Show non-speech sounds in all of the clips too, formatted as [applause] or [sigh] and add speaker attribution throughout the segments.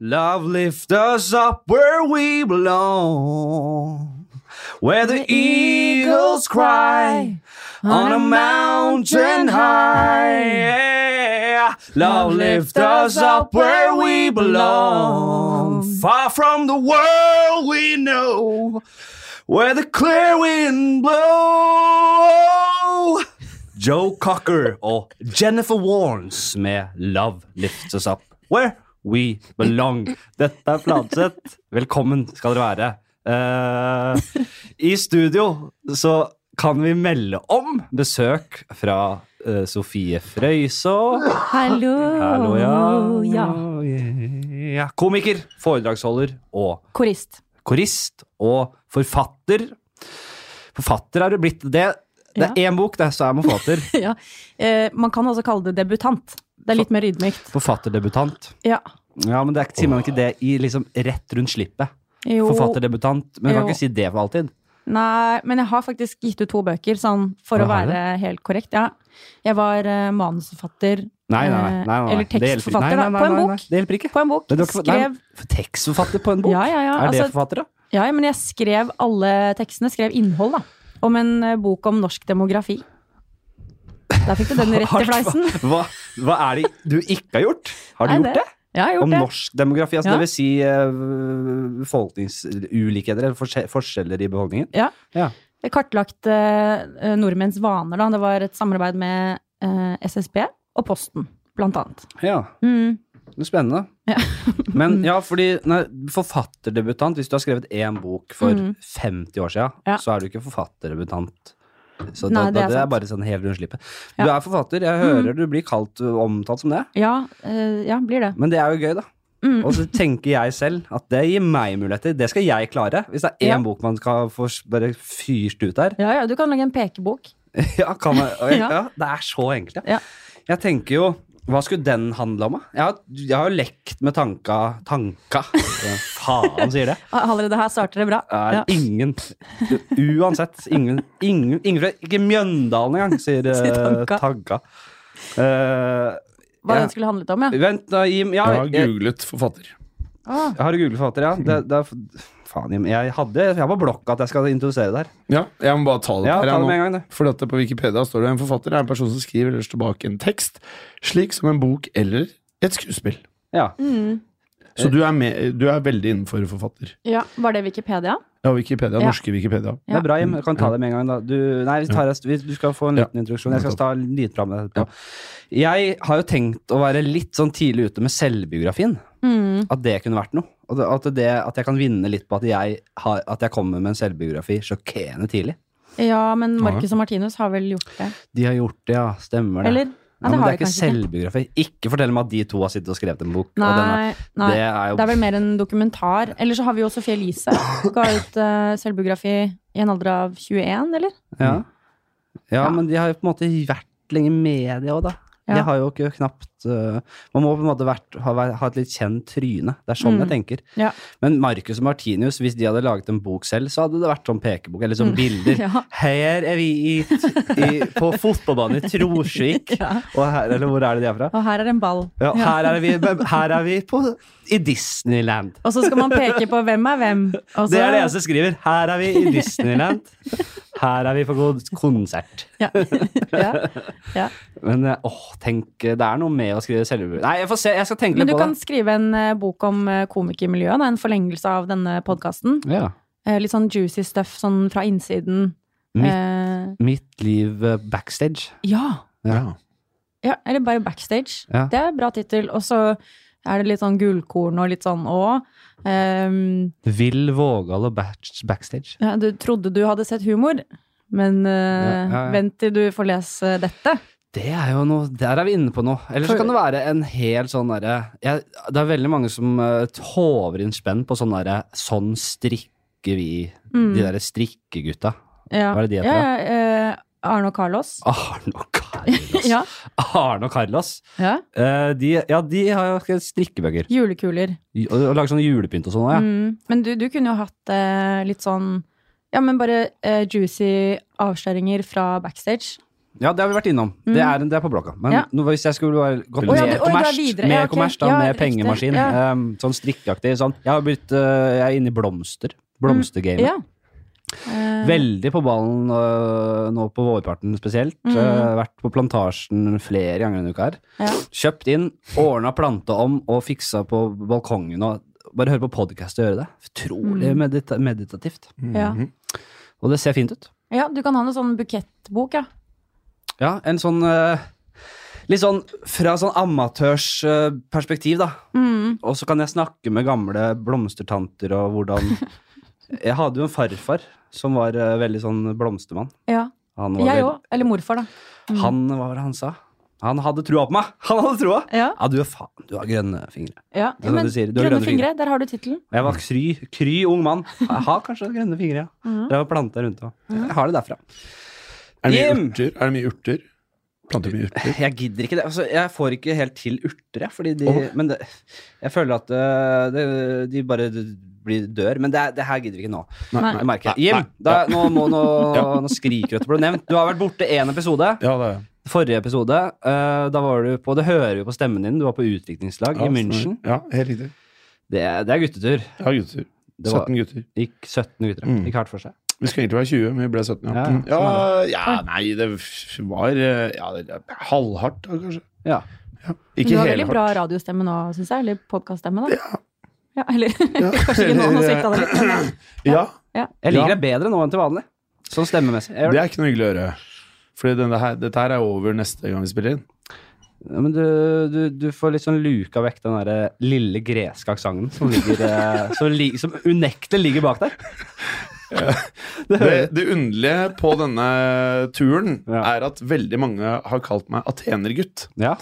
Speaker 1: Love lift us up where we belong. Where the eagles cry on a mountain high. Yeah. Love lift us up where we belong. Far from the world we know. Where the clear wind blow. Joe Cocker og Jennifer Warnes med Love Lifts Us Up Where We Belong. Dette er Fladseth. Velkommen skal dere være. Eh, I studio så kan vi melde om besøk fra eh, Sofie Frøysaa.
Speaker 2: Hallo.
Speaker 1: Hallo, ja.
Speaker 2: ja.
Speaker 1: ja. Komiker, foredragsholder og
Speaker 2: Korist.
Speaker 1: korist og forfatter. Forfatter er du blitt. Det, det er én bok, det er så er man
Speaker 2: [laughs]
Speaker 1: forfatter.
Speaker 2: [laughs] Ja. Eh, man kan også kalle det debutant. Det er litt mer ydmykt.
Speaker 1: Forfatterdebutant.
Speaker 2: Ja.
Speaker 1: Ja, men det er, ikke- sier man ikke det i liksom rett rundt slippet?
Speaker 2: Jo.
Speaker 1: Forfatterdebutant. Men man kan
Speaker 2: Jo.
Speaker 1: ikke si det for alltid.
Speaker 2: Nei, men jeg har faktisk gitt ut to bøker, sånn for
Speaker 1: Ja,
Speaker 2: å
Speaker 1: har du
Speaker 2: være helt korrekt. Ja. Jeg var eh, manusforfatter eh,
Speaker 1: Nei, nei, nei. nei, nei, nei. Det
Speaker 2: Eller
Speaker 1: hjelper ikke.
Speaker 2: tekstforfatter,
Speaker 1: Nei, nei,
Speaker 2: da. På en
Speaker 1: nei, nei,
Speaker 2: bok.
Speaker 1: nei. Det hjelper ikke.
Speaker 2: på en bok.
Speaker 1: Men du har ikke fått- nei,
Speaker 2: Skrev
Speaker 1: For tekstforfatter på en bok?
Speaker 2: Ja, ja, ja.
Speaker 1: Er det
Speaker 2: Altså,
Speaker 1: forfatter, da?
Speaker 2: ja, ja, men jeg skrev alle tekstene. Skrev innhold, da. Om en eh, bok om norsk demografi. Der fikk du den rett
Speaker 1: Har
Speaker 2: i
Speaker 1: du-
Speaker 2: fleisen.
Speaker 1: Hva, hva er det du ikke har gjort? Har du
Speaker 2: Nei,
Speaker 1: gjort det?
Speaker 2: Ja, jeg har
Speaker 1: Om
Speaker 2: gjort det.
Speaker 1: norsk demografi, altså
Speaker 2: Ja.
Speaker 1: det vil si eh, befolkningsulikheter eller forskje- forskjeller i befolkningen?
Speaker 2: Ja.
Speaker 1: Ja.
Speaker 2: Kartlagt eh, nordmenns vaner, da. Det var et samarbeid med eh, SSB og Posten, blant annet.
Speaker 1: Ja.
Speaker 2: Mm.
Speaker 1: Det er spennende. [laughs]
Speaker 2: Ja.
Speaker 1: Men ja, fordi nei, forfatterdebutant Hvis du har skrevet én bok for
Speaker 2: Mhm.
Speaker 1: 50 år siden,
Speaker 2: Ja.
Speaker 1: så er du ikke forfatterdebutant. Så
Speaker 2: Nei,
Speaker 1: da,
Speaker 2: det
Speaker 1: da,
Speaker 2: er
Speaker 1: det er
Speaker 2: sant.
Speaker 1: bare sånn helt rundslippet.
Speaker 2: Ja. Mm.
Speaker 1: Du er forfatter, jeg hører du blir kalt ø, omtalt som det.
Speaker 2: Ja, eh, ja, blir det.
Speaker 1: Men det er jo gøy, da.
Speaker 2: Mm.
Speaker 1: Og så tenker jeg selv at det gir meg muligheter. Det skal jeg klare. Hvis det er én
Speaker 2: Ja.
Speaker 1: bok man skal få s- bare fyrt ut der.
Speaker 2: Ja, ja, du kan lage en pekebok.
Speaker 1: [laughs] Ja, kan jeg, og jeg, ja.
Speaker 2: Ja.
Speaker 1: det er så enkelt, ja.
Speaker 2: Ja.
Speaker 1: Jeg tenker jo hva skulle den handle om? da? Jeg har, jeg har jo lekt med tanka Tanka? Hva faen sier det?
Speaker 2: Allerede her starter det bra.
Speaker 1: Er
Speaker 2: Ja.
Speaker 1: Ingen Uansett. Ingen, ingen, ingen fra Ikke Mjøndalen engang, sier
Speaker 2: Sier
Speaker 1: eh,
Speaker 2: tanka.
Speaker 1: tanka. Eh,
Speaker 2: Hva
Speaker 1: Ja.
Speaker 2: den skulle handlet om, ja.
Speaker 1: vent, da, Jim. Ja,
Speaker 3: Jeg har
Speaker 1: jeg,
Speaker 3: googlet forfatter.
Speaker 2: Ah,
Speaker 1: jeg har googlet forfatter, ja. Det, det, er- faen, Jim. Jeg hadde Jeg var på blokka at jeg skal introdusere der.
Speaker 3: Ja, jeg må bare ta det
Speaker 1: Ja,
Speaker 3: her,
Speaker 1: ta
Speaker 3: jeg,
Speaker 1: det med
Speaker 3: nå.
Speaker 1: en gang, det.
Speaker 3: Fordi at det på Wikipedia står det en forfatter er en person som skriver eller står bak en tekst, slik som en bok eller et skuespill.
Speaker 1: Ja.
Speaker 2: Mm.
Speaker 3: Så du er, med, du er veldig innenfor forfatter.
Speaker 2: ja. Var det Wikipedia?
Speaker 3: Ja, Wikipedia,
Speaker 2: Ja.
Speaker 3: norske Wikipedia.
Speaker 1: Det er bra, Jim. Du kan ta det med en gang. da Du, nei, vi tar, vi- du skal få en
Speaker 3: Ja.
Speaker 1: liten introduksjon. Jeg skal ta litt fram med det etterpå. Jeg har jo tenkt å være litt sånn tidlig ute med selvbiografien.
Speaker 2: Mm.
Speaker 1: At det kunne vært noe. Og det- At, det, at jeg kan vinne litt på at jeg, har, at jeg kommer med en selvbiografi sjokkerende tidlig.
Speaker 2: Ja, men Marcus og Martinus har vel gjort det.
Speaker 1: De har gjort det, ja. Stemmer det.
Speaker 2: Eller?
Speaker 1: ja,
Speaker 2: Nei, det
Speaker 1: men
Speaker 2: har
Speaker 1: det er
Speaker 2: de
Speaker 1: ikke
Speaker 2: kanskje ikke.
Speaker 1: selvbiografi. Ikke fortell meg at de to har sittet og skrevet en bok. og den er,
Speaker 2: Nei, nei.
Speaker 1: Det er jo
Speaker 2: Det er vel mer en dokumentar. Eller så har vi jo Sophie Elise. Ga ut eh, selvbiografi i en alder av 21, eller?
Speaker 1: Ja. ja,
Speaker 2: Ja.
Speaker 1: men de har jo på en måte vært lenge i media òg, da.
Speaker 2: Ja.
Speaker 1: De har jo ikke knapt øh, Man må på en måte vært, ha, vært- ha et litt kjent tryne. Det er sånn jeg tenker.
Speaker 2: Mm. Ja.
Speaker 1: Men Marcus og Martinius, hvis de hadde laget en bok selv, så hadde det vært sånn pekebok, eller sånn bilder.
Speaker 2: Mm. [laughs] Ja.
Speaker 1: Her er vi i, i, på fotballbanen i Trosvik, og her, eller hvor er det de er fra?
Speaker 2: Og her er en ball.
Speaker 1: Ja, her, er vi, her er vi på, i Disneyland.
Speaker 2: Og så skal man peke på hvem er hvem. Og så,
Speaker 1: Det er det eneste jeg skriver. Her er vi i Disneyland. Her er vi på god konsert. [laughs]
Speaker 2: Ja. ja. ja.
Speaker 1: Men eh, åh, tenk, eh, det er noe med å skrive selvbiografi Nei, jeg får se, jeg skal tenke
Speaker 2: Men
Speaker 1: litt
Speaker 2: du
Speaker 1: på
Speaker 2: kan skrive en eh, bok om eh, komikermiljøet. da, En forlengelse av denne podkasten.
Speaker 1: det. Ja.
Speaker 2: Litt sånn juicy stuff sånn fra innsiden.
Speaker 1: Mitt-
Speaker 2: Eh,
Speaker 1: Mitt liv eh, backstage.
Speaker 2: ja.
Speaker 1: Ja.
Speaker 2: ja! Eller bare backstage.
Speaker 1: Ja.
Speaker 2: Det er en bra tittel. Og så er det litt sånn gullkorn og litt sånn å. Ehm,
Speaker 1: Vil Vågal og batch- backstage.
Speaker 2: ja, du trodde du hadde sett humor, men eh,
Speaker 1: Ja, ja, ja.
Speaker 2: vent til du får lese dette.
Speaker 1: Det er jo noe, Der er vi inne på noe. Eller så
Speaker 2: For-
Speaker 1: kan det være en hel sånn derre jeg- Det er veldig mange som eh, håver inn spenn på sånn derre Sånn strikker vi
Speaker 2: Mm.
Speaker 1: De derre strikkegutta.
Speaker 2: Ja.
Speaker 1: Hva er det de heter,
Speaker 2: Ja, ja, eh, Arne og Carlos.
Speaker 1: Arne og Carlos.
Speaker 2: [laughs] Ja.
Speaker 1: Arne og Carlos.
Speaker 2: ja.
Speaker 1: Eh, de, ja, de har jo skrevet strikkebøker.
Speaker 2: Julekuler.
Speaker 1: Og, og lager sånn julepynt og sånn òg, ja.
Speaker 2: Mm. Men du, du kunne jo hatt eh, litt sånn Ja, men bare eh, juicy avsløringer fra backstage.
Speaker 1: Ja, det har vi vært innom. Det, er, det er på blokka. Men
Speaker 2: Mm. Ja.
Speaker 1: nå, hvis jeg skulle være gått
Speaker 2: Å, ja,
Speaker 1: mer
Speaker 2: du- oi, du er
Speaker 1: kommersielt,
Speaker 2: videre.
Speaker 1: mer
Speaker 2: Ja, ok.
Speaker 1: kommers, da,
Speaker 2: Ja,
Speaker 1: med
Speaker 2: riktig.
Speaker 1: pengemaskin,
Speaker 2: Ja.
Speaker 1: ehm, sånn strikkeaktig sånn. Jeg har blitt øh, Jeg er inne i blomster. Blomstergamet.
Speaker 2: Ja. Eh,
Speaker 1: Veldig på ballen øh, nå på vårparten spesielt. Øh, vært på plantasjen flere ganger denne uka her.
Speaker 2: Mm. ja.
Speaker 1: Kjøpt inn, ordna planta om og fiksa på balkongen og Bare høre på podkast og gjøre det. Utrolig
Speaker 2: Mm.
Speaker 1: medita meditativt.
Speaker 2: Ja.
Speaker 1: Og det ser fint ut.
Speaker 2: ja, du kan ha en sånn bukettbok, ja.
Speaker 1: Ja, en sånn eh, Litt sånn fra sånn amatørs eh, perspektiv, da. Og så kan jeg snakke med gamle blomstertanter og hvordan Jeg hadde jo en farfar som var eh, veldig sånn blomstermann.
Speaker 2: ja.
Speaker 1: Han var
Speaker 2: Jeg
Speaker 1: veld-
Speaker 2: òg. Eller morfar, da.
Speaker 1: Han, hva var det han sa? Han hadde trua på meg! [laughs] Han hadde trua!
Speaker 2: Ja.
Speaker 1: Ja, du er faen, du har grønne fingre.
Speaker 2: Ja,
Speaker 1: Det er sånn
Speaker 2: men
Speaker 1: du sier, du har
Speaker 2: grønne
Speaker 1: grønne
Speaker 2: fingre, der har du tittelen.
Speaker 1: Og Jeg var kry, kry ung mann. Jeg har kanskje grønne fingre, ja. Drev og planta rundt og Jeg har det derfra.
Speaker 3: Er det mye
Speaker 1: Jim!
Speaker 3: urter? Er det mye urter? Planter mye urter?
Speaker 1: Jeg gidder ikke det. Altså, jeg får ikke helt til urter, jeg. Fordi de,
Speaker 3: Åh.
Speaker 1: Men det, jeg føler at øh, det, de bare d- blir dør. Men det, er- det her gidder vi ikke nå.
Speaker 2: Nei.
Speaker 1: Jeg merker.
Speaker 3: Nei,
Speaker 1: Jim,
Speaker 3: nei,
Speaker 1: da, nå, må, nå,
Speaker 3: [laughs] Ja.
Speaker 1: nå skriker du etter å bli nevnt. Du har vært borte én episode.
Speaker 3: Ja, det er jeg.
Speaker 1: Forrige episode. øh, da var du på Det hører vi på stemmen din. Du var på utviklingslag
Speaker 3: Ja,
Speaker 1: i München.
Speaker 3: stemmer. Ja, helt riktig.
Speaker 1: Det, er- det er guttetur.
Speaker 3: Jeg har gutter.
Speaker 1: Det var-
Speaker 3: 17 gutter.
Speaker 1: Gikk 17 gutter.
Speaker 3: Mm.
Speaker 1: Gikk hardt for seg.
Speaker 3: Vi skulle egentlig være 20, men vi ble 17. Ja,
Speaker 1: Ja,
Speaker 3: ja,
Speaker 1: sånn
Speaker 3: ja nei, det var eh, ja, det- det- halvhardt, da, kanskje.
Speaker 1: Ja.
Speaker 2: Du
Speaker 3: Ikke
Speaker 2: har veldig bra
Speaker 3: helhardt.
Speaker 2: radiostemme nå, syns jeg. Eller podkaststemme, da.
Speaker 3: Ja.
Speaker 2: Ja, eller
Speaker 3: Ja.
Speaker 2: [laughs] kanskje ikke nå, nå svikta det litt.
Speaker 1: [laughs]
Speaker 2: men-
Speaker 3: Ja,
Speaker 2: Ja.
Speaker 1: Jeg liker
Speaker 3: Ja.
Speaker 1: deg bedre nå enn til vanlig. Sånn stemmemessig. Jeg gjør
Speaker 3: det
Speaker 1: det.
Speaker 3: er ikke noe hyggelig å høre. Fordi denne her, dette her er over neste gang vi spiller inn.
Speaker 1: Ja, men du, du, du får litt sånn luka vekk den derre lille greske aksenten som, ligger, eh, som, li, som unektelig ligger bak
Speaker 3: [laughs]
Speaker 1: der.
Speaker 3: Det, det underlige på denne turen
Speaker 1: [laughs] Ja.
Speaker 3: er at veldig mange har kalt meg atenergutt.
Speaker 1: Ja.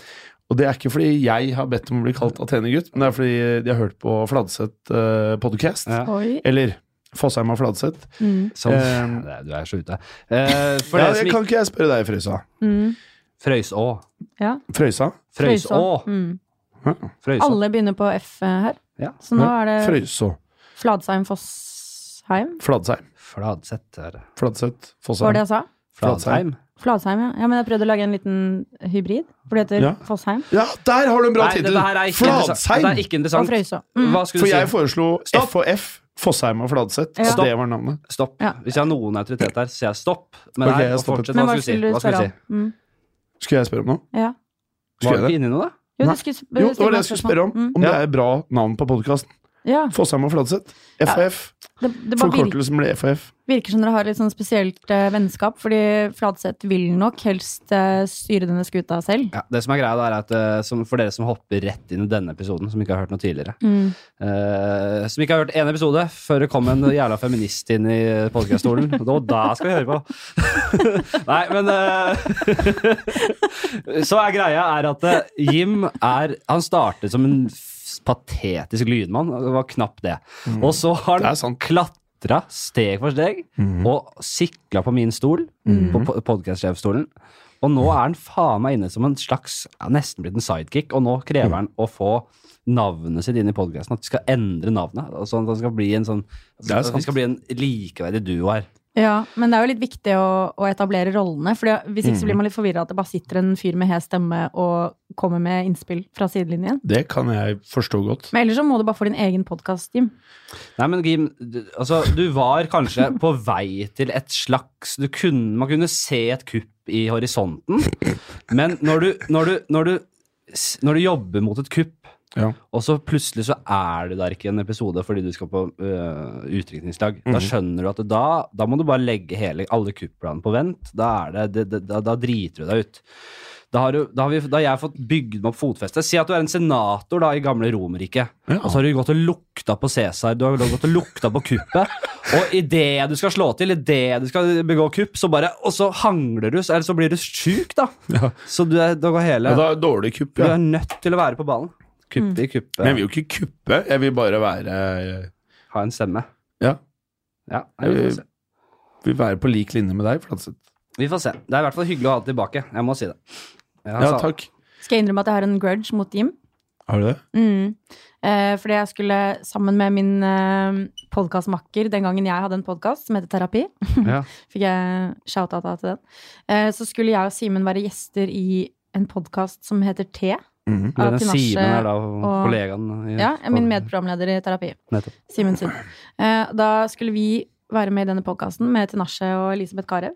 Speaker 3: Og det er ikke fordi jeg har bedt om å bli kalt atenergutt, men det er fordi de har hørt på Fladseth eh, podcast.
Speaker 1: Ja.
Speaker 2: Oi.
Speaker 3: Eller Fosheim og Fladseth.
Speaker 2: Mm,
Speaker 1: Sånn.
Speaker 3: Eh,
Speaker 1: Det er- du er så ute. Eh, for
Speaker 3: Ja,
Speaker 1: dere som
Speaker 3: jeg
Speaker 1: ikke
Speaker 3: kan ikke jeg spørre deg, Frøysa?
Speaker 2: mm,
Speaker 1: Frøyså.
Speaker 2: ja.
Speaker 3: Frøysa?
Speaker 1: Frøyså.
Speaker 2: Mm.
Speaker 1: Frøyså.
Speaker 2: Alle begynner på F eh, her.
Speaker 1: Ja.
Speaker 2: Så nå er det
Speaker 3: Frøyså.
Speaker 2: Fladsheim Fossheim.
Speaker 3: Fladsheim.
Speaker 1: Fladseth er det.
Speaker 3: Fladseth.
Speaker 2: Var det
Speaker 3: Fossheim.
Speaker 2: jeg sa?
Speaker 1: Fladsheim.
Speaker 2: Fladsheim, ja. ja. Men jeg prøvde å lage en liten hybrid, for det heter
Speaker 3: Ja.
Speaker 2: Fossheim.
Speaker 3: Ja, der har du en bra
Speaker 1: Nei, dette
Speaker 3: tittel!
Speaker 1: her er ikke interessant. Dette er
Speaker 3: Fladsheim!
Speaker 1: ikke
Speaker 2: Og
Speaker 1: interessant.
Speaker 2: Frøyså. Mm.
Speaker 1: Hva skulle
Speaker 3: For jeg
Speaker 1: du si?
Speaker 3: foreslo
Speaker 1: Stopp.
Speaker 3: F og F. Fossheim og Fladseth.
Speaker 2: Ja.
Speaker 3: Og det var navnet.
Speaker 1: Stopp.
Speaker 2: Ja.
Speaker 1: Hvis jeg har noen autoritet her, så sier jeg stopp. Men
Speaker 3: Ok,
Speaker 1: her,
Speaker 3: jeg
Speaker 1: og
Speaker 3: stoppet.
Speaker 1: fortsett.
Speaker 2: Men
Speaker 1: Hva
Speaker 2: hva
Speaker 1: skulle du si?
Speaker 2: skulle du
Speaker 1: Hva skulle
Speaker 2: spørre
Speaker 1: du si?
Speaker 2: om? Mm.
Speaker 3: Skulle jeg spørre om noe?
Speaker 2: Ja.
Speaker 1: Var
Speaker 3: Skulle jeg
Speaker 1: du
Speaker 3: det?
Speaker 1: ikke inne i noe, da?
Speaker 2: Jo,
Speaker 3: Nei.
Speaker 2: du skulle sp- stille
Speaker 3: Jo, det
Speaker 2: meg
Speaker 3: var det jeg skulle spørre om.
Speaker 2: spørsmål.
Speaker 3: Om det
Speaker 1: Ja.
Speaker 3: er bra navn på podkasten.
Speaker 2: Mm. Ja.
Speaker 3: Fossheim og Fladseth. F og F.
Speaker 2: Det, det bare virker,
Speaker 3: Forkortelsen ble F og F.
Speaker 2: virker som dere har litt sånn spesielt eh, vennskap, fordi Fladseth vil nok helst eh, styre denne skuta selv.
Speaker 1: Ja, det som er greia da, er at eh, som For dere som hopper rett inn i denne episoden, som ikke har hørt noe tidligere
Speaker 2: Mm.
Speaker 1: eh, Som ikke har hørt én episode før det kom en jævla feminist inn i [laughs] podkaststolen. Og da skal vi høre på! [laughs] Nei, men eh, [laughs] Så er greia er at eh, Jim er Han startet som en f- patetisk lydmann. og Det var knapt Mm. det. Mm. Og så har
Speaker 3: Det er
Speaker 1: han
Speaker 3: sant.
Speaker 1: klatra steg for steg og sikla på min stol, på po- podcastsjefstolen. Og nå er han faen meg inne som en slags ja, Nesten blitt en sidekick, og nå krever han å få navnet sitt inn i podkasten. At vi skal endre navnet. og Sånn at han skal bli en sånn
Speaker 3: Det er
Speaker 1: At vi
Speaker 3: sant.
Speaker 1: skal bli en likeverdig duo her.
Speaker 2: Ja, men det er jo litt viktig å, å etablere rollene, for hvis ikke så blir
Speaker 3: Mm.
Speaker 2: man litt forvirra at det bare sitter en fyr med hes stemme og kommer med innspill fra sidelinjen.
Speaker 3: Det kan jeg forstå godt.
Speaker 2: Men ellers så må du bare få din egen podkast, Jim.
Speaker 1: Nei, men Gim, du, altså, du var kanskje på vei til et slags du kunne, Man kunne se et kupp i horisonten, men når du, når du, når du, s- når du jobber mot et kupp,
Speaker 3: Ja.
Speaker 1: og så plutselig så er du der ikke i en episode fordi du skal på øh, utdrikningsdag, da skjønner du at det, da, da må du bare legge hele, alle kuppplanene på vent. Da, er det, det, det, da, da driter du deg ut. Da har, du, da, har vi, da har jeg fått bygd meg opp fotfestet. Si at du er en senator da i gamle Romerriket.
Speaker 3: Ja. altså,
Speaker 1: Og så har du gått og lukta på Cæsar, du har gått og lukta på kuppet. Og idet du skal slå til, idet du skal begå kupp, så bare Og så hangler du, så- eller så blir du sjuk, da.
Speaker 3: Ja.
Speaker 1: Så du er, da går hele
Speaker 3: Ja, da er dårlig kupp,
Speaker 1: Du er
Speaker 3: ja.
Speaker 1: nødt til å være på ballen. Kuppe i
Speaker 2: Mm.
Speaker 1: kuppet.
Speaker 3: Men jeg vil jo ikke kuppe. Jeg vil bare være eh,
Speaker 1: Ha en stemme.
Speaker 3: Ja. Eh,
Speaker 1: Ja, nei, vi, får se.
Speaker 3: Vil være på lik linje med deg, Fladseth.
Speaker 1: vi får se. Det er i hvert fall hyggelig å ha det tilbake. Jeg må si det. Jeg har
Speaker 3: Ja,
Speaker 1: savnet-
Speaker 3: takk.
Speaker 2: Skal jeg innrømme at jeg har en grudge mot Jim?
Speaker 3: Har du det?
Speaker 2: Mm. Eh, fordi jeg skulle sammen med min eh, podkastmakker den gangen jeg hadde en podkast som heter Terapi, [laughs]
Speaker 1: Ja.
Speaker 2: fikk jeg shout-out til den, eh, så skulle jeg og Simen være gjester i en podkast som heter T.
Speaker 3: Mhm.
Speaker 2: Av
Speaker 1: Denne
Speaker 2: Tinashe
Speaker 1: Simen er da
Speaker 2: og-
Speaker 1: kollegaen. i-
Speaker 2: Ja, min medprogramleder i Terapi.
Speaker 1: Nettopp.
Speaker 2: Simen Sund. Eh, da skulle vi være med i denne podkasten med Tinashe og Elisabeth Carew.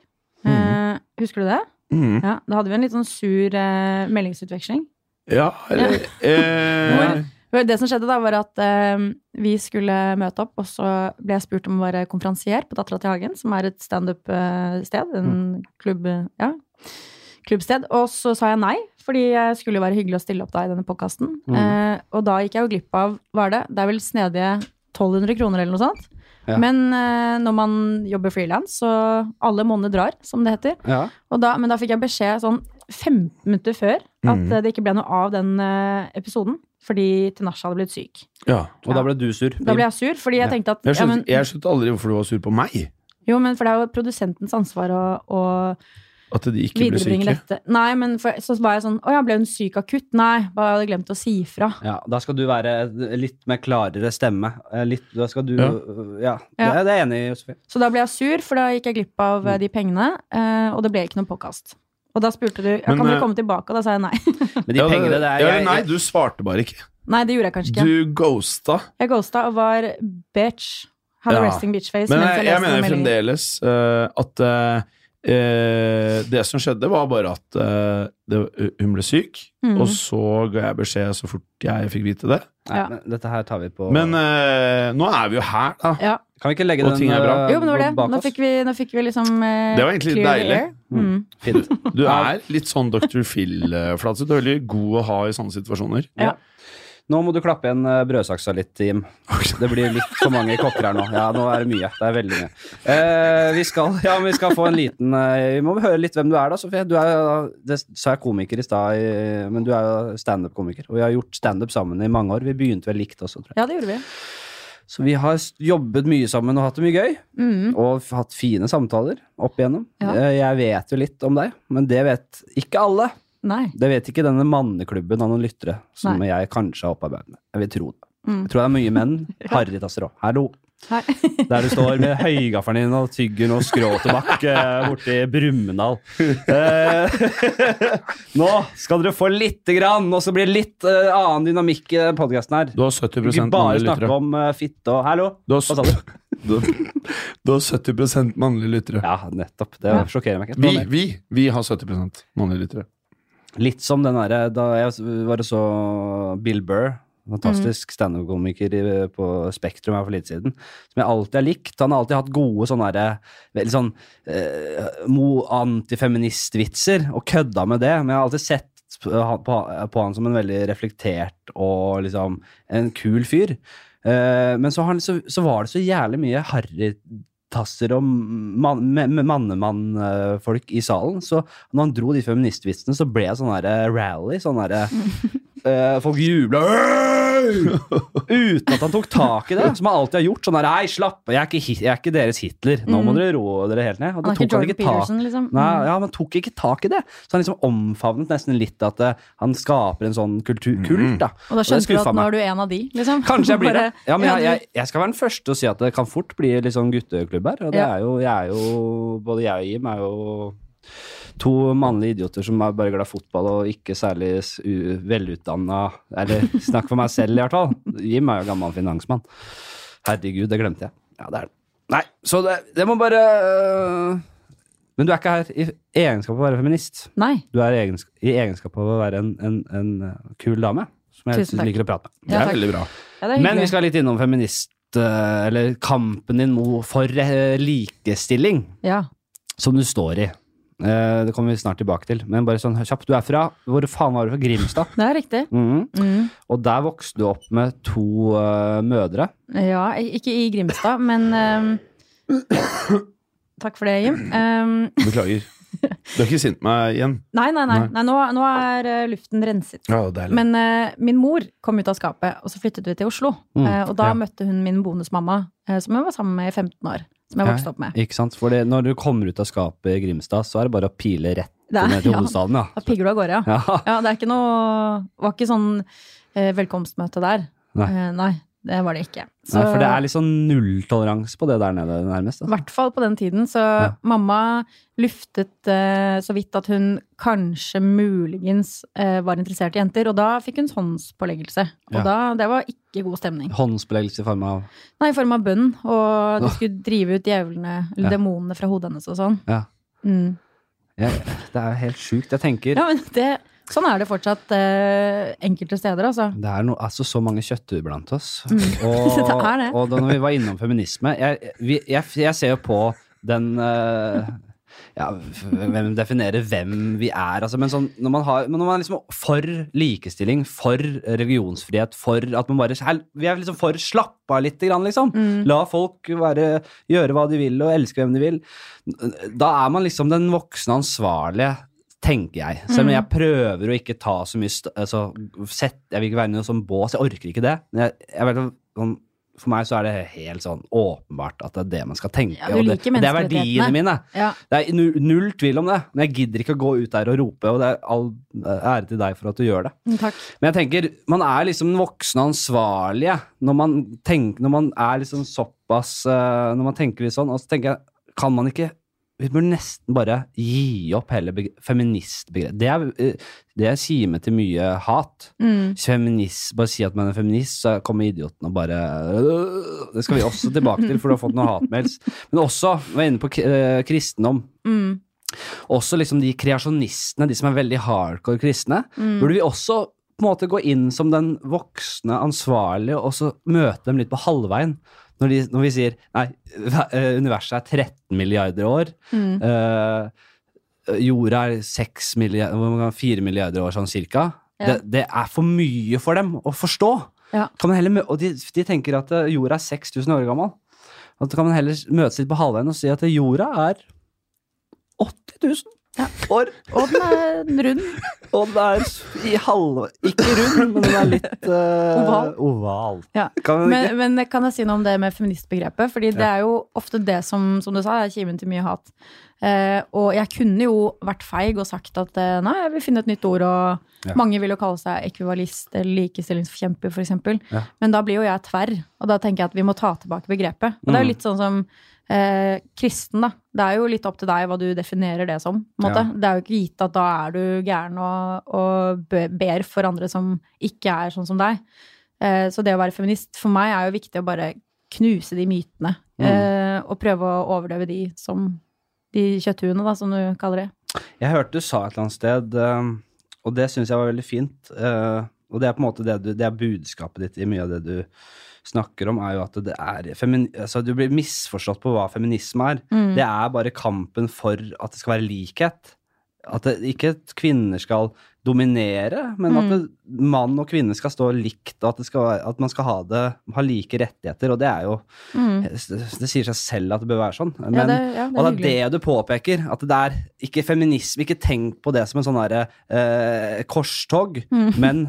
Speaker 2: Eh, husker du det?
Speaker 3: Mhm.
Speaker 2: Ja, Da hadde vi en litt sånn sur eh, meldingsutveksling.
Speaker 3: Ja, eller eh,
Speaker 2: Det som skjedde da, var at eh, vi skulle møte opp, og så ble jeg spurt om å være konferansier på Dattera til Hagen, som er et standup-sted. En
Speaker 1: Mm.
Speaker 2: klubb, ja, klubbsted. Og så sa jeg nei, fordi jeg skulle jo være hyggelig å stille opp da i denne podkasten.
Speaker 1: Mm.
Speaker 2: Eh, og da gikk jeg jo glipp av, hva er det, det er vel snedige 1200 kroner eller noe sånt.
Speaker 1: Ja.
Speaker 2: Men eh, når man jobber frilans, så alle måneder drar, som det heter.
Speaker 1: Ja.
Speaker 2: Og da, men da fikk jeg beskjed sånn 15 minutter før at
Speaker 3: Mhm.
Speaker 2: eh, det ikke ble noe av den eh, episoden. Fordi Tinashe hadde blitt syk.
Speaker 3: ja.
Speaker 1: Og da ble du sur.
Speaker 2: Da ble jeg sur, fordi jeg tenkte at
Speaker 3: Jeg
Speaker 2: ja, men,
Speaker 3: skjønte, jeg skjønte aldri hvorfor du var sur på meg.
Speaker 2: Jo, men for det er jo produsentens ansvar å, å
Speaker 3: At de ikke ble
Speaker 2: viderebringe
Speaker 3: syke.
Speaker 2: dette. Nei, men for, så var jeg sånn Å ja, ble hun syk akutt? Nei, bare hadde glemt å si fra.
Speaker 1: Ja, da skal du være litt med klarere stemme. Eh, Litt, da skal du eh, Ja, Det,
Speaker 3: Ja.
Speaker 2: Ja.
Speaker 1: er- det er jeg enig i, Josefin.
Speaker 2: Så da ble jeg sur, for da gikk jeg glipp av eh, de pengene, eh, og det ble ikke noe påkast. Og da spurte du ja,
Speaker 3: Men,
Speaker 2: kan
Speaker 3: eh,
Speaker 2: dere komme tilbake, og da sa jeg nei. [laughs]
Speaker 1: Men de
Speaker 3: Ja, det-
Speaker 1: pengene det er
Speaker 3: ja,
Speaker 1: jeg,
Speaker 3: nei, du svarte bare ikke.
Speaker 2: nei, det gjorde jeg kanskje ikke.
Speaker 3: Du ghosta.
Speaker 2: Jeg ghosta og var bitch. Hadde
Speaker 3: Ja.
Speaker 2: resting bitch face.
Speaker 3: Men
Speaker 2: mens
Speaker 3: jeg,
Speaker 2: leste
Speaker 3: jeg mener liksom
Speaker 2: den meldingen.
Speaker 3: fremdeles eh, at eh, eh, det som skjedde, var bare at eh, det, hun ble syk,
Speaker 2: Mhm.
Speaker 3: og så ga jeg beskjed så fort jeg fikk vite det.
Speaker 1: nei,
Speaker 2: Ja.
Speaker 1: men Dette her tar vi på
Speaker 3: Men eh, nå er vi jo her, da.
Speaker 2: Ja.
Speaker 1: Kan vi ikke legge
Speaker 3: Og
Speaker 1: den
Speaker 3: ting er bra.
Speaker 1: eh,
Speaker 2: Jo, men det var det.
Speaker 1: bak
Speaker 2: Nå
Speaker 1: oss?
Speaker 2: fikk vi, nå fikk vi liksom eh,
Speaker 3: Det var egentlig
Speaker 2: clear the
Speaker 3: deilig.
Speaker 2: air. Mm.
Speaker 1: [laughs] Fint.
Speaker 3: Du er litt sånn Dr. Phil-flatset. Du er veldig god å ha i sånne situasjoner.
Speaker 1: Nå må du klappe igjen eh, brødsaksa litt,
Speaker 3: [laughs]
Speaker 1: Jim. Det blir litt for mange kokker her nå. Ja, nå er det mye. Det er veldig mye. Eh, vi, skal, ja, men vi skal få en liten eh, Vi må høre litt hvem du er, da, Sofie. Du er, jo- det sa jeg komiker i stad, eh, men du er jo standup-komiker. Og vi har gjort standup sammen i mange år. Vi begynte vel likt også, tror jeg.
Speaker 2: Ja, det gjorde vi.
Speaker 1: Så vi har s- jobbet mye sammen og hatt det mye gøy.
Speaker 2: Mm.
Speaker 1: Og f- hatt fine samtaler opp igjennom.
Speaker 2: Ja.
Speaker 1: Eh, Jeg vet jo litt om deg, men det vet ikke alle.
Speaker 2: Nei.
Speaker 1: Det vet ikke denne manneklubben av noen lyttere som
Speaker 2: Nei.
Speaker 1: jeg kanskje har opparbeidet meg. Jeg vil tro det.
Speaker 2: Mm.
Speaker 1: Jeg tror det er mye
Speaker 2: [laughs]
Speaker 1: menn. Harrytasser òg. Hallo. [laughs]
Speaker 2: Nei.
Speaker 1: Der du står med høygaffelen din og tygger noe skråtobakk eh, borti Brumunddal. Eh, [laughs] nå skal dere få lite grann, og så blir det litt eh, annen dynamikk i podkasten her.
Speaker 3: Du har 70
Speaker 1: Ikke bare
Speaker 3: mannlige
Speaker 1: snakke
Speaker 3: lyttere.
Speaker 1: om eh, fitte og Hallo!
Speaker 3: Du
Speaker 1: Hva sa du?
Speaker 3: har, du, du har 70 mannlige lyttere.
Speaker 1: [laughs] Ja, nettopp. Det
Speaker 2: Ja.
Speaker 1: sjokkerer meg ikke.
Speaker 3: Vi, vi, vi har 70 mannlige lyttere.
Speaker 1: Litt som den derre da jeg var og så Bill Burr. Fantastisk standup-komiker i- på Spektrum her for litt siden. Som jeg alltid har likt. Han har alltid hatt gode sånne derre Veldig sånn eh, mo- antifeministvitser, og kødda med det. Men jeg har alltid sett på, han- på, på han som en veldig reflektert og liksom en kul fyr. Eh, men så, har han, så, så var det så jævlig mye harrytasser og mannemann-folk i salen. Så når han dro de feministvitsene, så ble jeg sånn derre rally. Sånn derre
Speaker 2: [laughs]
Speaker 1: eh, Folk jubla uten at han tok tak i det, som han alltid har gjort. Sånn der, Nei, slapp av, jeg, er ikke Hit- jeg er ikke deres Hitler. Nå må
Speaker 2: Mm.
Speaker 1: dere roe dere helt ned. Og
Speaker 2: Han
Speaker 1: det
Speaker 2: er ikke
Speaker 1: tok han
Speaker 2: Jordan
Speaker 1: ikke tak
Speaker 2: Peterson, liksom. Mm.
Speaker 1: Nei, ja, men tok ikke tak i det. Så han liksom omfavnet nesten litt at eh, han skaper en sånn kultur, kult. da.
Speaker 2: Og da
Speaker 1: det
Speaker 2: skjønte du
Speaker 1: skuffa
Speaker 2: at nå
Speaker 1: meg.
Speaker 2: er du en av de, liksom. [laughs]
Speaker 1: Kanskje jeg blir det.
Speaker 2: Bare-
Speaker 1: Ja, men jeg,
Speaker 2: du-
Speaker 1: jeg, jeg skal være den første til å si at det kan fort bli litt sånn gutteklubb her. Og det
Speaker 2: Ja.
Speaker 1: er jo, jeg er jo Både jeg og Jim er jo to mannlige idioter som er bare glad i fotball og ikke særlig s- u- velutdanna Eller snakk for meg selv, i hvert fall. Jim er jo gammel finansmann. Herregud, det glemte jeg. Ja, det er det. Nei, så det, det må bare øh, Men du er ikke her i egenskap av å være feminist.
Speaker 2: Nei.
Speaker 1: Du er i egensk- i egenskap av å være en, en, en øh, kul dame som jeg
Speaker 2: Tusen takk.
Speaker 1: liker å prate med.
Speaker 3: Det
Speaker 2: Ja,
Speaker 3: er
Speaker 2: takk.
Speaker 3: veldig bra.
Speaker 2: Ja, det er
Speaker 1: Men vi
Speaker 2: hyggelig.
Speaker 1: skal litt innom feminist, eh, eller kampen din mo- for eh, likestilling,
Speaker 2: Ja.
Speaker 1: som du står i. Eh, Det kommer vi snart tilbake til. Men bare sånn kjapt, du er fra Hvor faen var du fra?
Speaker 2: [laughs]
Speaker 1: Grimstad?
Speaker 2: Det er riktig.
Speaker 1: Mhm.
Speaker 2: Mm.
Speaker 1: Og der vokste du opp med to eh, mødre.
Speaker 2: Ja, ikke i Grimstad, men
Speaker 1: [coughs]
Speaker 2: ehm, Takk for det, Jim. Ehm, [laughs]
Speaker 3: Beklager. Du har ikke sint på meg igjen?
Speaker 2: nei, nei, nei.
Speaker 3: Nei.
Speaker 2: nei nå, nå er eh, luften renset.
Speaker 3: Ja, deilig.
Speaker 2: Men eh, min mor kom ut av skapet, og så flyttet vi til Oslo.
Speaker 1: Mm,
Speaker 2: Eh, og da
Speaker 3: ja.
Speaker 2: møtte hun min bonusmamma, eh, som hun var sammen med i 15 år. Som jeg vokste opp med.
Speaker 1: Ikke sant? For det, når du kommer ut av skapet i Grimstad, så er det bare å pile rett
Speaker 2: Det
Speaker 1: ned
Speaker 2: er,
Speaker 1: til
Speaker 2: [laughs] ja,
Speaker 1: hovedstaden, ja.
Speaker 2: da pigger du av gårde, ja.
Speaker 1: ja.
Speaker 2: ja det er ikke noe, var ikke sånn eh, velkomstmøte der.
Speaker 1: Nei.
Speaker 2: Eh, nei, det var det ikke. Så-
Speaker 1: Nei, for det er liksom nulltoleranse på det der nede, nærmest.
Speaker 2: I
Speaker 1: Altså.
Speaker 2: hvert fall på den tiden. Så mamma luftet eh, så vidt at hun kanskje muligens eh, var interessert i jenter. Og da fikk hun håndspåleggelse. Og
Speaker 1: Ja.
Speaker 2: da, det var ikke god stemning.
Speaker 1: Håndsbeleggelse i form av
Speaker 2: Nei, i form av bønn. Og de
Speaker 1: Åh.
Speaker 2: skulle drive ut djevlene, eller
Speaker 1: Ja.
Speaker 2: demonene fra hodet hennes og sånn.
Speaker 1: Ja.
Speaker 2: Mm.
Speaker 1: ja, Det er helt sjukt. Jeg tenker
Speaker 2: ja, men det, sånn er det fortsatt eh, enkelte steder, altså.
Speaker 1: Det er no, altså, så mange kjøttduer blant oss.
Speaker 2: Mm. [laughs]
Speaker 1: Og,
Speaker 2: Det er det.
Speaker 1: og da når vi var innom feminisme Jeg, vi, jeg, jeg ser jo på den eh, ja, f- Hvem definerer hvem vi er, altså. Men sånn, når man, har, men når man er liksom for likestilling, for religionsfrihet, for at man bare hel- Vi er liksom for slappa lite grann, liksom.
Speaker 2: Mm.
Speaker 1: La folk være, gjøre hva de vil og elske hvem de vil. Da er man liksom den voksne ansvarlige, tenker jeg. Selv
Speaker 2: Mm.
Speaker 1: om jeg prøver å ikke ta så mye st altså, sett, Jeg vil ikke være i noen sånn bås, jeg orker ikke det. Men jeg, jeg vet, at sånn, for meg så er det helt sånn åpenbart at det er det man skal tenke.
Speaker 2: Ja, du
Speaker 1: og
Speaker 2: liker
Speaker 1: det, og det er
Speaker 2: menneskerettighetene.
Speaker 1: verdiene mine.
Speaker 2: Ja.
Speaker 1: Det er nu- null tvil om det. Men jeg gidder ikke å gå ut der og rope, og det er all ære til deg for at du gjør det.
Speaker 2: Mm, Takk.
Speaker 1: Men jeg tenker, man er liksom den voksne ansvarlige når man, tenker, når man er liksom såpass eh, Når man tenker litt sånn, og så tenker jeg, kan man ikke Vi burde nesten bare gi opp hele beg- feministbegrepet. Det, er, eh, det kimer til mye hat.
Speaker 2: Mm.
Speaker 1: Feminist, bare si at man er feminist, så kommer idioten og bare øh, Det skal vi også tilbake til, for du har fått noen hatmails. Men også, vi var inne på k- eh, kristendom.
Speaker 2: Mm.
Speaker 1: Også liksom de kreasjonistene, de som er veldig hardcore kristne.
Speaker 2: Mm.
Speaker 1: Burde vi også på en måte gå inn som den voksne ansvarlige og så møte dem litt på halvveien? Når, de, når vi sier nei, [laughs] ver- eh, universet er 13 milliarder år,
Speaker 2: Mm.
Speaker 1: eh, jorda er 6 milliarder, hvor mange- 4 milliarder år sånn cirka.
Speaker 2: Ja.
Speaker 1: Det, det er for mye for dem å forstå.
Speaker 2: Ja.
Speaker 1: Kan man heller, mø- og de, de tenker at eh, jorda er 6000 år gammel. At kan man heller møtes litt på halvveien og si at eh, jorda er 80 000 år.
Speaker 2: Og den er rund.
Speaker 1: Og den er i halve Ikke rund, men den er
Speaker 2: [laughs]
Speaker 1: litt eh,
Speaker 2: Oval.
Speaker 1: oval.
Speaker 2: Ja.
Speaker 1: Kan man ikke?
Speaker 2: Men, men kan jeg si noe om det med feministbegrepet? Fordi det er jo ofte det som, som du sa, er kimen til mye hat. Eh, og jeg kunne jo vært feig og sagt at eh, nei, jeg vil finne et nytt ord, og
Speaker 1: Ja.
Speaker 2: mange vil jo kalle seg ekvivalist eller likestillingsforkjemper, f.eks.
Speaker 1: Ja.
Speaker 2: Men da blir jo jeg tverr, og da tenker jeg at vi må ta tilbake begrepet. Og det er jo
Speaker 1: Mm.
Speaker 2: litt sånn som eh, kristen, da. Det er jo litt opp til deg hva du definerer det som. På en måte.
Speaker 1: Ja.
Speaker 2: Det er jo ikke gitt at da er du gæren og, og be- ber for andre som ikke er sånn som deg. Eh, Så det å være feminist for meg er jo viktig å bare knuse de mytene.
Speaker 1: Mm.
Speaker 2: eh, Og prøve å overdøve de som de kjøtthuene, da, som du kaller det.
Speaker 1: Jeg hørte du sa et eller annet sted, eh, og det syns jeg var veldig fint. eh, og det er på en måte det, du, det er budskapet ditt i mye av det du snakker om, er jo at det er femin altså, Du blir misforstått på hva feminisme er.
Speaker 2: Mm.
Speaker 1: Det er bare kampen for at det skal være likhet. At det, ikke at kvinner skal dominere, men at
Speaker 2: Mm.
Speaker 1: det, mann og kvinne skal stå likt, og at, det skal, være- at man skal ha, det, ha like rettigheter. Og det er jo
Speaker 2: Mm.
Speaker 1: Det sier seg selv at det bør være sånn. Men,
Speaker 2: ja, det, ja,
Speaker 1: og
Speaker 2: det er
Speaker 1: det
Speaker 2: hyggelig.
Speaker 1: er det du påpeker, at det er ikke feminisme, ikke tenk på det som en sånn derre eh, korstog,
Speaker 2: Mm.
Speaker 1: men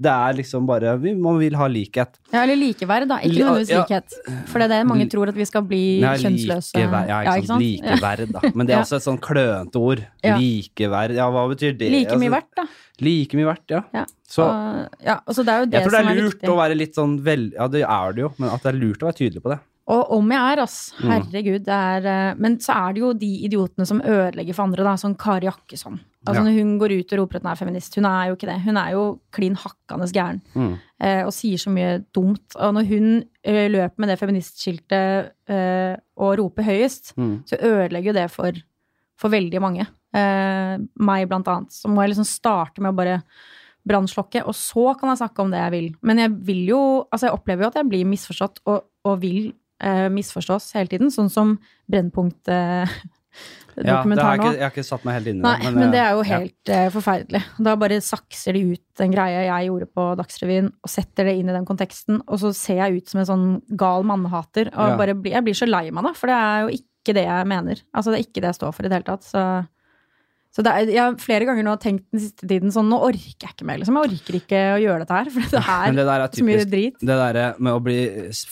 Speaker 1: det er liksom bare vi, Man vil ha likhet.
Speaker 2: Ja, eller likeverd, da. Ikke
Speaker 1: Li-
Speaker 2: nødvendigvis
Speaker 1: ja.
Speaker 2: likhet. For det er det mange tror, at vi skal bli
Speaker 1: Nei,
Speaker 2: kjønnsløse.
Speaker 1: likeverd, ja, ikke sant?
Speaker 2: Ja.
Speaker 1: Likeverd, da. Men det
Speaker 2: Ja.
Speaker 1: er også et sånn klønete ord.
Speaker 2: Ja.
Speaker 1: Likeverd, ja, hva betyr det?
Speaker 2: Like mye
Speaker 1: Altså,
Speaker 2: verdt, da.
Speaker 1: Like mye verdt, ja.
Speaker 2: Ja.
Speaker 1: Så
Speaker 2: Og, ja, og så det er jo det
Speaker 1: jeg tror det
Speaker 2: som
Speaker 1: er
Speaker 2: er
Speaker 1: lurt
Speaker 2: viktig.
Speaker 1: å være litt sånn vel... Ja, det er det jo, men at det er lurt å være tydelig på det.
Speaker 2: Og om jeg er, ass.
Speaker 1: Mm.
Speaker 2: Herregud. Det er, eh, men så er det jo de idiotene som ødelegger for andre, da. Sånn Kari Jakkesson. Altså,
Speaker 1: Ja.
Speaker 2: Når hun går ut og roper at hun er feminist. Hun er jo ikke det. Hun er jo klin hakkende gæren.
Speaker 1: Mm.
Speaker 2: eh, Og sier så mye dumt. Og når hun eh, løper med det feministskiltet eh, og roper høyest,
Speaker 1: Mm.
Speaker 2: så ødelegger jo det for, for veldig mange. Eh, meg, blant annet. Så må jeg liksom starte med å bare brannslokke, og så kan jeg snakke om det jeg vil. Men jeg vil jo Altså, jeg opplever jo at jeg blir misforstått, og, og vil eh, misforstås hele tiden. Sånn som [laughs] Brennpunkt-dokumentaren
Speaker 1: Ja, det har jeg,
Speaker 2: nå.
Speaker 1: ikke, jeg har ikke satt meg helt inn i det.
Speaker 2: Nei, men, det er jo
Speaker 1: ja.
Speaker 2: helt eh, forferdelig. Da bare sakser de ut den greia jeg gjorde på Dagsrevyen, og setter det inn i den konteksten, og så ser jeg ut som en sånn gal mannehater. Og
Speaker 1: Ja.
Speaker 2: bare blir, jeg blir så lei meg, da, for det er jo ikke det jeg mener. Altså, det er ikke det jeg står for i det hele tatt. Så Så det er, jeg har flere ganger nå tenkt den siste tiden sånn, nå orker jeg ikke mer, liksom. Jeg orker ikke å gjøre dette her, for det
Speaker 1: Men
Speaker 2: er
Speaker 1: det der er
Speaker 2: så mye
Speaker 1: typisk.
Speaker 2: drit.
Speaker 1: Det der med å bli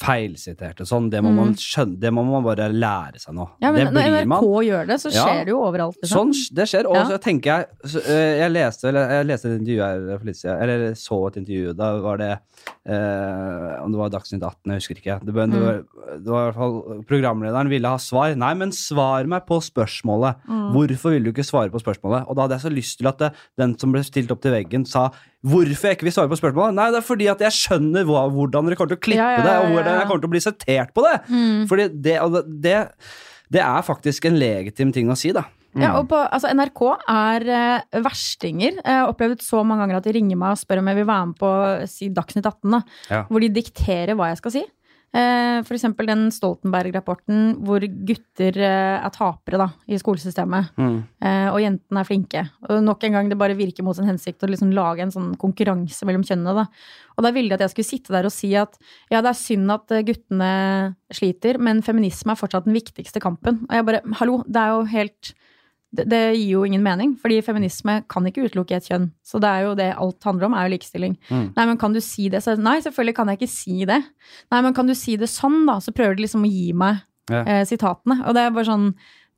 Speaker 1: feilsitert og sånn, det må,
Speaker 2: Mm.
Speaker 1: man, skjønne, det må man bare lære seg nå.
Speaker 2: Ja, men
Speaker 1: det
Speaker 2: når
Speaker 1: blir man.
Speaker 2: NRK gjør det, så
Speaker 1: Ja.
Speaker 2: skjer det jo overalt. Liksom.
Speaker 1: Sånn, det skjer. Og
Speaker 2: Ja.
Speaker 1: så tenker jeg så, eh, Jeg leste, eller, jeg leste et intervju her for litt siden, eller jeg så et intervju. Da var det eh, Om det var Dagsnytt 18, jeg husker ikke. Det,
Speaker 2: Mm.
Speaker 1: var- det, var, det var i hvert fall Programlederen ville ha svar. Nei, men svar meg på spørsmålet.
Speaker 2: Mm.
Speaker 1: Hvorfor vil du ikke svare på spørsmålet? Og da hadde jeg så lyst til at det, den som ble stilt opp til veggen, sa Hvorfor jeg ikke vil svare på spørsmålet? Nei, det er fordi at jeg skjønner hva, hvordan dere kommer til å klippe
Speaker 2: Ja, ja,
Speaker 1: det, og
Speaker 2: ja, ja,
Speaker 1: hvordan
Speaker 2: ja. Mm.
Speaker 1: jeg kommer til å bli sitert på det. Fordi det, og det, det, det er faktisk en legitim ting å si, da.
Speaker 2: Ja, og på, altså NRK er eh, verstinger. Jeg har opplevd så mange ganger at de ringer meg og spør om jeg vil være med på si Dagsnytt 18, da,
Speaker 1: Ja.
Speaker 2: hvor de dikterer hva jeg skal si. Eh, For eksempel den Stoltenberg-rapporten hvor gutter eh, er tapere da, i skolesystemet,
Speaker 1: Mm.
Speaker 2: eh, og jentene er flinke. Og nok en gang det bare virker mot sin hensikt å liksom lage en sånn konkurranse mellom kjønnene. Da. Og da ville de at jeg skulle sitte der og si at ja, det er synd at eh, guttene sliter, men feminisme er fortsatt den viktigste kampen. Og jeg bare, hallo, det er jo helt det, det gir jo ingen mening, fordi feminisme kan ikke utelukke et kjønn. Så det er jo det alt handler om, er jo likestilling.
Speaker 1: Mm.
Speaker 2: Nei, men kan du si det? Så, nei, selvfølgelig kan jeg ikke si det. Nei, men kan du si det sånn, da? Så prøver de liksom å gi meg
Speaker 1: Ja.
Speaker 2: eh, sitatene. Og det er bare sånn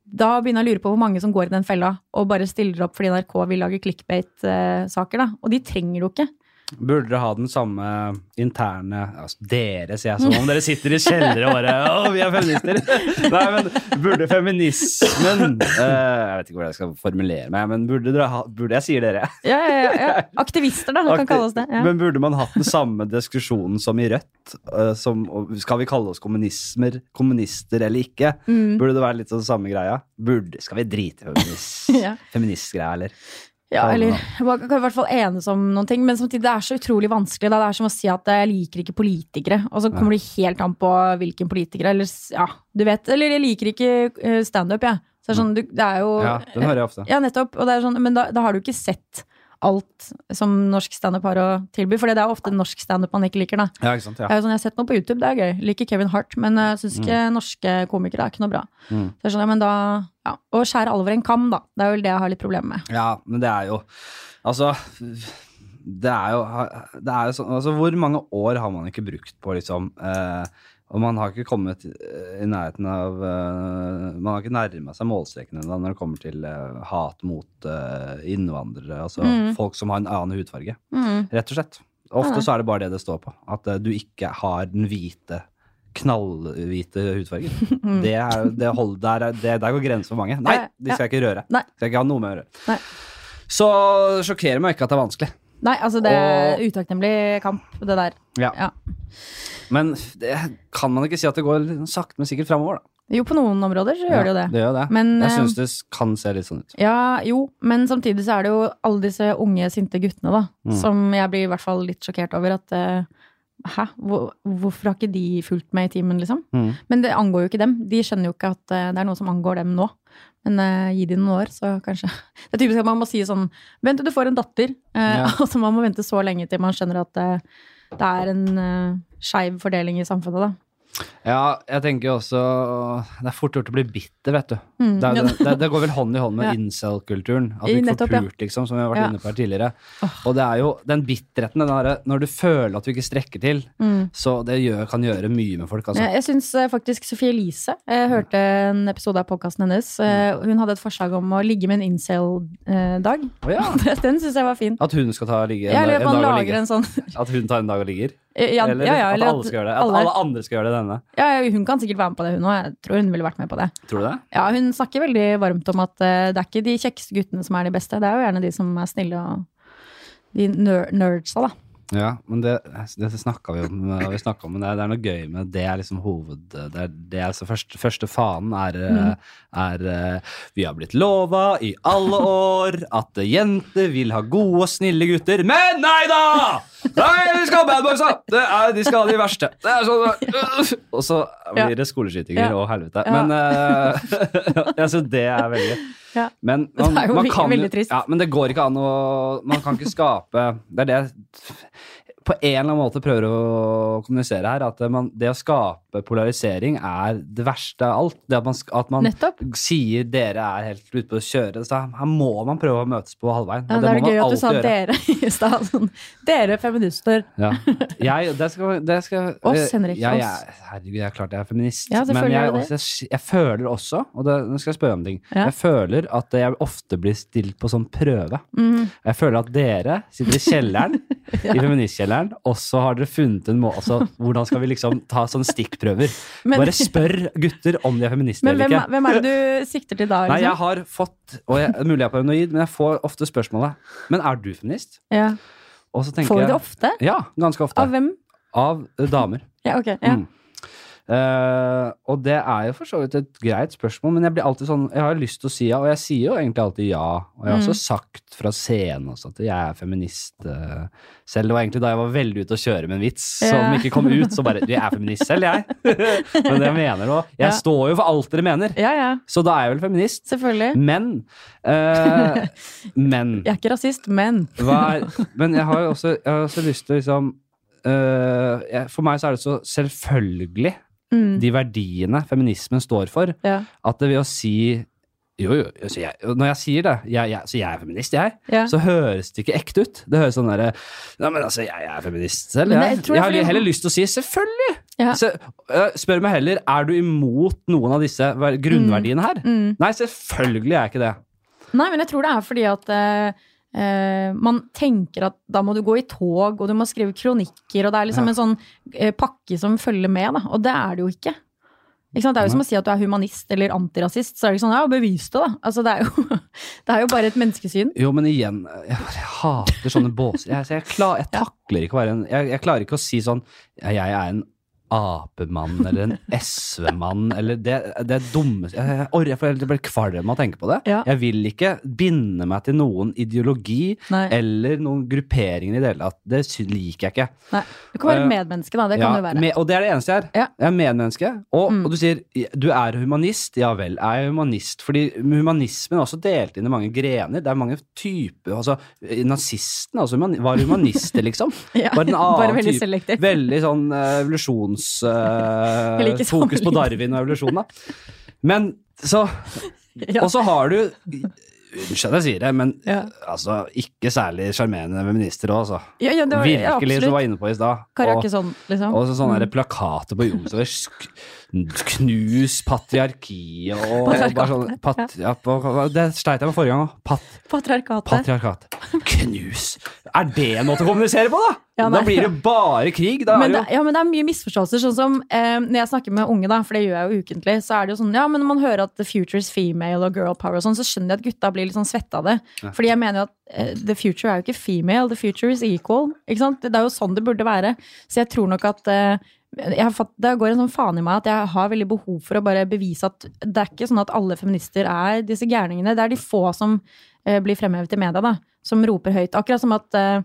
Speaker 2: Da begynner jeg å lure på hvor mange som går i den fella og bare stiller opp fordi NRK vil lage clickbait-saker, da. Og de trenger det jo ikke.
Speaker 1: Burde dere ha den samme interne altså Dere, sier jeg, som om dere sitter i kjellere og bare Å, vi er feminister! [laughs] Nei, men burde feminismen eh, Jeg vet ikke hvordan jeg skal formulere meg, men burde dere ha Burde jeg sier dere?
Speaker 2: Ja, ja, ja, ja. [laughs] Aktivister, da. Det kan kalles det. Ja.
Speaker 1: Men burde man hatt den samme diskusjonen som i Rødt? eh, som, og skal vi kalle oss kommunismer, kommunister eller ikke?
Speaker 2: Mm.
Speaker 1: Burde det være litt sånn samme greia? Burde, skal vi drite i feminist,
Speaker 2: [laughs] Ja.
Speaker 1: feministgreia, eller?
Speaker 2: Ja,
Speaker 1: Faen,
Speaker 2: eller
Speaker 1: da.
Speaker 2: Man kan i hvert fall enes om noen ting, men samtidig det er så utrolig vanskelig. Da. Det er som å si at eh, jeg liker ikke politikere, og så kommer det helt an på hvilken politiker. Eller s- ja, du vet. Eller jeg liker ikke eh, standup, jeg. Så det er sånn, du, det er jo
Speaker 1: Ja, den hører jeg ofte.
Speaker 2: Ja, nettopp. Og det er sånn, men da, da har du ikke sett alt som norsk standup har å tilby, for det er jo ofte norsk standup man ikke liker, da.
Speaker 1: Ja, ikke sant?
Speaker 2: Det er jo sånn, jeg har sett noe på YouTube, det er gøy. Liker Kevin Hart, men jeg syns ikke norske komikere er ikke noe bra.
Speaker 1: Mm.
Speaker 2: Så det er sånn, ja, men da, ja. Og skjære alle over en kam, da. Det er vel det jeg har litt problemer med.
Speaker 1: Ja, men det er jo Altså Det er jo, det er jo sånn altså, Hvor mange år har man ikke brukt på liksom eh, Og man har ikke kommet eh, i nærheten av eh, Man har ikke nærmet seg målstrekene da, når det kommer til eh, hat mot eh, innvandrere, altså
Speaker 2: Mm.
Speaker 1: folk som har en annen hudfarge.
Speaker 2: Mm.
Speaker 1: Rett og slett.
Speaker 2: Ja.
Speaker 1: Ofte så er det bare det det står på. At eh, du ikke har den hvite knallhvite
Speaker 2: [laughs]
Speaker 1: hudfargen. Det er, det hold, der, er- det, der går grensen for mange. Nei,
Speaker 2: Mm. Ja,
Speaker 1: de skal jeg ikke røre.
Speaker 2: Nei.
Speaker 1: Skal jeg ikke ha noe med å gjøre.
Speaker 2: Nei.
Speaker 1: Så sjokkerer meg ikke at det er vanskelig.
Speaker 2: Nei, altså det er
Speaker 1: Og-
Speaker 2: utakknemlig kamp, det der.
Speaker 1: Ja.
Speaker 2: Ja.
Speaker 1: Men det, kan man ikke si at det går litt sakte, men sikkert framover, da?
Speaker 2: Jo, på noen områder så gjør det jo det.
Speaker 1: gjør det.
Speaker 2: Men,
Speaker 1: jeg
Speaker 2: eh,
Speaker 1: syns det kan se litt sånn ut.
Speaker 2: Ja, jo, men samtidig så er det jo alle disse unge, sinte guttene, da, som jeg blir i hvert fall litt sjokkert over at eh, Hæ? Hvor, hvorfor har ikke de fulgt med i timen, liksom?
Speaker 1: Mm.
Speaker 2: Men det angår jo ikke dem. De skjønner jo ikke at eh, det er noe som angår dem nå. Men eh, gi de noen år, så kanskje [laughs] Det er typisk at man må si sånn Vent til du får en datter. eh,
Speaker 1: Ja.
Speaker 2: [laughs] Og så man må vente så lenge til man skjønner at eh, det er en uh, skeiv fordeling i samfunnet, da.
Speaker 1: Ja, jeg tenker jo også Det er fort gjort å bli bitter, vet du.
Speaker 2: Mm.
Speaker 1: Det, er, jo
Speaker 2: Ja.
Speaker 1: det, det, det går vel hånd i hånd med
Speaker 2: [laughs] Ja.
Speaker 1: incel-kulturen. At
Speaker 2: I
Speaker 1: vi blir
Speaker 2: nettopp, ja.
Speaker 1: forpult, liksom, som vi har vært
Speaker 2: Ja.
Speaker 1: inne på her tidligere. Og det er jo den bitterheten, den derre når du føler at du ikke strekker til,
Speaker 2: Mm.
Speaker 1: så det gjør, kan gjøre mye med folk, altså.
Speaker 2: Eh, Jeg, jeg syns faktisk Sophie Elise Jeg hørte en episode av podkasten hennes. eh, Hun hadde et forslag om å ligge med en incel-dag.
Speaker 1: Å ja.
Speaker 2: [laughs] Den syns jeg var fin.
Speaker 1: At hun skal ta ligge en,
Speaker 2: Ja, eller
Speaker 1: dag, en
Speaker 2: at man
Speaker 1: dag og
Speaker 2: lager
Speaker 1: ligge.
Speaker 2: en sånn [laughs]
Speaker 1: At hun tar en dag og ligger?
Speaker 2: ja,
Speaker 1: Eller,
Speaker 2: ja, ja,
Speaker 1: at
Speaker 2: eller
Speaker 1: alle skal gjøre det? At alle, andre skal gjøre det denne?
Speaker 2: ja, ja, Hun kan sikkert være med på det, hun òg. Jeg tror hun ville vært med på det.
Speaker 1: Tror du det?
Speaker 2: Ja, Hun snakker veldig varmt om at eh, det er ikke de kjekkeste guttene som er de beste. Det er jo gjerne de som er snille og de ner nerdsa, da.
Speaker 1: Ja, men det, det snakka vi om, eh, vi snakket om men det, er- det er noe gøy med det. Det er liksom hoved... Det er, det er altså første, første fanen er,
Speaker 2: Mm.
Speaker 1: eh, er eh, Vi har blitt lova i alle år at jenter vil ha gode og snille gutter. Men nei da! Nei, vi skal ha bad boysa! Det er, de skal ha de verste. Det er sånn, og så blir det skoleskytinger
Speaker 2: Ja.
Speaker 1: og helvete.
Speaker 2: Ja.
Speaker 1: Men eh, [laughs] jeg synes det er veldig
Speaker 2: Ja.
Speaker 1: Men man,
Speaker 2: [laughs] Det er jo
Speaker 1: man
Speaker 2: ve-
Speaker 1: kan, jo-
Speaker 2: veldig trist.
Speaker 1: Ja, men det går ikke an å Man kan ikke skape Det er det på en eller annen måte prøver å kommunisere her, at eh, man, det å skape polarisering er det verste av alt. Det at man, sk- at man
Speaker 2: Nettopp.
Speaker 1: sier dere er helt ute på å kjøre, så her må man prøve å møtes på halvveien.
Speaker 2: Ja,
Speaker 1: og
Speaker 2: det er
Speaker 1: må man
Speaker 2: gøy at du
Speaker 1: alltid
Speaker 2: sa dere [laughs] i stad. Sånn. Dere feminister.
Speaker 1: Ja. Jeg, det skal, det skal, eh,
Speaker 2: Oss, Henrik,
Speaker 1: Ja, jeg,
Speaker 2: oss.
Speaker 1: herregud, jeg er klart jeg er feminist.
Speaker 2: Ja, selvfølgelig
Speaker 1: men jeg,
Speaker 2: er du det.
Speaker 1: også, jeg, jeg føler også, og det, nå skal jeg spørre om en ting,
Speaker 2: Ja.
Speaker 1: jeg føler at jeg ofte blir stilt på sånn prøve.
Speaker 2: Mm.
Speaker 1: Jeg føler at dere sitter i
Speaker 2: [laughs]
Speaker 1: kjelleren,
Speaker 2: Ja.
Speaker 1: i feministkjelleren, og så har dere funnet en måte, altså, hvordan skal vi liksom ta sånne stikkprøver?
Speaker 2: Men-
Speaker 1: Bare spør gutter om de er feminister
Speaker 2: Men hvem,
Speaker 1: eller
Speaker 2: er-
Speaker 1: ikke.
Speaker 2: hvem er det du sikter til da?
Speaker 1: Nei, jeg
Speaker 2: Liksom?
Speaker 1: har fått, og jeg, mulig jeg er paranoid, men jeg får ofte spørsmålet, men er du feminist?
Speaker 2: Ja.
Speaker 1: Og så tenker
Speaker 2: Får du det
Speaker 1: jeg-
Speaker 2: ofte?
Speaker 1: Ja, ganske ofte.
Speaker 2: Av hvem?
Speaker 1: Av eh, damer.
Speaker 2: Ja, ok. Ja.
Speaker 1: Mm. Eh, og det er jo for så vidt et greit spørsmål, men jeg blir alltid sånn Jeg har lyst til å si ja, og jeg sier jo egentlig alltid ja. Og jeg har
Speaker 2: Mm.
Speaker 1: også sagt fra scenen også at jeg er feminist eh, selv. Det var egentlig da jeg var veldig ute å kjøre med en vits som
Speaker 2: Ja.
Speaker 1: ikke kom ut, så bare Jeg er feminist selv, jeg. [laughs] men det jeg mener nå Jeg
Speaker 2: Ja.
Speaker 1: står jo for alt dere mener,
Speaker 2: ja, ja.
Speaker 1: så da er jeg vel feminist.
Speaker 2: Selvfølgelig.
Speaker 1: Men
Speaker 2: [laughs]
Speaker 1: eh, Men
Speaker 2: Jeg er ikke rasist, men
Speaker 1: hva er, men jeg har jo også, jeg har også lyst til å liksom øh, jeg, For meg så er det så selvfølgelig
Speaker 2: Mm.
Speaker 1: de verdiene feminismen står for,
Speaker 2: ja.
Speaker 1: at det ved å si jo, jo, altså jeg, når jeg sier det, jeg, jeg, så jeg er feminist, jeg,
Speaker 2: Ja.
Speaker 1: så høres det ikke ekte ut. Det høres sånn derre Nei, men altså, jeg, er feminist selv,
Speaker 2: Men
Speaker 1: jeg.
Speaker 2: det- jeg
Speaker 1: Jeg,
Speaker 2: tror det er
Speaker 1: har
Speaker 2: fordi-
Speaker 1: heller lyst til å si selvfølgelig!
Speaker 2: Ja.
Speaker 1: Så, øh, spør meg heller, er du imot noen av disse ver- grunnverdiene her?
Speaker 2: Mm.
Speaker 1: Nei, selvfølgelig er jeg ikke det.
Speaker 2: Nei, men jeg tror det er fordi at eh, eh, man tenker at da må du gå i tog, og du må skrive kronikker, og det er liksom
Speaker 1: Ja.
Speaker 2: en sånn eh, pakke som følger med, da. Og det er det jo ikke. Ikke sant? Det er jo som å si at du er humanist eller antirasist. Så er det ikke sånn, ja, bevis det, da. Altså, det, er jo, [laughs] det er jo bare et menneskesyn.
Speaker 1: Jo, men igjen, jeg, jeg hater sånne båser. Jeg, så jeg, klar, jeg takler ikke å være en jeg, jeg klarer ikke å si sånn Jeg, jeg er en apemann eller en SV-mann eller Det, det er dumme Jeg, jeg, orker- jeg, får- jeg blir kvalm av å tenke på det.
Speaker 2: Ja.
Speaker 1: Jeg vil ikke binde meg til noen ideologi
Speaker 2: Nei.
Speaker 1: eller noen grupperinger i det hele tatt. Det sy- liker jeg ikke.
Speaker 2: Nei. Du kan være
Speaker 1: Eh,
Speaker 2: et medmenneske, da. Det kan
Speaker 1: Ja,
Speaker 2: du være.
Speaker 1: med- og det er det eneste jeg er.
Speaker 2: Ja.
Speaker 1: Jeg er medmenneske. Og,
Speaker 2: Mm.
Speaker 1: og du sier du er humanist. Ja vel, er jeg humanist? Fordi humanismen er også delt inn i mange grener. Det er mange typer. Altså, eh, nazistene altså, humani- var humanister,
Speaker 2: [laughs]
Speaker 1: liksom.
Speaker 2: Ja,
Speaker 1: Bare en annen
Speaker 2: bare veldig
Speaker 1: type.
Speaker 2: selektiv.
Speaker 1: Veldig sånn eh, evolusjons... eh,
Speaker 2: Jeg liker sånn
Speaker 1: fokus på
Speaker 2: sammenligning.
Speaker 1: Darwin og evolusjonen, da. Men så
Speaker 2: Ja.
Speaker 1: Og så har du Unnskyld at jeg sier det, men
Speaker 2: Ja.
Speaker 1: altså, ikke særlig sjarmerende feminister òg, altså.
Speaker 2: Ja, ja, det var, ja,
Speaker 1: Virkelig, som du
Speaker 2: absolutt.
Speaker 1: var inne på i stad. Og-
Speaker 2: Karakeson, liksom.
Speaker 1: og så sånn sånne der plakater på Youngstorg. sk- Knus patriarkiet og
Speaker 2: Patriarkatet,
Speaker 1: bare sånn, pat, ja, på- Det sleit jeg med forrige gang òg. Pat,
Speaker 2: Patriarkatet.
Speaker 1: patriarkat. Knus! Er det en måte å kommunisere på, da?
Speaker 2: Ja, nei.
Speaker 1: da blir det bare krig. Da
Speaker 2: men
Speaker 1: er det
Speaker 2: det,
Speaker 1: jo
Speaker 2: ja, men det er mye misforståelser. Sånn som eh, Når jeg snakker med unge, da, for det gjør jeg jo ukentlig, så er det jo sånn Ja, men når man hører at the future is female og girl power og sånn, så skjønner jeg at gutta blir litt sånn svette av det. Fordi jeg mener jo at eh, the future er jo ikke female, the future is equal. Ikke sant? Det er jo sånn det burde være. Så jeg tror nok at eh, jeg har fatt, det går en sånn faen i meg at jeg har veldig behov for å bare bevise at det er ikke sånn at alle feminister er disse gærningene. Det er de få som eh, blir fremhevet i media, da, som roper høyt. Akkurat som at eh,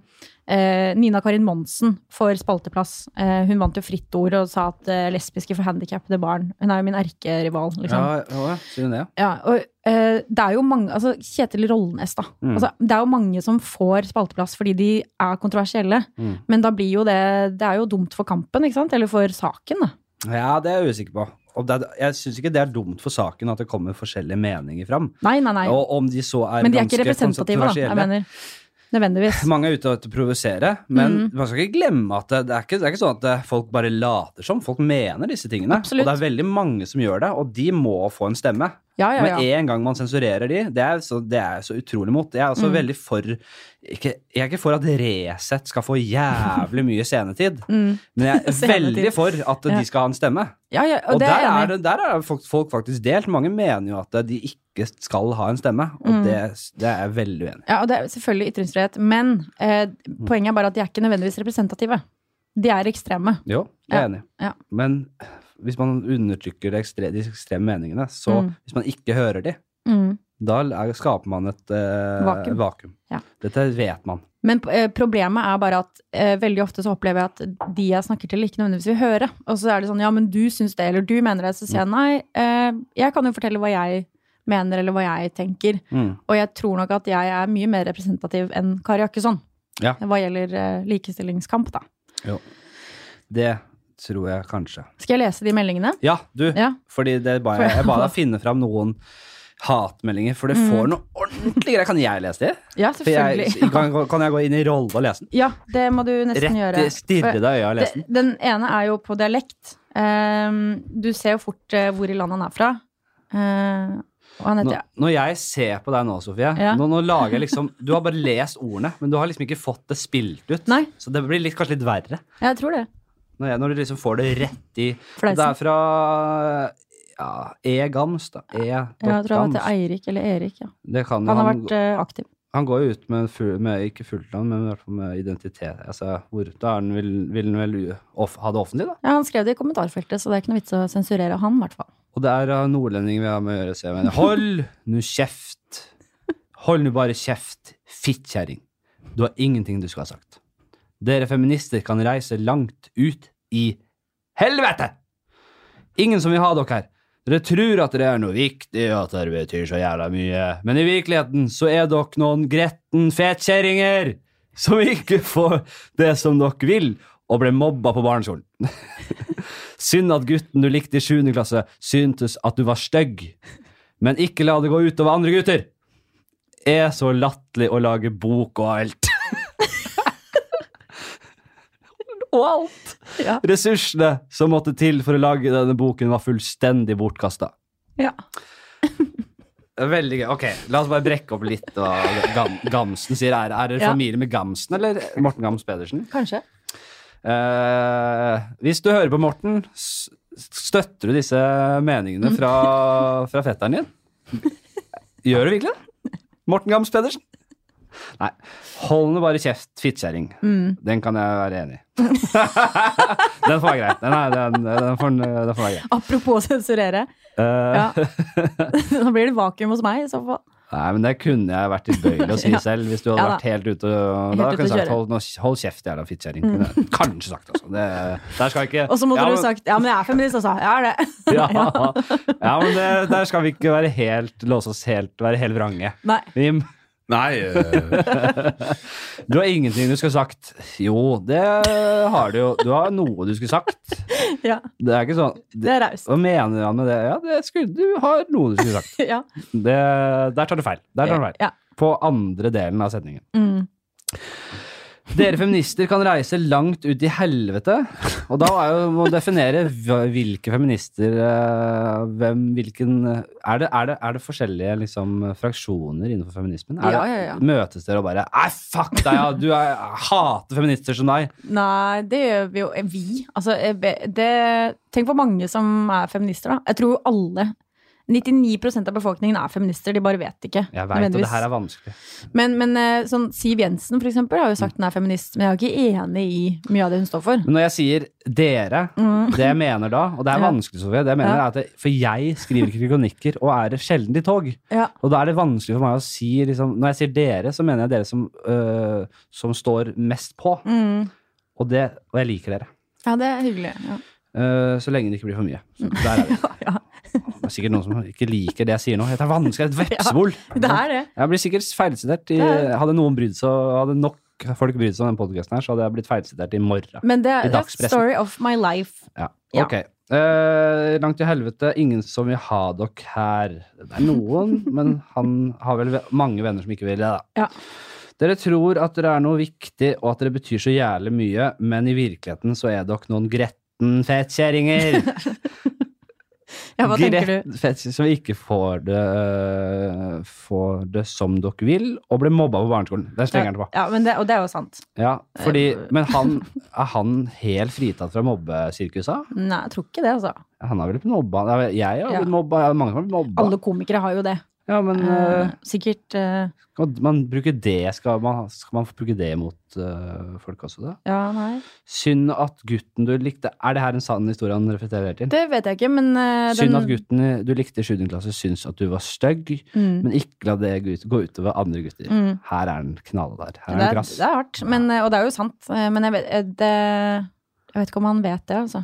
Speaker 2: eh, Nina Karin Monsen får spalteplass. Eh, hun vant jo Fritt Ord og sa at eh, lesbiske for handikappede barn Hun er jo min erkerival, liksom.
Speaker 1: ja, ja, ja, sier hun det, ja.
Speaker 2: Ja, og eh, det er jo mange altså Kjetil Rollnes, da.
Speaker 1: Mm.
Speaker 2: Altså, det er jo mange som får spalteplass fordi de er kontroversielle.
Speaker 1: Mm.
Speaker 2: Men da blir jo det Det er jo dumt for kampen, ikke sant? Eller for saken, da.
Speaker 1: Ja, det er jeg usikker på. Og det, er- jeg syns ikke det er dumt for saken at det kommer forskjellige meninger fram.
Speaker 2: Nei, nei, nei.
Speaker 1: Og om de så er
Speaker 2: Men de er ikke
Speaker 1: ganske
Speaker 2: representative, da.
Speaker 1: kontroversielle.
Speaker 2: Jeg mener. Nødvendigvis.
Speaker 1: Mange er ute etter å provosere, men
Speaker 2: Mhm.
Speaker 1: man skal ikke glemme at det, det, er ikke, det er ikke sånn at eh, folk bare later som. Folk mener disse tingene. Og
Speaker 2: Absolutt.
Speaker 1: det er veldig mange som gjør det, og de må få en stemme.
Speaker 2: Ja, ja, ja.
Speaker 1: Men en gang man sensurerer de, det er, så, det er jeg så utrolig mot. Jeg er
Speaker 2: Mhm.
Speaker 1: også veldig for ikke, Jeg er ikke for at Resett skal få jævlig mye scenetid,
Speaker 2: [laughs] Mm.
Speaker 1: men jeg er
Speaker 2: Scenetid.
Speaker 1: veldig for at
Speaker 2: Ja.
Speaker 1: de skal ha en stemme.
Speaker 2: ja, ja og,
Speaker 1: Og
Speaker 2: det er
Speaker 1: der,
Speaker 2: jeg
Speaker 1: er
Speaker 2: enig i.
Speaker 1: det, der er folk, folk faktisk delt. Mange mener jo at de ikke skal ha en stemme, og
Speaker 2: Mm.
Speaker 1: det, det er jeg veldig uenig i.
Speaker 2: Ja, og det er selvfølgelig ytringsfrihet. Men eh,
Speaker 1: Mm.
Speaker 2: poenget er bare at de er ikke nødvendigvis representative. De er ekstreme.
Speaker 1: Jo, jeg er
Speaker 2: Ja,
Speaker 1: enig.
Speaker 2: ja.
Speaker 1: Men hvis man undertrykker de ekstre- de ekstreme meningene, så
Speaker 2: Mm.
Speaker 1: hvis man ikke hører de,
Speaker 2: Mm.
Speaker 1: da er, skaper man et eh,
Speaker 2: Vakuum.
Speaker 1: vakuum.
Speaker 2: Ja.
Speaker 1: Dette vet man.
Speaker 2: Men eh, problemet er bare at eh, veldig ofte så opplever jeg at de jeg snakker til, ikke nødvendigvis vil høre. Og så er det sånn ja, men du syns det, eller du mener det. Så sier
Speaker 1: Mm.
Speaker 2: jeg nei, eh, jeg kan jo fortelle hva jeg mener, eller hva jeg tenker.
Speaker 1: Mm.
Speaker 2: Og jeg tror nok at jeg er mye mer representativ enn Kari Jakkesson.
Speaker 1: Ja.
Speaker 2: hva gjelder eh, likestillingskamp, da.
Speaker 1: Det tror jeg kanskje.
Speaker 2: Skal jeg lese de meldingene?
Speaker 1: Ja, du.
Speaker 2: Ja.
Speaker 1: Fordi det ba jeg, jeg ba deg finne fram noen hatmeldinger, for
Speaker 2: Mm.
Speaker 1: det får noe ordentlig greier. Kan jeg lese de?
Speaker 2: [laughs] Ja,
Speaker 1: For jeg,
Speaker 2: selvfølgelig. [laughs]
Speaker 1: kan, kan jeg gå inn i rolle og lese den?
Speaker 2: Ja, det må du nesten
Speaker 1: Rett
Speaker 2: gjøre.
Speaker 1: i stirre deg i øya og lese den?
Speaker 2: Det- Den ene er jo på dialekt. Ehm, du ser jo fort eh, hvor i landet han er fra. Ehm, og han heter
Speaker 1: Når, når jeg ser på deg nå, Sofie
Speaker 2: Ja.
Speaker 1: nå, nå lager jeg liksom, Du har bare lest ordene, men du har liksom ikke fått det spilt ut.
Speaker 2: Nei.
Speaker 1: Så det blir litt, kanskje litt verre
Speaker 2: Jeg tror det.
Speaker 1: når, jeg, når du liksom får det rett i Det
Speaker 2: Fleisen.
Speaker 1: er fra ja, E-Gams, da. E
Speaker 2: Ja, jeg tror han heter
Speaker 1: Gams.
Speaker 2: Eirik eller Erik. Ja.
Speaker 1: Det kan,
Speaker 2: Han
Speaker 1: han,
Speaker 2: har
Speaker 1: han,
Speaker 2: vært eh, aktiv.
Speaker 1: går jo ut med, full, med ikke fullt navn, men i hvert fall med identitet. Altså, hvor, da er han vil, vil han vel u- off, ha det offentlig, da.
Speaker 2: Ja, han skrev det i kommentarfeltet, så det er ikke noe vits å sensurere han, i hvert fall.
Speaker 1: Og det er uh, nordlendinger vi har med å gjøre. Så jeg mener, hold nu kjeft. Hold nu bare kjeft, fittkjerring. Du har ingenting du skal ha sagt. Dere feminister kan reise langt ut i helvete! Ingen som vil ha dere her. Dere tror at dere er noe viktig, og at dere betyr så jævla mye, men i virkeligheten så er dere noen gretten fetkjerringer som ikke får det som dere vil, og ble mobba på barneskolen. Synd at gutten du likte i 7. klasse, syntes at du var stygg. Men ikke la det gå utover andre gutter. Er så latterlig å lage bok og alt.
Speaker 2: [laughs] Og alt! Ja.
Speaker 1: Ressursene som måtte til for å lage denne boken, var fullstendig bortkasta.
Speaker 2: ja.
Speaker 1: Veldig gøy. Ok, La oss bare brekke opp litt. Og gam, Gamsen sier Er, er dere
Speaker 2: Ja.
Speaker 1: familie med Gamsen, eller Morten Gams Pedersen?
Speaker 2: Kanskje.
Speaker 1: Eh, hvis du hører på Morten, s- støtter du disse meningene
Speaker 2: [laughs]
Speaker 1: fra, fra fetteren din? Gjør du virkelig det? Morten Gams Pedersen? Nei. Hold nå bare kjeft, fittkjerring.
Speaker 2: Mm.
Speaker 1: Den kan jeg være enig i. [laughs] den får være greit. Den, er, den, den, får, den får være greit.
Speaker 2: Apropos sensurere.
Speaker 1: Eh, [laughs]
Speaker 2: Ja. Nå blir det vakuum hos meg, i så fall.
Speaker 1: Nei, men det kunne jeg vært tilbøyelig å si
Speaker 2: [laughs] Ja.
Speaker 1: selv hvis du hadde
Speaker 2: Ja da.
Speaker 1: vært helt ute og Da
Speaker 2: Helt ute
Speaker 1: kunne jeg
Speaker 2: å
Speaker 1: sagt
Speaker 2: kjøre. Mm.
Speaker 1: hold, nå- hold kjeft, jævla fittkjerring. Kunne jeg Kanskje sagt, altså. Det, der skal jeg ikke
Speaker 2: Og så måtte
Speaker 1: Ja, men-
Speaker 2: du sagt 'ja, men jeg er feminist', altså. Jeg er det. [laughs]
Speaker 1: Ja, ja men det, der skal vi ikke være helt, låse oss helt, være helt vrange.
Speaker 2: Nei.
Speaker 1: Jim,
Speaker 3: Nei, eh,
Speaker 1: du har ingenting du skulle sagt. Jo, det har du jo. Du har noe du skulle sagt.
Speaker 2: Ja.
Speaker 1: Det er ikke sånn
Speaker 2: Det
Speaker 1: det,
Speaker 2: er raust.
Speaker 1: Hva mener han med det? Ja, det skulle, du har noe du skulle sagt.
Speaker 2: Ja.
Speaker 1: Det, der tar du feil. Der tar du feil.
Speaker 2: Ja.
Speaker 1: På andre delen av setningen.
Speaker 2: Mm.
Speaker 1: Dere feminister kan reise langt ut i helvete. Og da er jo, må definere hva- hvilke feminister eh, hvem, hvilken, er, det, er, det, er det forskjellige liksom, fraksjoner innenfor feminismen? Er
Speaker 2: Ja,
Speaker 1: det,
Speaker 2: ja, ja.
Speaker 1: Møtes dere og bare Nei, fuck deg, ja, du er, jeg hater feminister som deg.
Speaker 2: Nei, det gjør vi jo. eh, Vi. Altså, eh, be- det, tenk hvor mange som er feminister, da. Jeg tror jo alle 99 av befolkningen er feminister, de bare vet ikke.
Speaker 1: Jeg veit jo det
Speaker 2: nødvendigvis.
Speaker 1: her er vanskelig.
Speaker 2: Men, men eh, sånn, Siv Jensen for eksempel, har jo
Speaker 1: Mm.
Speaker 2: sagt hun er feminist, men jeg er ikke enig i mye av det hun står for.
Speaker 1: Men når jeg sier dere,
Speaker 2: Mm.
Speaker 1: det jeg mener da, og det er
Speaker 2: Ja.
Speaker 1: vanskelig, Sofie, det jeg mener
Speaker 2: Ja.
Speaker 1: er at det, For jeg skriver ikke kronikker og er sjelden i tog.
Speaker 2: Ja.
Speaker 1: Og da er det vanskelig for meg å si liksom, Når jeg sier dere, så mener jeg dere som, øh, som står mest på.
Speaker 2: Mm.
Speaker 1: Og, det, og jeg liker dere.
Speaker 2: ja, det er hyggelig. [laughs] Ja.
Speaker 1: Eh, så lenge det ikke blir for mye. Så der er vi. Det er sikkert noen som ikke liker det jeg sier nå. Det er vanskelig. Det er Et vepsebol.
Speaker 2: Det er det.
Speaker 1: Jeg blir sikkert feilsitert. I,
Speaker 2: Det
Speaker 1: hadde noen brydd seg, hadde nok folk brydd seg om den podkasten her, så hadde jeg blitt feilsitert i morgen.
Speaker 2: Men det
Speaker 1: I
Speaker 2: er that's
Speaker 1: dagspressen.
Speaker 2: story of my life.
Speaker 1: Ja.
Speaker 2: Ja.
Speaker 1: Ok. Eh, langt til helvete. Ingen som vil ha dere her. Det er
Speaker 2: [laughs]
Speaker 1: noen, men han har vel ve- mange venner som ikke vil det, da.
Speaker 2: Ja.
Speaker 1: Dere tror at dere er noe viktig, og at dere betyr så jævlig mye, men i virkeligheten så er dere noen gretten fettkjerringer.
Speaker 2: [laughs] Ja, hva tenker du?
Speaker 1: Grett fett som ikke får det, øh, får det som dere vil, og ble mobba på barneskolen. Der slenger han
Speaker 2: Ja, Eh.
Speaker 1: tilbake.
Speaker 2: ja, men det, og det er jo sant.
Speaker 1: Ja, fordi, men han, er han helt fritatt fra mobbesirkuset?
Speaker 2: Nei, jeg tror ikke det, altså.
Speaker 1: Han har vel blitt mobba? Nei, Jeg har
Speaker 2: Ja.
Speaker 1: blitt mobba, jeg har mange som har blitt mobba.
Speaker 2: Alle komikere har jo det.
Speaker 1: Ja, men øh,
Speaker 2: Eh, sikkert eh,
Speaker 1: skal man bruke det, skal man, skal man bruke det mot øh, folk også, da?
Speaker 2: Ja, nei.
Speaker 1: Synd at gutten du likte Er det her en sann historie han refererer til?
Speaker 2: Det vet jeg ikke, men eh, den-
Speaker 1: Synd at gutten du likte i 7. klasse syns at du var stygg,
Speaker 2: Mm.
Speaker 1: men ikke la det gå ut- gå utover andre gutter.
Speaker 2: Mm.
Speaker 1: Her er den knallhard. Her er den
Speaker 2: Det er,
Speaker 1: krass.
Speaker 2: det er hardt, men, eh, og det er jo sant. eh, Men jeg vet, eh, det, jeg vet ikke om han vet det, altså.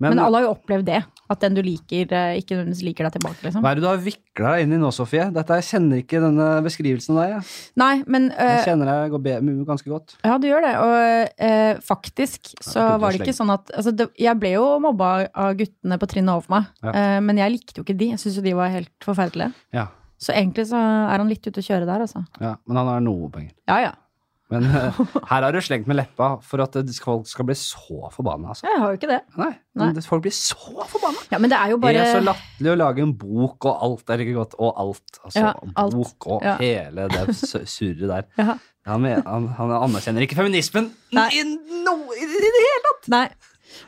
Speaker 2: Men, alle har jo opplevd det. At den du liker, eh, ikke nødvendigvis liker deg tilbake, liksom.
Speaker 1: Hva er det du har vikla deg inn i nå, Sofie? Dette, jeg kjenner ikke denne beskrivelsen av deg. Jeg,
Speaker 2: Nei, men eh,
Speaker 1: jeg kjenner deg går be- mu- ganske godt.
Speaker 2: Ja, du gjør det. Og eh, faktisk så
Speaker 1: Ja, det er
Speaker 2: var det ikke sånn at altså, det, Jeg ble jo mobba av guttene på trinnet over meg,
Speaker 1: Ja.
Speaker 2: eh, men jeg likte jo ikke de. Jeg syntes jo de var helt forferdelige.
Speaker 1: Ja,
Speaker 2: Så egentlig så er han litt ute å kjøre der, altså.
Speaker 1: ja. Men han har noe penger.
Speaker 2: Ja, ja.
Speaker 1: Men eh, her har du slengt med leppa for at eh, folk skal bli så forbanna, altså.
Speaker 2: Jeg har jo ikke det.
Speaker 1: Nei,
Speaker 2: Nei.
Speaker 1: men folk blir så forbanna!
Speaker 2: Ja, men det er jo
Speaker 1: Det
Speaker 2: bare
Speaker 1: er så latterlig å lage en bok og alt er ikke godt, og alt. Altså,
Speaker 2: Ja, alt.
Speaker 1: Bok og
Speaker 2: Ja.
Speaker 1: hele det s- surret der.
Speaker 2: Ja.
Speaker 1: Han, men- han, han anerkjenner ikke feminismen
Speaker 2: Nei.
Speaker 1: i noe i det hele
Speaker 2: Nei.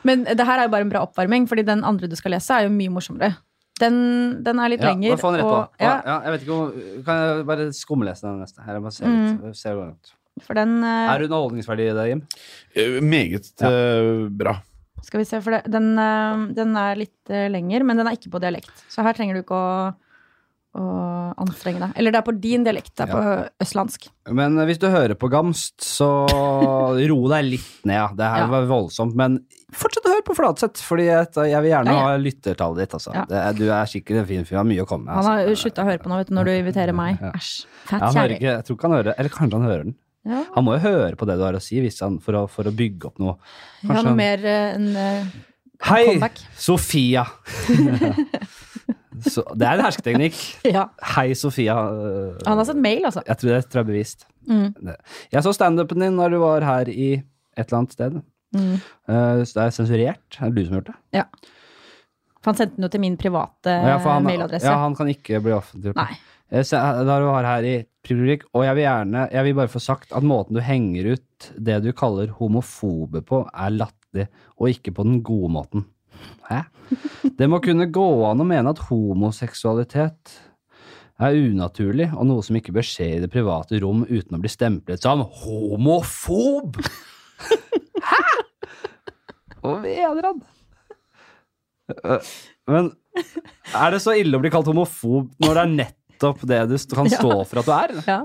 Speaker 2: Men det her er jo bare en bra oppvarming, fordi den andre du skal lese, er jo mye morsommere. Den, den er litt
Speaker 1: Ja,
Speaker 2: lenger.
Speaker 1: da får han rett på.
Speaker 2: og-
Speaker 1: ja.
Speaker 2: ja,
Speaker 1: jeg vet ikke om, Kan jeg bare skumlese den neste? Eller bare se litt.
Speaker 2: Mm.
Speaker 1: Se hvordan det går.
Speaker 2: for den eh,
Speaker 1: Er det underholdningsverdi i det, Jim?
Speaker 3: Eh, Meget eh, bra.
Speaker 2: Skal vi se, for det, den, eh, den er litt eh, lenger, men den er ikke på dialekt. Så her trenger du ikke å, å anstrenge deg. Eller det er på din dialekt, det er på østlandsk.
Speaker 1: Men eh, hvis du hører på Gamst,
Speaker 2: [laughs]
Speaker 1: så ro deg litt ned. ja. Det her
Speaker 2: Ja.
Speaker 1: var voldsomt, men fortsett å høre på Fladseth, Fordi jeg, jeg vil gjerne
Speaker 2: Ja, ja.
Speaker 1: ha lyttertallet ditt. Altså.
Speaker 2: Ja.
Speaker 1: Det, er- du er sikkert en fin fyr, har mye å komme med.
Speaker 2: Han har
Speaker 1: altså.
Speaker 2: slutta å høre på nå, vet du, når du inviterer meg.
Speaker 1: Ja.
Speaker 2: Æsj.
Speaker 1: Ja,
Speaker 2: Fælt
Speaker 1: han hører
Speaker 2: kjerring.
Speaker 1: ikke, jeg tror ikke han hører Eller kanskje han hører den.
Speaker 2: Ja.
Speaker 1: Han må jo høre på det du har å si hvis han, for, å, for å bygge opp noe.
Speaker 2: Jeg har
Speaker 1: Kanskje
Speaker 2: noe
Speaker 1: han-
Speaker 2: mer eh, enn eh,
Speaker 1: Hei,
Speaker 2: comeback. [laughs]
Speaker 1: Sofia! [laughs] så, det er en hersketeknikk.
Speaker 2: Ja.
Speaker 1: Hei, Sofia. øh,
Speaker 2: Han har sett mail, altså.
Speaker 1: Jeg tror det tror jeg er bevist.
Speaker 2: Mm.
Speaker 1: Det- Jeg så standupen din når du var her i et eller annet sted.
Speaker 2: Mm.
Speaker 1: Eh, så Det er sensurert. Er det du som har gjort det?
Speaker 2: For han sendte den jo til min private
Speaker 1: Ja, for han,
Speaker 2: Eh, mailadresse.
Speaker 1: ja, han kan ikke bli offentliggjort.
Speaker 2: Nei.
Speaker 1: Eh, se- Da du var her i Privilegik, og jeg vil gjerne Jeg vil bare få sagt at måten du henger ut det du kaller homofobe på, er latterlig, og ikke på den gode måten. Hæ? Det må kunne gå an å mene at homoseksualitet er unaturlig og noe som ikke bør skje i det private rom uten å bli stemplet som homofob! [laughs] Hæ?! Hva mener han? Eh, Men er det så ille å bli kalt homofob når det er nettopp det du st- [laughs] kan stå for at du er?
Speaker 2: Ja.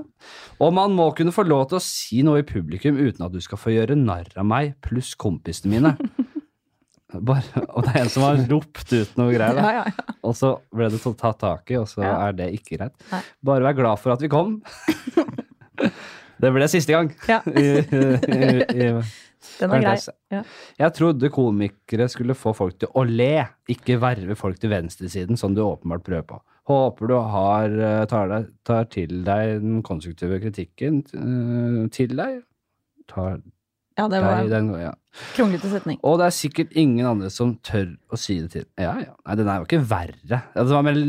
Speaker 1: Og man må kunne få lov til å si noe i publikum uten at du skal få gjøre narr av meg pluss kompisene [laughs] mine. Bare, og det er en som har ropt ut noe greier,
Speaker 2: Ja,
Speaker 1: da.
Speaker 2: ja, ja.
Speaker 1: og så ble det tatt tatt tak i, og så
Speaker 2: Ja.
Speaker 1: er det ikke greit.
Speaker 2: Nei.
Speaker 1: Bare vær glad for at vi kom. [laughs] Det ble siste
Speaker 2: [laughs]
Speaker 1: gang.
Speaker 2: Ja.
Speaker 1: [laughs] I, i, i,
Speaker 2: Den er grei.
Speaker 1: Parentes.
Speaker 2: Ja.
Speaker 1: Jeg trodde komikere skulle få folk til å le, ikke verve folk til venstresiden, som du åpenbart prøver på. Håper du har, eh, tar, deg, tar til deg den konstruktive kritikken eh, til deg. Tar
Speaker 2: Ja, det var
Speaker 1: deg den, ja.
Speaker 2: kronglete setning.
Speaker 1: Og det er sikkert ingen andre som tør å si det til. Ja, ja. Nei, den er jo ikke verre. Ja, Den var mer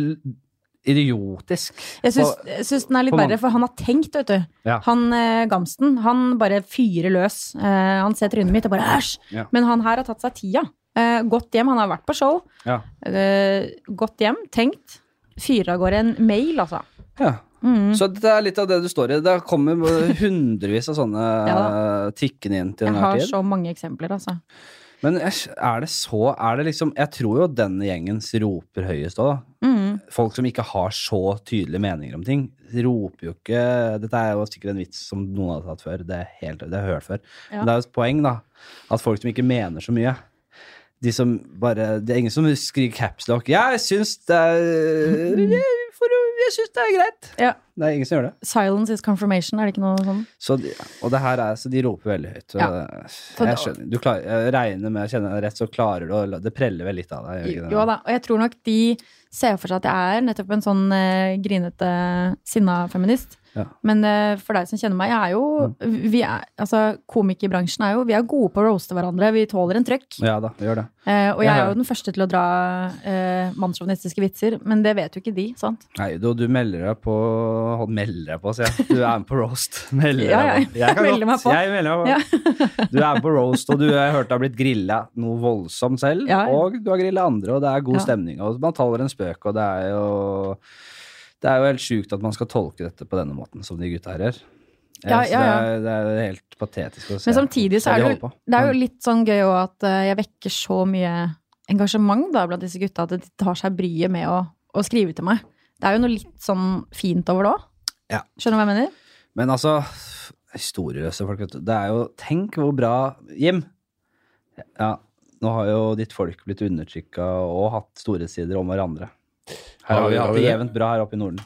Speaker 1: idiotisk.
Speaker 2: Jeg syns,
Speaker 1: På-
Speaker 2: jeg syns den er litt
Speaker 1: på mange-
Speaker 2: verre, for han har tenkt, vet du.
Speaker 1: Ja.
Speaker 2: Han eh, Gamsten, han bare fyrer løs. Eh, han ser trynet mitt og bare æsj!
Speaker 1: Ja.
Speaker 2: Men han her har tatt seg tida. Eh, gått hjem, han har vært på show.
Speaker 1: Ja.
Speaker 2: Eh, gått hjem, tenkt. Fyrer av gårde en mail, altså.
Speaker 1: Ja.
Speaker 2: Mm.
Speaker 1: Så det er litt av det du står i. Det kommer hundrevis av sånne
Speaker 2: Ja.
Speaker 1: eh, tikkende inn til
Speaker 2: Jeg
Speaker 1: enhver
Speaker 2: har
Speaker 1: tid.
Speaker 2: så mange eksempler, altså.
Speaker 1: Men æsj, er det så er det liksom, Jeg tror jo denne gjengens roper høyest òg.
Speaker 2: Mm.
Speaker 1: Folk som ikke har så tydelige meninger om ting, roper jo ikke Dette er jo sikkert en vits som noen har tatt før. Det, er helt, det har jeg hørt før.
Speaker 2: Ja.
Speaker 1: Men det er jo et poeng, da. At folk som ikke mener så mye de som bare, Det er ingen som skriker capslock. Jeg syns det
Speaker 2: [laughs]
Speaker 1: er jeg, for, jeg syns det er greit.
Speaker 2: Ja.
Speaker 1: Det er ingen som gjør det.
Speaker 2: Silence is confirmation, er det ikke noe sånn?
Speaker 1: Så de, og det her er, så de roper veldig høyt.
Speaker 2: Ja.
Speaker 1: Og jeg, skjønner, du klarer, jeg regner med, kjenner jeg rett, så klarer du å la- Det preller vel litt av deg? gjør ikke det?
Speaker 2: Jo da, og jeg tror nok de ser for seg at jeg er nettopp en sånn eh, grinete, sinna feminist.
Speaker 1: Ja.
Speaker 2: Men eh, for deg som kjenner meg,
Speaker 1: Mm.
Speaker 2: jeg er jo vi er, altså, Komikerbransjen er jo Vi er gode på å roaste hverandre. Vi tåler en trøkk.
Speaker 1: Ja da, gjør det.
Speaker 2: Eh, og jeg
Speaker 1: Ja.
Speaker 2: er jo den første til å dra eh, mannssjåvinistiske vitser, men det vet jo ikke de, sant?
Speaker 1: Nei, du, du melder deg på Melder deg på, sier jeg. Du er med på
Speaker 2: [laughs]
Speaker 1: roast. Melder
Speaker 2: Ja,
Speaker 1: deg på.
Speaker 2: ja, jeg melder meg på.
Speaker 1: Jeg melder meg på. [laughs] Du er med på roast, og du jeg hørte har blitt grilla noe voldsomt selv.
Speaker 2: Ja, ja.
Speaker 1: Og du har grilla andre, og det er god
Speaker 2: Ja.
Speaker 1: stemning. Og man taler en spøk, og det er jo Det er jo helt sjukt at man skal tolke dette på denne måten, som de gutta her gjør. Jeg
Speaker 2: Ja,
Speaker 1: synes
Speaker 2: ja, ja.
Speaker 1: Det, er, det er helt patetisk å se.
Speaker 2: Men samtidig så
Speaker 1: se
Speaker 2: er
Speaker 1: de
Speaker 2: det,
Speaker 1: holder
Speaker 2: jo,
Speaker 1: på. Mm.
Speaker 2: det er jo litt sånn gøy òg at eh, jeg vekker så mye engasjement da blant disse gutta at de tar seg bryet med å, å skrive til meg. Det er jo noe litt sånn fint over det òg.
Speaker 1: Ja.
Speaker 2: Skjønner du hva jeg mener?
Speaker 1: Men altså, historieløse folk, vet du. Det er jo Tenk hvor bra Jim. Ja, Nå har jo ditt folk blitt undertrykka og hatt store sider om hverandre. Her
Speaker 3: Har
Speaker 1: har
Speaker 3: vi-
Speaker 1: vi
Speaker 3: har
Speaker 1: hatt
Speaker 3: vi
Speaker 1: det
Speaker 3: det?
Speaker 1: jevnt bra her oppe i Norden.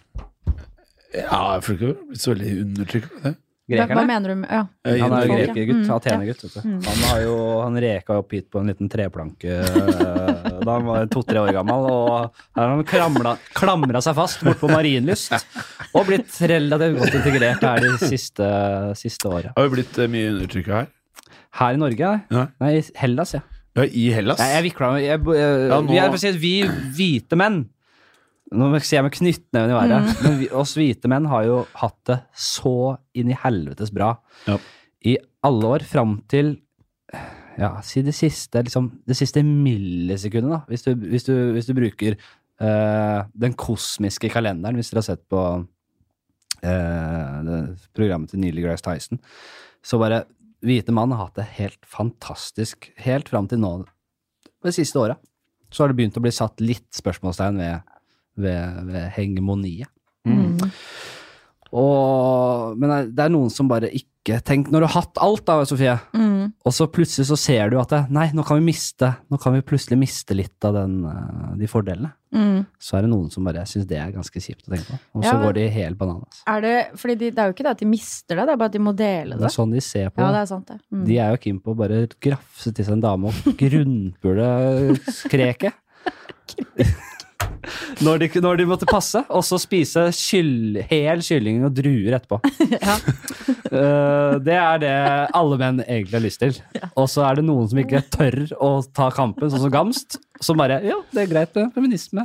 Speaker 3: Ja, jeg føler ikke jeg har blitt så veldig undertrykket av det.
Speaker 2: Hva, hva
Speaker 1: Grekerne?
Speaker 2: mener du med ja.
Speaker 3: Jeg
Speaker 1: Han er jo
Speaker 3: innrømmer
Speaker 2: Folk,
Speaker 3: det.
Speaker 2: ja.
Speaker 1: grekergutt.
Speaker 2: Mm, ja.
Speaker 1: Atenergutt. vet du. Han, har jo, han reka opp hit på en liten treplanke eh, da han var to-tre år gammel. Og her har han kramla, klamra seg fast bortpå Marienlyst og blitt relativt godt integrert her det siste, siste året.
Speaker 3: Har vi blitt eh, mye undertrykket her?
Speaker 1: Her i Norge?
Speaker 3: Ja.
Speaker 1: Nei, i Hellas, ja.
Speaker 3: Ja, I Hellas?
Speaker 1: Nei, jeg vikla meg jeg, jeg,
Speaker 3: Ja, nå-
Speaker 1: jeg, vil si at Vi hvite menn Nå må jeg si jeg med knyttneven i været, men vi, oss hvite menn har jo hatt det så inn i helvetes bra
Speaker 3: Ja.
Speaker 1: i alle år, fram til ja, si det siste, liksom, det siste millisekundet, da, hvis du, hvis du, hvis du bruker eh, den kosmiske kalenderen, hvis dere har sett på eh, det, programmet til Neil Grace Tyson, så bare Hvite mann har hatt det helt fantastisk helt fram til nå det siste året så har det begynt å bli satt litt spørsmålstegn ved, ved, ved hegemoniet.
Speaker 2: Mm.
Speaker 1: Og, men det er noen som bare ikke Tenk når du har hatt alt, da, Sofie,
Speaker 2: Mm.
Speaker 1: og så plutselig så ser du at det, nei, nå kan vi miste Nå kan vi plutselig miste litt av den, eh, de fordelene.
Speaker 2: Mm.
Speaker 1: Så er det noen som bare syns det er ganske kjipt å tenke på. Og så
Speaker 2: Ja, men-
Speaker 1: går de helt bananas.
Speaker 2: Er det, fordi de, det er jo ikke det at de mister det, det er bare at de må dele
Speaker 1: Det
Speaker 2: det.
Speaker 1: er sånn de ser på.
Speaker 2: Ja, det
Speaker 1: det.
Speaker 2: er sant, det. Mm.
Speaker 1: De er jo keen på å bare grafse til seg en dame og grunnpule
Speaker 2: [laughs]
Speaker 1: skreket. Når de, når de måtte passe, og så spise kyll, hel kylling og druer etterpå.
Speaker 2: [laughs] Ja.
Speaker 1: Eh, det er det alle menn egentlig har lyst til. Og så er det noen som ikke tør å ta kampen, sånn som Gamst. Som bare Ja, det er greit med feminisme.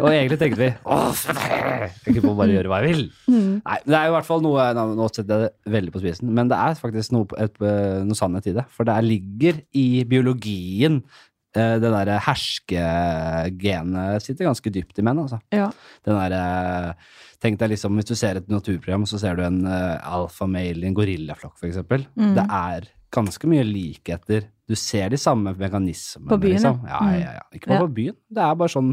Speaker 1: Og egentlig tenkte vi åh, jeg tenker på å bare gjøre hva jeg vil. Nei, det er jo i hvert fall noe Nå nå setter jeg det veldig på spisen, men det er faktisk noe, et, eh, noe sannhet i det. For det er- ligger i biologien eh, det derre herskegenet sitter ganske dypt i menn, altså.
Speaker 2: Ja.
Speaker 1: Den der, eh, Tenk deg liksom, Hvis du ser et naturprogram, så ser du en uh, alfamale i en gorillaflokk, f.eks.
Speaker 2: Mm.
Speaker 1: Det er ganske mye likheter. Du ser de samme mekanismene.
Speaker 2: På byen, ja.
Speaker 1: liksom. ja.
Speaker 2: Mm.
Speaker 1: ja, ja. Ikke bare
Speaker 2: Ja.
Speaker 1: på byen. Det er bare sånn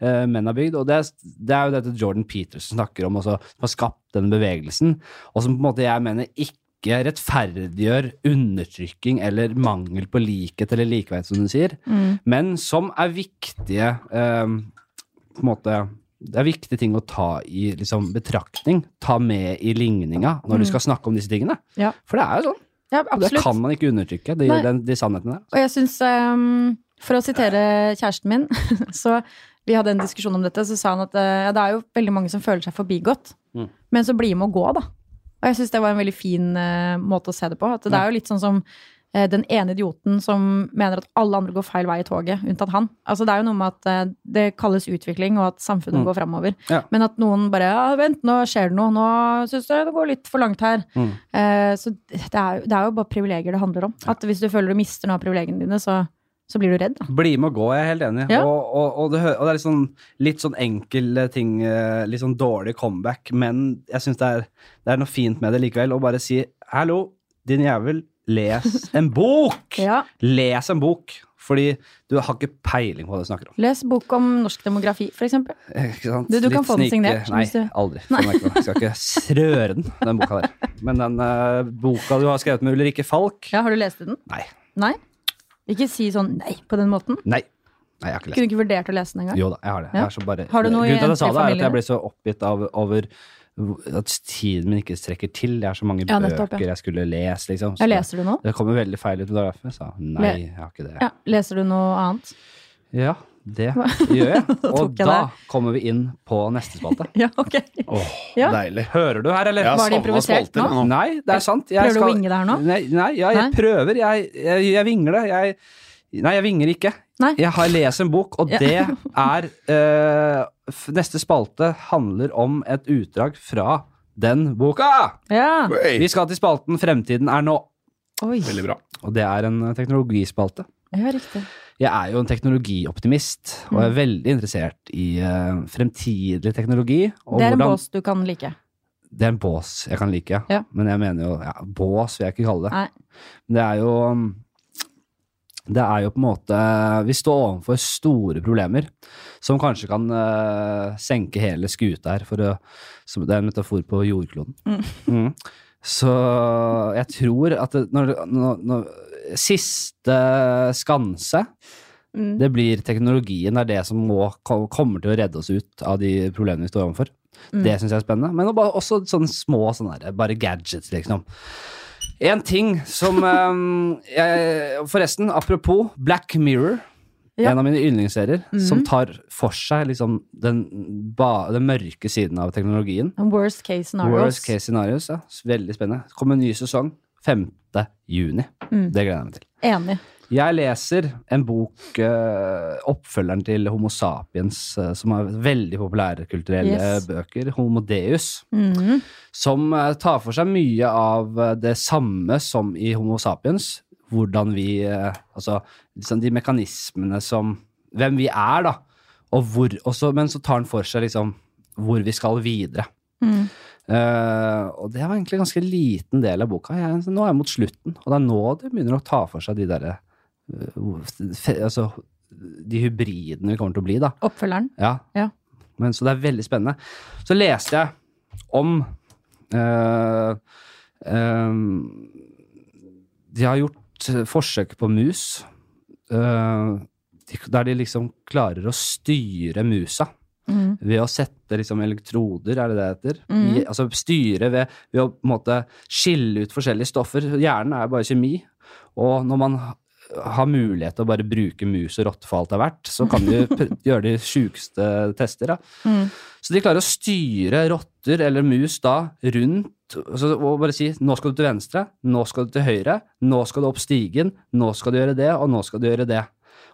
Speaker 1: eh, menn har bygd. Og det er, det er jo dette Jordan Peterson snakker om, også, som har skapt denne bevegelsen, og som på en måte jeg mener ikke rettferdiggjør undertrykking eller mangel på likhet eller likeverd, som du sier
Speaker 2: Mm.
Speaker 1: men som er viktige eh, på en måte, Det er viktige ting å ta i liksom, betraktning, ta med i ligninga når du skal snakke om disse tingene.
Speaker 2: Mm. Ja.
Speaker 1: For det er jo sånn.
Speaker 2: ja,
Speaker 1: Det
Speaker 2: absolutt.
Speaker 1: kan man ikke undertrykke, de,
Speaker 2: Nei.
Speaker 1: den, de sannhetene der.
Speaker 2: Og jeg syns ehm, For å sitere kjæresten min, [laughs] så vi hadde en diskusjon om dette, så sa han at eh, ja, det er jo veldig mange som føler seg forbigått,
Speaker 1: Mm.
Speaker 2: men så blir med å gå, da. Og jeg syns det var en veldig fin eh, måte å se det på. At det
Speaker 1: Ja.
Speaker 2: er jo litt sånn som eh, den ene idioten som mener at alle andre går feil vei i toget, unntatt han. Altså Det er jo noe med at eh, det kalles utvikling, og at samfunnet
Speaker 1: Mm.
Speaker 2: går framover.
Speaker 1: Ja.
Speaker 2: Men at noen bare ja, 'Vent, nå skjer det noe. Nå syns jeg det går litt for langt her.'
Speaker 1: Mm.
Speaker 2: Eh, Så det er, jo- det er jo bare privilegier det handler om. At Hvis du føler du mister noe av privilegiene dine, så, så blir du redd. Da.
Speaker 1: Bli med og gå, jeg er helt enig.
Speaker 2: Ja.
Speaker 1: Og, og, og, det, hø- og det er litt sånn, litt sånn enkel ting, eh, litt sånn dårlig comeback, men jeg syns det, er- det er noe fint med det likevel. Å bare si 'hallo, din jævel,
Speaker 2: [laughs]
Speaker 1: les en bok'!
Speaker 2: Ja,
Speaker 1: Les en bok! Fordi du har ikke peiling på hva du snakker om. Eh,
Speaker 2: Les bok om norsk demografi, for eksempel.
Speaker 1: Ikke sant?
Speaker 2: Du- du kan få den
Speaker 1: snike-
Speaker 2: signert,
Speaker 1: Nei,
Speaker 2: hvis du-
Speaker 1: aldri. Får meg ikke på. Skal
Speaker 2: [laughs]
Speaker 1: ikke røre den, den boka der. Men den eh, boka du har skrevet med Ulrikke Falk
Speaker 2: Ja, Har du lest i den?
Speaker 1: Nei.
Speaker 2: Nei? Ikke si sånn nei på den måten.
Speaker 1: Nei. Nei, jeg har ikke lest
Speaker 2: Kunne du ikke vurdert å lese den engang?
Speaker 1: Jo da, jeg har det. Jeg
Speaker 2: Ja.
Speaker 1: er så bare,
Speaker 2: Har du noe i
Speaker 1: Grunnen til at jeg sa det, er at
Speaker 2: NT-familien?
Speaker 1: jeg ble så oppgitt av, over at tiden min ikke strekker til. Det er så mange
Speaker 2: Ja, nettopp, ja.
Speaker 1: bøker jeg skulle lese, liksom. Så
Speaker 2: Ja, leser du nå?
Speaker 1: Det kommer veldig feil ut, og det er derfor jeg sa nei,
Speaker 2: Le-
Speaker 1: jeg har ikke det.
Speaker 2: Ja, Leser du noe annet?
Speaker 1: Ja, det gjør
Speaker 2: [laughs]
Speaker 1: jeg. Og
Speaker 2: tok jeg
Speaker 1: da kommer vi inn på neste spalte.
Speaker 2: Ja, [laughs] ok.
Speaker 3: Åh,
Speaker 2: Ja.
Speaker 3: deilig.
Speaker 1: Hører du her, eller?
Speaker 3: Jeg har
Speaker 2: Var det
Speaker 3: savnet
Speaker 2: improvisert
Speaker 3: spalter, jeg, nå.
Speaker 1: Nei, det er sant. Jeg
Speaker 2: Prøver du å
Speaker 1: skal-
Speaker 2: vinge det her nå?
Speaker 1: Nei, nei, ja, jeg
Speaker 2: Nei?
Speaker 1: prøver. Jeg, jeg, jeg vingler. Jeg, nei, jeg vinger ikke.
Speaker 2: Nei.
Speaker 1: Jeg har lest en bok, og
Speaker 2: Ja.
Speaker 1: det er eh, f- Neste spalte handler om et utdrag fra den boka!
Speaker 2: Ja.
Speaker 1: Vi
Speaker 3: Oi,
Speaker 1: skal til spalten 'Fremtiden er nå',
Speaker 2: Oi.
Speaker 3: Veldig bra.
Speaker 1: og det er en teknologispalte.
Speaker 2: Ja, riktig.
Speaker 1: Jeg er jo en teknologioptimist, og
Speaker 2: Mm.
Speaker 1: jeg er veldig interessert i eh, fremtidig teknologi. Og
Speaker 2: Det er en
Speaker 1: hvordan-
Speaker 2: bås du kan like.
Speaker 1: Det er en bås jeg kan like,
Speaker 2: Ja.
Speaker 1: men jeg mener jo ja, Bås vil jeg ikke kalle det.
Speaker 2: Nei.
Speaker 1: Men Det er jo Det er jo på en måte Vi står overfor store problemer som kanskje kan eh, senke hele skuta her, for å, som, det er en metafor på jordkloden. Mm. Så jeg tror at det, når, når, når siste skanse.
Speaker 2: Mm.
Speaker 1: Det blir teknologien. Det er det som må, ko- kommer til å redde oss ut av de problemene vi står overfor.
Speaker 2: Mm.
Speaker 1: Det syns jeg er spennende. Men bare, også sånne små sånne der, bare gadgets, liksom. En ting
Speaker 2: [laughs]
Speaker 1: som eh, jeg, Forresten, apropos Black Mirror.
Speaker 2: Ja.
Speaker 1: En av mine yndlingsserier som
Speaker 2: Mhm.
Speaker 1: tar for seg liksom den, ba, den mørke siden av teknologien.
Speaker 2: Worst case scenarios.
Speaker 1: Worst case scenarios, ja. Veldig spennende. Det kommer en ny sesong 5. juni.
Speaker 2: Mm.
Speaker 1: Det gleder jeg meg til.
Speaker 2: Enig.
Speaker 1: Jeg leser en bok, eh, oppfølgeren til Homo sapiens, eh, som er veldig populære kulturelle
Speaker 2: Yes.
Speaker 1: bøker, Homo deus,
Speaker 2: Mm.
Speaker 1: som eh, tar for seg mye av eh, det samme som i Homo sapiens. Hvordan vi eh, Altså liksom de mekanismene som Hvem vi er, da. Og hvor, og så- men så tar den for seg liksom hvor vi skal videre.
Speaker 2: Mm.
Speaker 1: Eh, og det var egentlig en ganske liten del av boka. Jeg, nå er jeg mot slutten, og det er nå det begynner å ta for seg de derre eh, fe- Altså de hybridene vi kommer til å bli, da.
Speaker 2: Oppfølgeren.
Speaker 1: Ja.
Speaker 2: Ja.
Speaker 1: Men, så det er veldig spennende. Så leste jeg om eh, eh, De har gjort forsøk på mus, eh, de- der de liksom klarer å styre musa
Speaker 2: Mm.
Speaker 1: ved å sette liksom elektroder, er det det heter?
Speaker 2: Mhm.
Speaker 1: I, altså styre ved, ved å på en måte skille ut forskjellige stoffer. Hjernen er bare kjemi, og når man ha- har mulighet til å bare bruke mus og rotte for alt det er verdt, så kan
Speaker 2: [laughs]
Speaker 1: du pr- gjøre de sjukeste tester. Da.
Speaker 2: Mm.
Speaker 1: Så de klarer å styre rotter eller mus da rundt altså, og bare si nå skal du til venstre, nå skal du til høyre, nå skal du opp stigen, nå skal du gjøre det, og nå skal du gjøre det.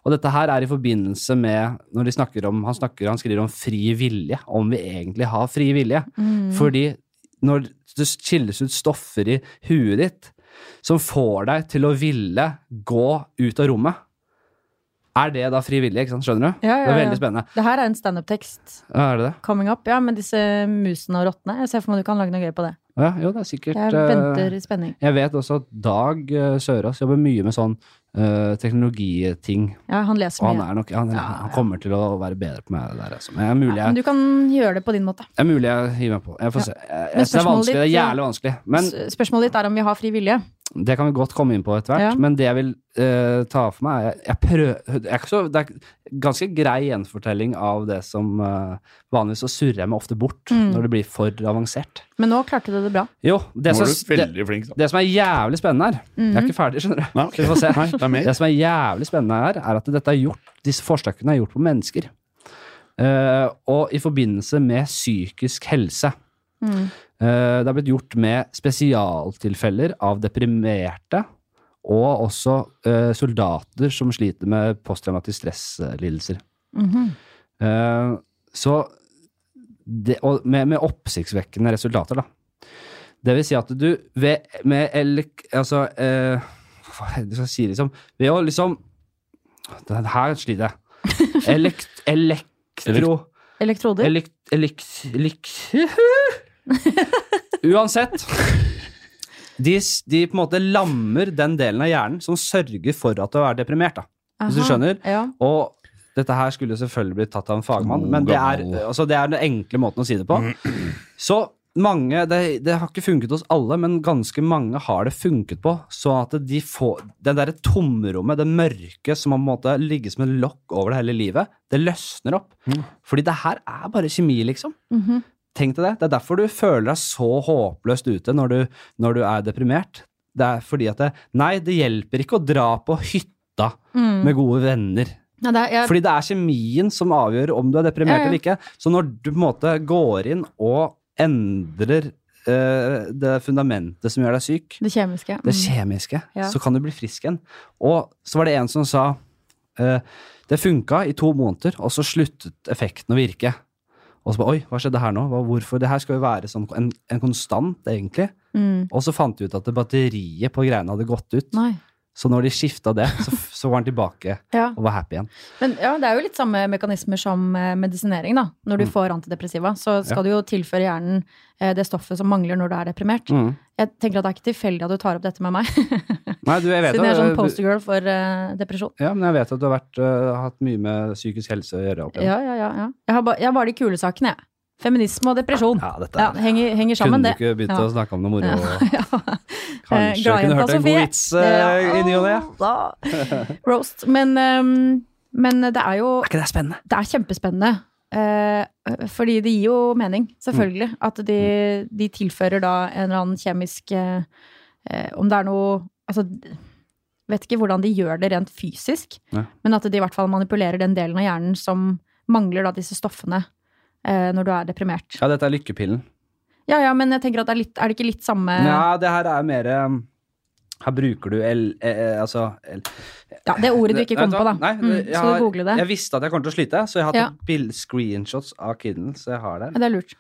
Speaker 1: Og dette her er i forbindelse med når de snakker om, han, snakker, han skriver om fri vilje, om vi egentlig har fri vilje.
Speaker 2: Mm.
Speaker 1: Fordi når det skilles ut stoffer i huet ditt som får deg til å ville gå ut av rommet, er det da fri vilje, ikke sant? Skjønner du?
Speaker 2: Ja,
Speaker 1: Det
Speaker 2: ja,
Speaker 1: er
Speaker 2: ja.
Speaker 1: veldig spennende.
Speaker 2: Det her er en standup-tekst.
Speaker 1: Ja, Er det det?
Speaker 2: Coming up, ja, med disse musene og rottene. Jeg ser for meg du kan lage noe gøy på det.
Speaker 1: Ja, jo, det er sikkert
Speaker 2: Jeg
Speaker 1: eh,
Speaker 2: venter i spenning.
Speaker 1: Jeg vet også at Dag eh, Sørås jobber mye med sånn eh, teknologiting.
Speaker 2: Ja, han leser
Speaker 1: Og han
Speaker 2: mye.
Speaker 1: er nok han,
Speaker 2: Ja,
Speaker 1: han
Speaker 2: ja.
Speaker 1: kommer til å være bedre på meg der, altså. Men det er mulig
Speaker 2: Ja,
Speaker 1: jeg,
Speaker 2: men du kan gjøre det på din måte.
Speaker 1: det er mulig jeg hiver meg på. Jeg får
Speaker 2: Ja.
Speaker 1: se. Jeg,
Speaker 2: Men
Speaker 1: jeg synes det er
Speaker 2: spørsmålet
Speaker 1: vanskelig. Det er
Speaker 2: ditt, eh,
Speaker 1: jævlig vanskelig. Men
Speaker 2: S- Spørsmålet ditt er om vi har fri vilje.
Speaker 1: det kan vi godt komme inn på etter hvert.
Speaker 2: Ja.
Speaker 1: Men det jeg vil eh, ta for meg, er jeg, jeg prøver, det, er ikke så, det er ganske grei gjenfortelling av det som eh, Vanligvis så surrer jeg meg ofte bort
Speaker 2: Mm.
Speaker 1: når det blir for avansert.
Speaker 2: Men nå klarte du det bra.
Speaker 1: Jo, det,
Speaker 3: Nå
Speaker 1: som,
Speaker 3: var du
Speaker 1: det,
Speaker 3: veldig flink, da.
Speaker 1: det som er jævlig spennende her Jeg er
Speaker 2: Mhm.
Speaker 1: ikke ferdig, skjønner du.
Speaker 3: Nei, ok.
Speaker 1: Vi får se.
Speaker 3: Nei, det er mer.
Speaker 1: Det som er jævlig spennende her, er at dette er gjort, disse forsøkene er gjort på mennesker. Eh, og i forbindelse med psykisk helse.
Speaker 2: Mm.
Speaker 1: Eh, det er blitt gjort med spesialtilfeller av deprimerte, og også eh, soldater som sliter med posttraumatiske stresslidelser.
Speaker 2: Mhm.
Speaker 1: Eh, så det, og med, med oppsiktsvekkende resultater, da. Det vil si at du ved, med elek... Altså eh, Hva er det jeg skal si, liksom? Ved å liksom Den her sliter jeg. Elekt, elektro...
Speaker 2: Elektroder.
Speaker 1: Elekt... Elekt... elekt- [laughs] Uansett. De, s- de på en måte lammer den delen av hjernen som sørger for at du er deprimert. da. hvis du
Speaker 2: Aha.
Speaker 1: skjønner.
Speaker 2: Ja.
Speaker 1: Og dette her skulle selvfølgelig blitt tatt av en fagmann, men det er, altså det er den enkle måten å si det på. Så mange, det, det har ikke funket hos alle, men ganske mange har det funket på. Så at de får, det derre tomrommet, det mørke som har på en måte ligget som en lokk over det hele livet, det løsner opp.
Speaker 3: Mm.
Speaker 1: Fordi det her er bare kjemi, liksom.
Speaker 2: Mhm.
Speaker 1: Tenk deg det. Det er derfor du føler deg så håpløst ute når du, når du er deprimert. Det er fordi at det, Nei, det hjelper ikke å dra på hytta
Speaker 2: Mm.
Speaker 1: med gode venner.
Speaker 2: Ja, det er, jeg,
Speaker 1: Fordi det er kjemien som avgjør om du er deprimert
Speaker 2: Ja, ja.
Speaker 1: eller ikke. Så når du på en måte går inn og endrer eh, det fundamentet som gjør deg syk,
Speaker 2: det kjemiske.
Speaker 1: det
Speaker 2: Mm.
Speaker 1: kjemiske,
Speaker 2: Ja.
Speaker 1: så kan du bli frisk igjen. Og så var det en som sa eh, det funka i to måneder, og så sluttet effekten å virke. Og så bare oi, hva skjedde her nå? Hva, hvorfor? Det her skal jo være sånn en, en konstant, egentlig.
Speaker 2: Mm.
Speaker 1: Og så fant de ut at det batteriet på greiene hadde gått ut.
Speaker 2: Nei.
Speaker 1: Så når de skifta det, så, så var han tilbake
Speaker 2: Ja.
Speaker 1: og var happy igjen.
Speaker 2: Men ja, det er jo litt samme mekanismer som eh, medisinering, da. Når du
Speaker 1: Mm.
Speaker 2: får antidepressiva, så skal du jo tilføre hjernen eh, det stoffet som mangler når du er deprimert.
Speaker 1: Mm.
Speaker 2: Jeg tenker at det er ikke tilfeldig at du tar opp dette med meg,
Speaker 1: Nei, du, jeg vet
Speaker 2: [laughs] siden jeg er
Speaker 1: at-
Speaker 2: sånn postergirl for eh, depresjon.
Speaker 1: Ja, men jeg vet eh, at du har vært, øh, hatt mye med psykisk helse å gjøre. opp igjen.
Speaker 2: Ja, ja, ja. ja. Jeg, har ba, jeg har bare de kule sakene, jeg. Feminisme og depresjon.
Speaker 1: Ja, dette
Speaker 2: Ja,
Speaker 1: er
Speaker 2: henger, henger sammen,
Speaker 1: Kunne du
Speaker 2: det.
Speaker 1: ikke begynt
Speaker 2: Ja.
Speaker 1: å snakke om noe moro?
Speaker 2: Ja. [laughs] Ja. Eh,
Speaker 1: Kanskje jeg
Speaker 2: gladjenta
Speaker 1: kunne hørt en god
Speaker 2: Sofie.
Speaker 1: vits eh, i ny og ne?
Speaker 2: Ja, da. Roast. Men, ehm, men det er jo
Speaker 1: ikke det spennende?
Speaker 2: Det er kjempespennende. eh, fordi det gir jo mening,
Speaker 1: Mm.
Speaker 2: selvfølgelig. At de, de tilfører da en eller annen kjemisk eh, eh, Om det er noe Altså, vet ikke hvordan de gjør det rent fysisk,
Speaker 1: Nei.
Speaker 2: men at de i hvert fall manipulerer den delen av hjernen som mangler da disse stoffene eh, når du er deprimert.
Speaker 1: Ja, dette er lykkepillen.
Speaker 2: Ja, ja, men jeg tenker at det er, litt, er det ikke litt samme
Speaker 1: Ja, det her er mer um, Her bruker du L... Eh, eh, altså L.
Speaker 2: Ja, det er ordet du ikke
Speaker 1: Nei, vet
Speaker 2: kommer på, da.
Speaker 1: hva? Nei,
Speaker 2: Mm,
Speaker 1: det- jeg
Speaker 2: så
Speaker 1: har-
Speaker 2: du google det.
Speaker 1: Jeg visste at jeg kom til å slite, så jeg har
Speaker 2: Ja.
Speaker 1: tatt bild- screenshots av Kidden, så jeg har det.
Speaker 2: Ja, det er lurt.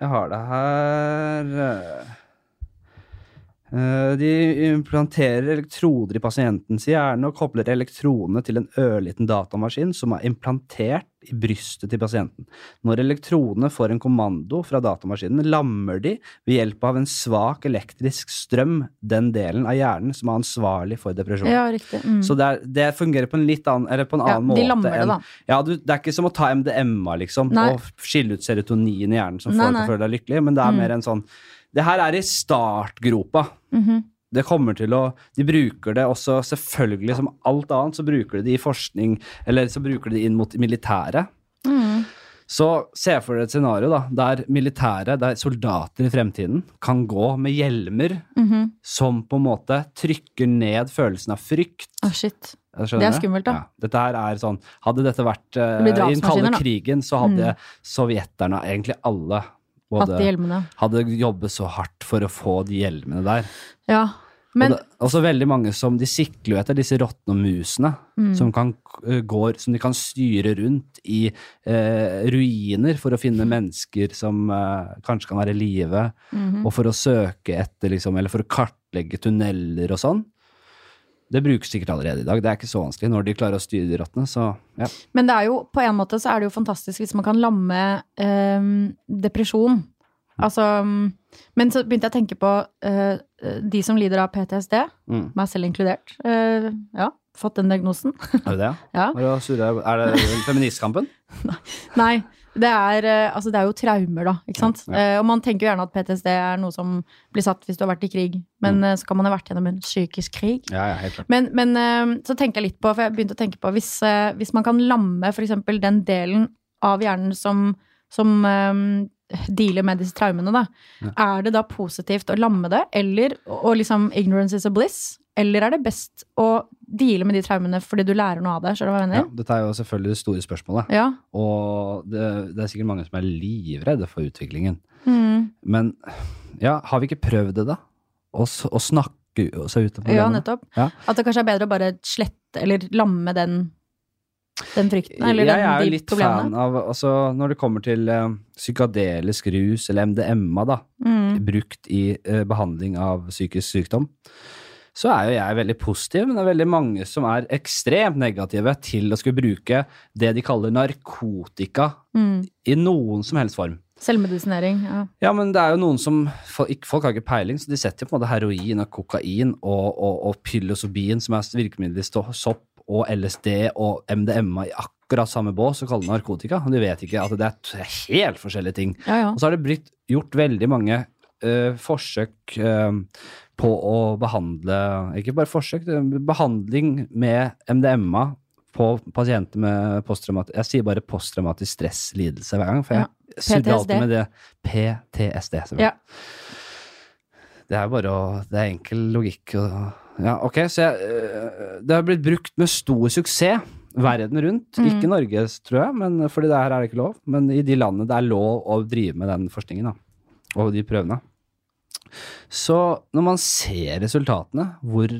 Speaker 1: Jeg har det her eh. Eh, De implanterer elektroder i pasientens hjerne og kobler elektronene til en ørliten datamaskin som er implantert i brystet til pasienten. Når elektronene får en kommando fra datamaskinen, lammer de ved hjelp av en svak elektrisk strøm den delen av hjernen som er ansvarlig for depresjon.
Speaker 2: Ja, riktig. Mm.
Speaker 1: Så det, er, det fungerer på en litt annen, eller på en
Speaker 2: Ja,
Speaker 1: annen
Speaker 2: de
Speaker 1: måte.
Speaker 2: lammer det,
Speaker 1: enn-
Speaker 2: da.
Speaker 1: ja, du, det er ikke som å ta MDMA, liksom,
Speaker 2: Nei.
Speaker 1: og skille ut serotonin i hjernen som
Speaker 2: Nei,
Speaker 1: får deg til å
Speaker 2: nei.
Speaker 1: føle deg lykkelig, men det er
Speaker 2: Mm.
Speaker 1: mer en sånn Det her er i startgropa.
Speaker 2: Mhm.
Speaker 1: Det kommer til å De bruker det også, selvfølgelig, som alt annet, så bruker de det i forskning, eller så bruker de det inn mot militæret.
Speaker 2: Mm.
Speaker 1: Så se for dere et scenario da, der militære, der soldater i fremtiden kan gå med hjelmer
Speaker 2: Mhm.
Speaker 1: som på en måte trykker ned følelsen av frykt.
Speaker 2: Ah, shit.
Speaker 1: Jeg skjønner
Speaker 2: Det er skummelt, da.
Speaker 1: Ja. Dette her er sånn, hadde dette vært eh,
Speaker 2: Det blir
Speaker 1: i den kalde
Speaker 2: drapsmaskiner, da. Mm.
Speaker 1: krigen, så hadde sovjeterne, egentlig alle,
Speaker 2: Hatt de
Speaker 1: både,
Speaker 2: hjelmene.
Speaker 1: hadde jobbet så hardt for å få de hjelmene der.
Speaker 2: Ja. Men
Speaker 1: og det, også veldig mange som de sikler jo etter disse råtne musene,
Speaker 2: Mm.
Speaker 1: som, kan, eh, går, som de kan styre rundt i eh, ruiner for å finne mennesker som eh, kanskje kan være i live,
Speaker 2: Mhm.
Speaker 1: og for å søke etter, liksom, eller for å kartlegge tunneler og sånn. Det brukes sikkert allerede i dag. Det er ikke så vanskelig når de klarer å styre de rottene. Så ja.
Speaker 2: Men det er jo, på en måte så er det jo fantastisk hvis man kan lamme ehm, depresjon. Altså, mm, men så begynte jeg å tenke på eh, de som lider av PTSD,
Speaker 1: Mm.
Speaker 2: meg selv inkludert. Eh, ja, fått den diagnosen.
Speaker 1: [laughs] Er det det?
Speaker 2: ja.
Speaker 1: Var det å surre- Er det feministkampen?
Speaker 2: Nei, det er, eh, altså det er jo traumer, da. Ikke sant?
Speaker 1: Ja,
Speaker 2: Eh, og man tenker jo gjerne at PTSD er noe som blir satt hvis du har vært i krig, men
Speaker 1: Mm.
Speaker 2: eh, så kan man ha vært gjennom en psykisk krig.
Speaker 1: [laughs] Ja, ja, helt klart.
Speaker 2: Men, men eh, så tenker jeg litt på, for jeg begynte å tenke på hvis, eh, hvis man kan lamme for eksempel den delen av hjernen som, som eh, dealer med disse traumene, da. Er det da positivt å lamme det, eller og og liksom ignorance is a bliss? Eller er det best å deale med de traumene fordi du lærer noe av det? Skjønner du hva jeg
Speaker 1: Ja,
Speaker 2: mener?
Speaker 1: dette er jo selvfølgelig det store spørsmålet.
Speaker 2: Ja.
Speaker 1: Og det, det er sikkert mange som er livredde for utviklingen.
Speaker 2: Mm.
Speaker 1: Men ja, har vi ikke prøvd det, da? Å s- å snakke u- seg ut av
Speaker 2: ja,
Speaker 1: problemene?
Speaker 2: nettopp.
Speaker 1: Ja.
Speaker 2: At det kanskje er bedre å bare slette eller lamme den, den frykten, eller
Speaker 1: jeg er
Speaker 2: den,
Speaker 1: jo
Speaker 2: de
Speaker 1: litt fan
Speaker 2: problemene.
Speaker 1: av altså, Når det kommer til eh, psykadelisk rus eller MDMA, da,
Speaker 2: Mm.
Speaker 1: brukt i eh, behandling av psykisk sykdom, så er jo jeg veldig positiv, men det er veldig mange som er ekstremt negative til å skulle bruke det de kaller narkotika
Speaker 2: Mm.
Speaker 1: i noen som helst form.
Speaker 2: Selvmedisinering. Ja.
Speaker 1: Ja, men det er jo noen som fol- ikk- Folk har ikke peiling, så de setter jo på en måte heroin og kokain og, og, og pyllosobin, som er virkemidlet i stå- sopp, og LSD og MDMA i akkurat samme bås og kaller det narkotika. Men de vet ikke at det er t- helt forskjellige ting.
Speaker 2: ja, ja.
Speaker 1: Og så har det blitt gjort veldig mange eh, forsøk eh, på å behandle Ikke bare forsøk, det er behandling med MDMA på pasienter med posttraumatisk Jeg sier bare posttraumatisk stresslidelse hver gang, for jeg surrer
Speaker 2: PTSD.
Speaker 1: alltid med det. PTSD. selvfølgelig.
Speaker 2: Ja.
Speaker 1: Det er bare å Det er enkel logikk. Og, ja, ok, så jeg, øh, Det har blitt brukt med stor suksess verden rundt.
Speaker 2: Mm.
Speaker 1: Ikke i Norge, tror jeg, men, fordi det her er det ikke lov. Men i de landene det er lov å drive med den forskningen, da. Og de prøvene. Så når man ser resultatene, hvor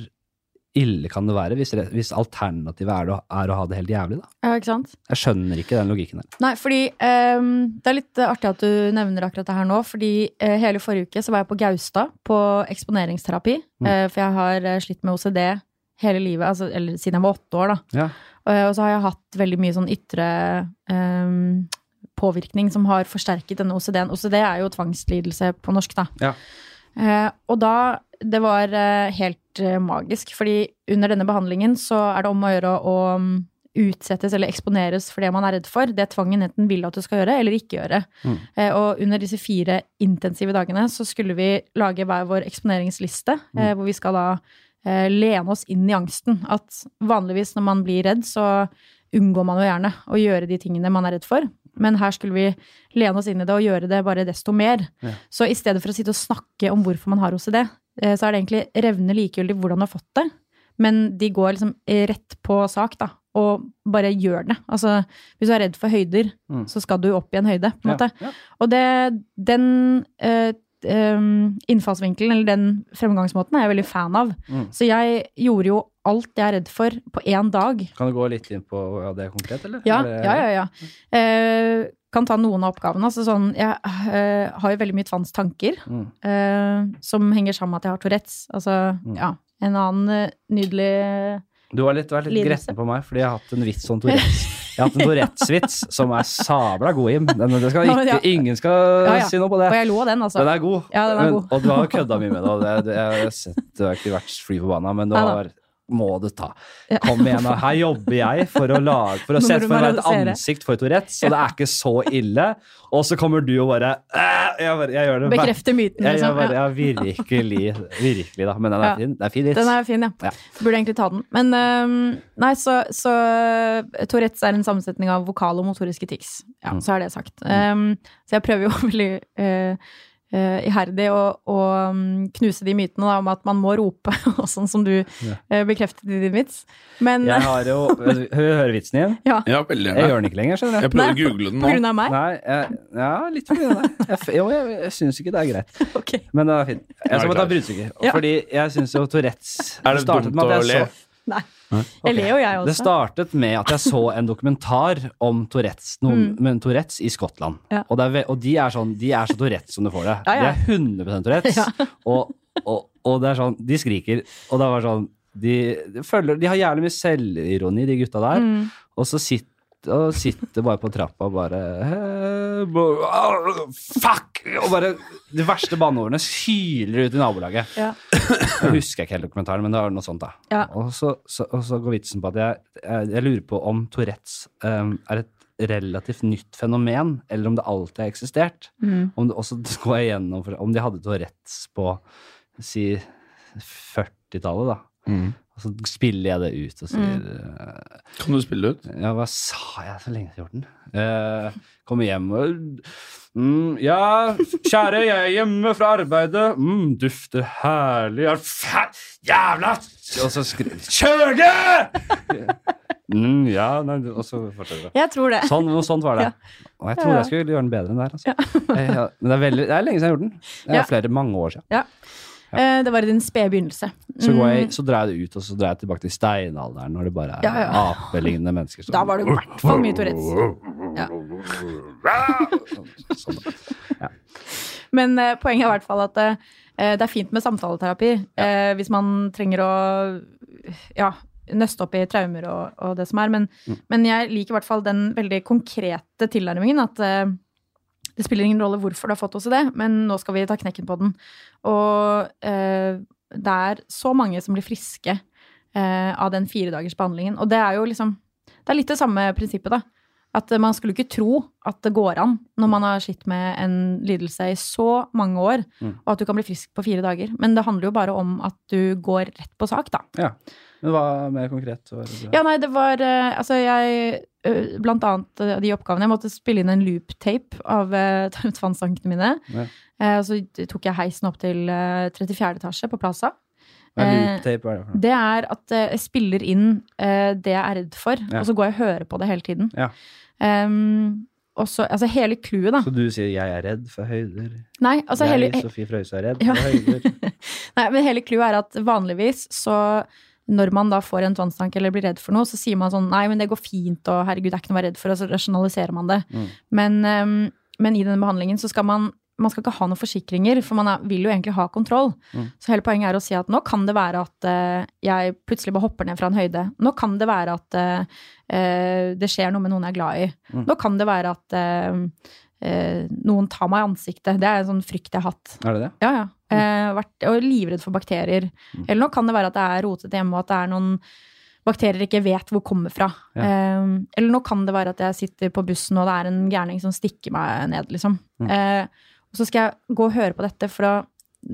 Speaker 1: ille kan det være hvis, re- hvis alternativet er, å- er å ha det helt jævlig, da?
Speaker 2: ja, ikke sant?
Speaker 1: Jeg skjønner ikke den logikken der.
Speaker 2: Nei, fordi ehm, det er litt eh, artig at du nevner akkurat det her nå, fordi eh, hele forrige uke så var jeg på Gaustad på eksponeringsterapi,
Speaker 1: Mm.
Speaker 2: eh, for jeg har eh, slitt med OCD hele livet, altså, eller siden jeg var åtte år da.
Speaker 1: Ja.
Speaker 2: Eh, og så har jeg hatt veldig mye sånn ytre ehm, påvirkning som har forsterket denne OCD-en. OCD er jo tvangslidelse på norsk da.
Speaker 1: Ja.
Speaker 2: Eh, og da, det var eh, helt eh, magisk, fordi under denne behandlingen så er det om å gjøre å mm, utsettes eller eksponeres for det man er redd for, det tvangen enten vil at du skal gjøre, eller ikke gjøre.
Speaker 3: Mm.
Speaker 2: Eh, og under disse fire intensive dagene så skulle vi lage hver vår eksponeringsliste,
Speaker 3: Mm.
Speaker 2: eh, hvor vi skal da eh, lene oss inn i angsten. At vanligvis når man blir redd, så unngår man jo gjerne å gjøre de tingene man er redd for. Men her skulle vi lene oss inn i det og gjøre det bare desto mer.
Speaker 3: Ja.
Speaker 2: Så i stedet for å sitte og snakke om hvorfor man har OCD, eh, så er det egentlig revne likegyldig hvordan du har fått det. Men de går liksom rett på sak, da. Og bare gjør det. Altså, hvis du er redd for høyder,
Speaker 3: Mm.
Speaker 2: så skal du opp i en høyde, på en måte.
Speaker 3: Ja.
Speaker 2: Og det, den eh, em, innfallsvinkelen, eller den fremgangsmåten, er jeg veldig fan av.
Speaker 1: Mm.
Speaker 2: Så jeg gjorde jo alt jeg er redd for, på én dag.
Speaker 1: Kan du gå litt inn på ja, det konkret, eller?
Speaker 2: Ja,
Speaker 1: Er det-
Speaker 2: ja, ja. ja. Eh, kan ta noen av oppgavene. Altså sånn, jeg eh, har jo veldig mye tvangstanker
Speaker 1: Mm.
Speaker 2: eh, som henger sammen med at jeg har Tourettes. Altså,
Speaker 1: Mm.
Speaker 2: ja. En annen eh, nydelig
Speaker 1: Du har litt, vært litt
Speaker 2: Lidelse.
Speaker 1: gretten på meg, fordi jeg har hatt en vits om Tourettes. Jeg har hatt en Tourettes-vits som er sabla god, Jim. Den, det skal
Speaker 2: [laughs] Ja, men
Speaker 1: ikke, ingen skal
Speaker 2: Ja, ja.
Speaker 1: si noe på det.
Speaker 2: Og jeg lo av den, altså.
Speaker 1: Den er god.
Speaker 2: Ja, den er
Speaker 1: Men-
Speaker 2: god.
Speaker 1: og du har jo kødda mye med det. Og det, det jeg har sett, du har ikke vært fly forbanna, men du
Speaker 2: Neida.
Speaker 1: har må du ta.
Speaker 2: Ja.
Speaker 1: Kom igjen, og her jobber jeg for å, lage, for å
Speaker 2: Nå må
Speaker 1: sette
Speaker 2: du
Speaker 1: for meg et
Speaker 2: moralisere.
Speaker 1: ansikt for Tourettes, så det er ikke så ille. Og så kommer du og bare "Æ, Jeg, bare, jeg gjør det hver-
Speaker 2: Bekrefter myten,
Speaker 1: Jeg, jeg
Speaker 2: liksom.
Speaker 1: bare, ja,
Speaker 2: Ja.
Speaker 1: virkelig, virkelig da. Men den er
Speaker 2: Ja.
Speaker 1: fin. Det er fin vits.
Speaker 2: Den er fin, ja.
Speaker 1: Ja.
Speaker 2: Burde egentlig ta den. Men øhm, nei, så, så eh, Tourettes er en sammensetning av vokale og motoriske tics. Ja,
Speaker 1: Mm.
Speaker 2: Så er det sagt. Ehm, så jeg prøver jo veldig øh, øh, iherdig å, å mm, knuse de mytene da, om at man må rope, [laughs] og sånn som du øh, bekreftet i din vits. Men [laughs]
Speaker 1: Jeg har jo Hø- Hører vitsen igjen?
Speaker 3: Ja,
Speaker 1: Jeg
Speaker 3: veldig gjerne.
Speaker 1: gjør den ikke lenger, skjønner du.
Speaker 3: Jeg prøvde å google den
Speaker 2: på
Speaker 3: nå.
Speaker 2: grunn av meg?
Speaker 1: Nei, jeg, ja, litt fordi den er jeg f- Jo, jeg, jeg syns ikke det er greit.
Speaker 2: [laughs] Ok.
Speaker 1: Men det er fint. Jeg skal
Speaker 3: er
Speaker 1: bare ta
Speaker 3: klar.
Speaker 1: bruddstykker.
Speaker 2: Ja.
Speaker 1: Fordi jeg syns jo Tourettes
Speaker 3: Er det
Speaker 1: startet
Speaker 3: dumt
Speaker 1: med at
Speaker 3: å
Speaker 1: jeg
Speaker 3: le?
Speaker 1: så-
Speaker 2: Nei.
Speaker 1: Ok.
Speaker 2: Jeg ler jo, jeg
Speaker 1: Det
Speaker 2: også.
Speaker 1: startet med at jeg så en dokumentar om Tourettes, noen, men Tourettes i Skottland.
Speaker 2: Mm. Ja.
Speaker 1: Og, det er, ve- og de er sånn, de er så Tourettes som du får det.
Speaker 2: Ja, ja.
Speaker 1: De er 100 Tourettes.
Speaker 2: [laughs] Ja.
Speaker 1: Og, og, og det er sånn, de skriker, og det var sånn, de, de, følger, de har jævlig mye selvironi, de gutta der.
Speaker 2: Mm.
Speaker 1: Og så sitter og sitter bare på trappa og bare «Eh, bo- ah, Fuck! Og bare De verste banneordene hyler ut i nabolaget.
Speaker 2: Ja.
Speaker 1: Jeg husker ikke hele dokumentaren, men det var noe sånt, da.
Speaker 2: Ja.
Speaker 1: Og, så, så, og så går vitsen på at jeg, jeg, jeg lurer på om Tourettes eh, er et relativt nytt fenomen, eller om det alltid har eksistert.
Speaker 2: Mm.
Speaker 1: Om det, og så [laughs] går jeg gjennom for, om de hadde Tourettes på si 40-tallet, da. Og så spiller jeg det ut og sier eh,
Speaker 3: Mm. Kan du spille det ut?
Speaker 1: ja, hva sa jeg så lenge siden jeg har gjort den? Eh, kommer hjem og mm, Ja, kjære, jeg er hjemme fra arbeidet. Mm, dufter herlig. Er fæ jævla Og så skriver Kjør det! Mm, ja, nei, og så fortsetter det.
Speaker 2: Jeg tror det.
Speaker 1: Sånn, noe sånt var det.
Speaker 2: Ja.
Speaker 1: Og jeg tror jeg skulle gjøre den bedre enn det her. Altså. [laughs] Eh, ja, men det er, veldig, det er lenge siden jeg har gjort den. Det er
Speaker 2: Ja.
Speaker 1: flere mange år siden.
Speaker 2: Eh, Det var i din spede begynnelse.
Speaker 1: Så, går jeg,
Speaker 2: Mm,
Speaker 1: så drar jeg det ut, og så drar jeg tilbake til steinalderen, når det bare er
Speaker 2: Ja, ja.
Speaker 1: apelignende mennesker. som-
Speaker 2: Da var det i hvert fall mye Tourettes.
Speaker 1: Sånn, da.
Speaker 2: Men eh, poenget er i hvert fall at eh, det er fint med samtaleterapi eh, hvis man trenger å ja, nøste opp i traumer og, og det som er. Men, men jeg liker i hvert fall den veldig konkrete tilnærmingen at eh, det spiller ingen rolle hvorfor du har fått OCD, men nå skal vi ta knekken på den. Og eh, det er så mange som blir friske eh, av den firedagers behandlingen. Og det er jo liksom Det er litt det samme prinsippet, da. At eh, man skulle ikke tro at det går an når man har slitt med en lidelse i så mange år,
Speaker 1: Mm.
Speaker 2: og at du kan bli frisk på fire dager. Men det handler jo bare om at du går rett på sak, da.
Speaker 1: [laughs] Men hva mer konkret? Var det
Speaker 2: Ja, nei, det var eh, Altså, jeg eh, Blant annet eh, de oppgavene. Jeg måtte spille inn en looptape av eh, [laughs] tvangstankene mine.
Speaker 1: Ja.
Speaker 2: Eh, og så tok jeg heisen opp til eh, 34. etasje på Plaza.
Speaker 1: Hva er
Speaker 2: eh,
Speaker 1: looptape, hva er det for noe?
Speaker 2: Det er at eh, jeg spiller inn eh, det jeg er redd for,
Speaker 1: Ja.
Speaker 2: og så går jeg og hører på det hele tiden.
Speaker 1: Ja.
Speaker 2: Ehm, og så, altså hele clouet, da.
Speaker 1: Så du sier 'jeg er redd for høyder'?
Speaker 2: Nei, altså hele,
Speaker 1: jeg, Sofie Frøysa, er redd
Speaker 2: [laughs] Ja.
Speaker 1: for høyder.
Speaker 2: Nei, men hele clouet er at vanligvis så når man da får en tvangstanke eller blir redd for noe, så sier man sånn nei, men det går fint, og herregud, det er ikke noe å være redd for, og så rasjonaliserer man det.
Speaker 1: Mm.
Speaker 2: Men, ehm, men i denne behandlingen så skal man man skal ikke ha noen forsikringer, for man er, vil jo egentlig ha kontroll.
Speaker 1: Mm.
Speaker 2: Så hele poenget er å si at nå kan det være at eh, jeg plutselig bare hopper ned fra en høyde. Nå kan det være at eh, eh, det skjer noe med noen jeg er glad i.
Speaker 1: Mm.
Speaker 2: Nå kan det være at eh, eh, noen tar meg i ansiktet. Det er en sånn frykt jeg har hatt.
Speaker 1: Er det det?
Speaker 2: Ja, ja. Eh, vært, og livredd for bakterier.
Speaker 1: Mm.
Speaker 2: Eller nå kan det være at det er rotete hjemme, og at det er noen bakterier ikke vet hvor kommer fra.
Speaker 1: Ja.
Speaker 2: Eh, eller nå kan det være at jeg sitter på bussen, og det er en gærning som stikker meg ned, liksom.
Speaker 1: Mm.
Speaker 2: Eh, og så skal jeg gå og høre på dette for å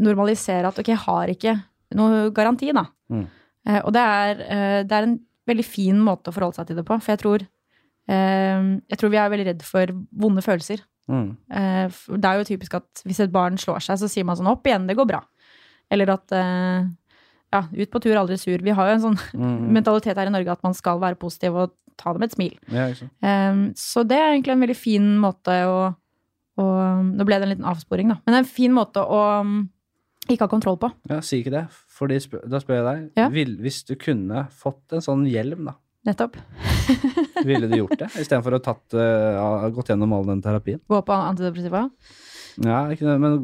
Speaker 2: normalisere at ok, jeg har ikke noe garanti, da.
Speaker 1: Mm.
Speaker 2: Eh, og det er, eh, det er en veldig fin måte å forholde seg til det på, for jeg tror, eh, jeg tror vi er veldig redd for vonde følelser.
Speaker 1: Mm.
Speaker 2: Eh, f- Det er jo typisk at hvis et barn slår seg, så sier man sånn 'opp igjen, det går bra'. Eller at eh, ja, 'ut på tur, aldri sur'. Vi har jo en sånn [laughs]
Speaker 1: Mm.
Speaker 2: mentalitet her i Norge at man skal være positiv og ta det med et smil.
Speaker 1: Ja, ikke sant.
Speaker 2: Eh, Så det er egentlig en veldig fin måte å, å Nå ble det en liten avsporing, da. Men det er en fin måte å mm, ikke ha kontroll på.
Speaker 1: ja, si ikke det. Fordi, sp- da spør jeg deg,
Speaker 2: Ja.
Speaker 1: vil, hvis du kunne fått en sånn hjelm, da,
Speaker 2: Nettopp.
Speaker 1: ville du gjort det? Istedenfor å tatt, eh, ja, gått gjennom all den terapien?
Speaker 2: Gå på antidepressiva.
Speaker 1: Ja, ikke det, men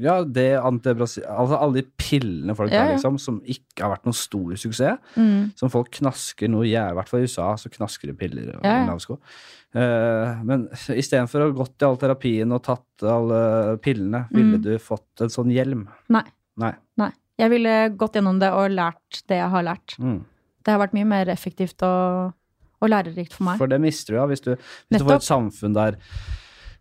Speaker 1: ja, det antidepressi... Altså alle de pillene folk
Speaker 2: Ja,
Speaker 1: tar,
Speaker 2: ja.
Speaker 1: liksom, som ikke har vært noen stor suksess.
Speaker 2: Mm.
Speaker 1: Som folk knasker noe jævlig. I hvert fall i USA så knasker de piller og
Speaker 2: Ja, ja.
Speaker 1: lavsko. Eh, men istedenfor å ha gått i all terapien og tatt alle pillene, ville
Speaker 2: Mm.
Speaker 1: du fått en sånn hjelm?
Speaker 2: Nei.
Speaker 1: Nei.
Speaker 2: Jeg ville gått gjennom det og lært det jeg har lært.
Speaker 1: Mm.
Speaker 2: Det har vært mye mer effektivt og, og lærerikt for meg.
Speaker 1: For det mister du ja, hvis du, hvis du får
Speaker 2: Nettopp.
Speaker 1: et samfunn der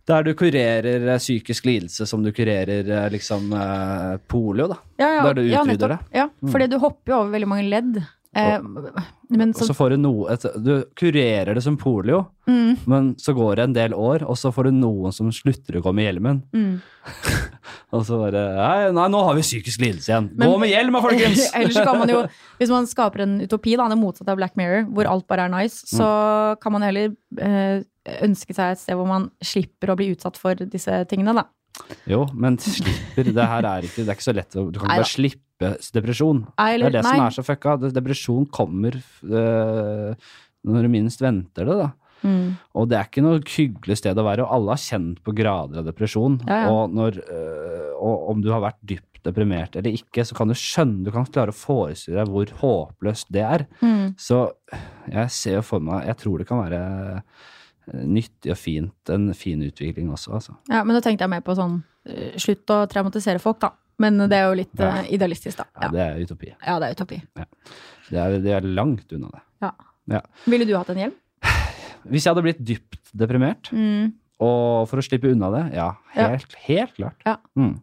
Speaker 1: der du kurerer eh, psykisk lidelse som du kurerer eh, liksom eh, polio, da.
Speaker 2: Ja, ja.
Speaker 1: Der du
Speaker 2: ja,
Speaker 1: utrydder
Speaker 2: nettopp. Ja, fordi du hopper jo over veldig mange ledd. Eh, men
Speaker 1: Mm. Og
Speaker 2: så,
Speaker 1: så får du noe et, Du kurerer det som polio,
Speaker 2: mm,
Speaker 1: Men så går det en del år, og så får du noen som slutter å gå med hjelmen.
Speaker 2: mm.
Speaker 1: Og så bare Nei, nei nå har vi psykisk lidelse igjen.
Speaker 2: Men-
Speaker 1: gå med hjelm, da,
Speaker 2: [laughs]
Speaker 1: folkens!
Speaker 2: Ellers så kan man jo, hvis man skaper en utopi, da, det motsatte av Black Mirror, hvor alt bare er nice,
Speaker 1: Mm.
Speaker 2: så kan man heller eh, ønske seg et sted hvor man slipper å bli utsatt for disse tingene, da.
Speaker 1: jo, men slipper. Det her er ikke, det er ikke så lett. å- Du kan ikke
Speaker 2: Neida.
Speaker 1: bare slippe depresjon.
Speaker 2: Nei,
Speaker 1: Det
Speaker 2: eller-
Speaker 1: er det som
Speaker 2: nei.
Speaker 1: er så fucka. Det- Depresjon kommer øh, når du minst venter det, da.
Speaker 2: Mm.
Speaker 1: Og det er ikke noe hyggelig sted å være, og alle har kjent på grader av depresjon.
Speaker 2: Ja, ja.
Speaker 1: Og, når, øh, og om du har vært dypt deprimert eller ikke, så kan du skjønne, du kan klare å forestille deg hvor håpløst det er.
Speaker 2: Mm.
Speaker 1: Så jeg ser jo for meg Jeg tror det kan være eh, nyttig og fint. En fin utvikling også, altså.
Speaker 2: Ja, men da tenkte jeg mer på sånn eh, Slutt å traumatisere folk, da. Men det er jo litt
Speaker 1: Ja.
Speaker 2: eh, idealistisk, da.
Speaker 1: Ja,
Speaker 2: Ja.
Speaker 1: det er utopi.
Speaker 2: ja, det er utopi.
Speaker 1: Det er, det er langt unna det.
Speaker 2: Ja.
Speaker 1: Ja.
Speaker 2: Ville du hatt en hjelm?
Speaker 1: Hvis jeg hadde blitt dypt deprimert,
Speaker 2: Mm.
Speaker 1: og for å slippe unna det, ja,
Speaker 2: Ja.
Speaker 1: helt, helt klart.
Speaker 2: Ja.
Speaker 1: Mm.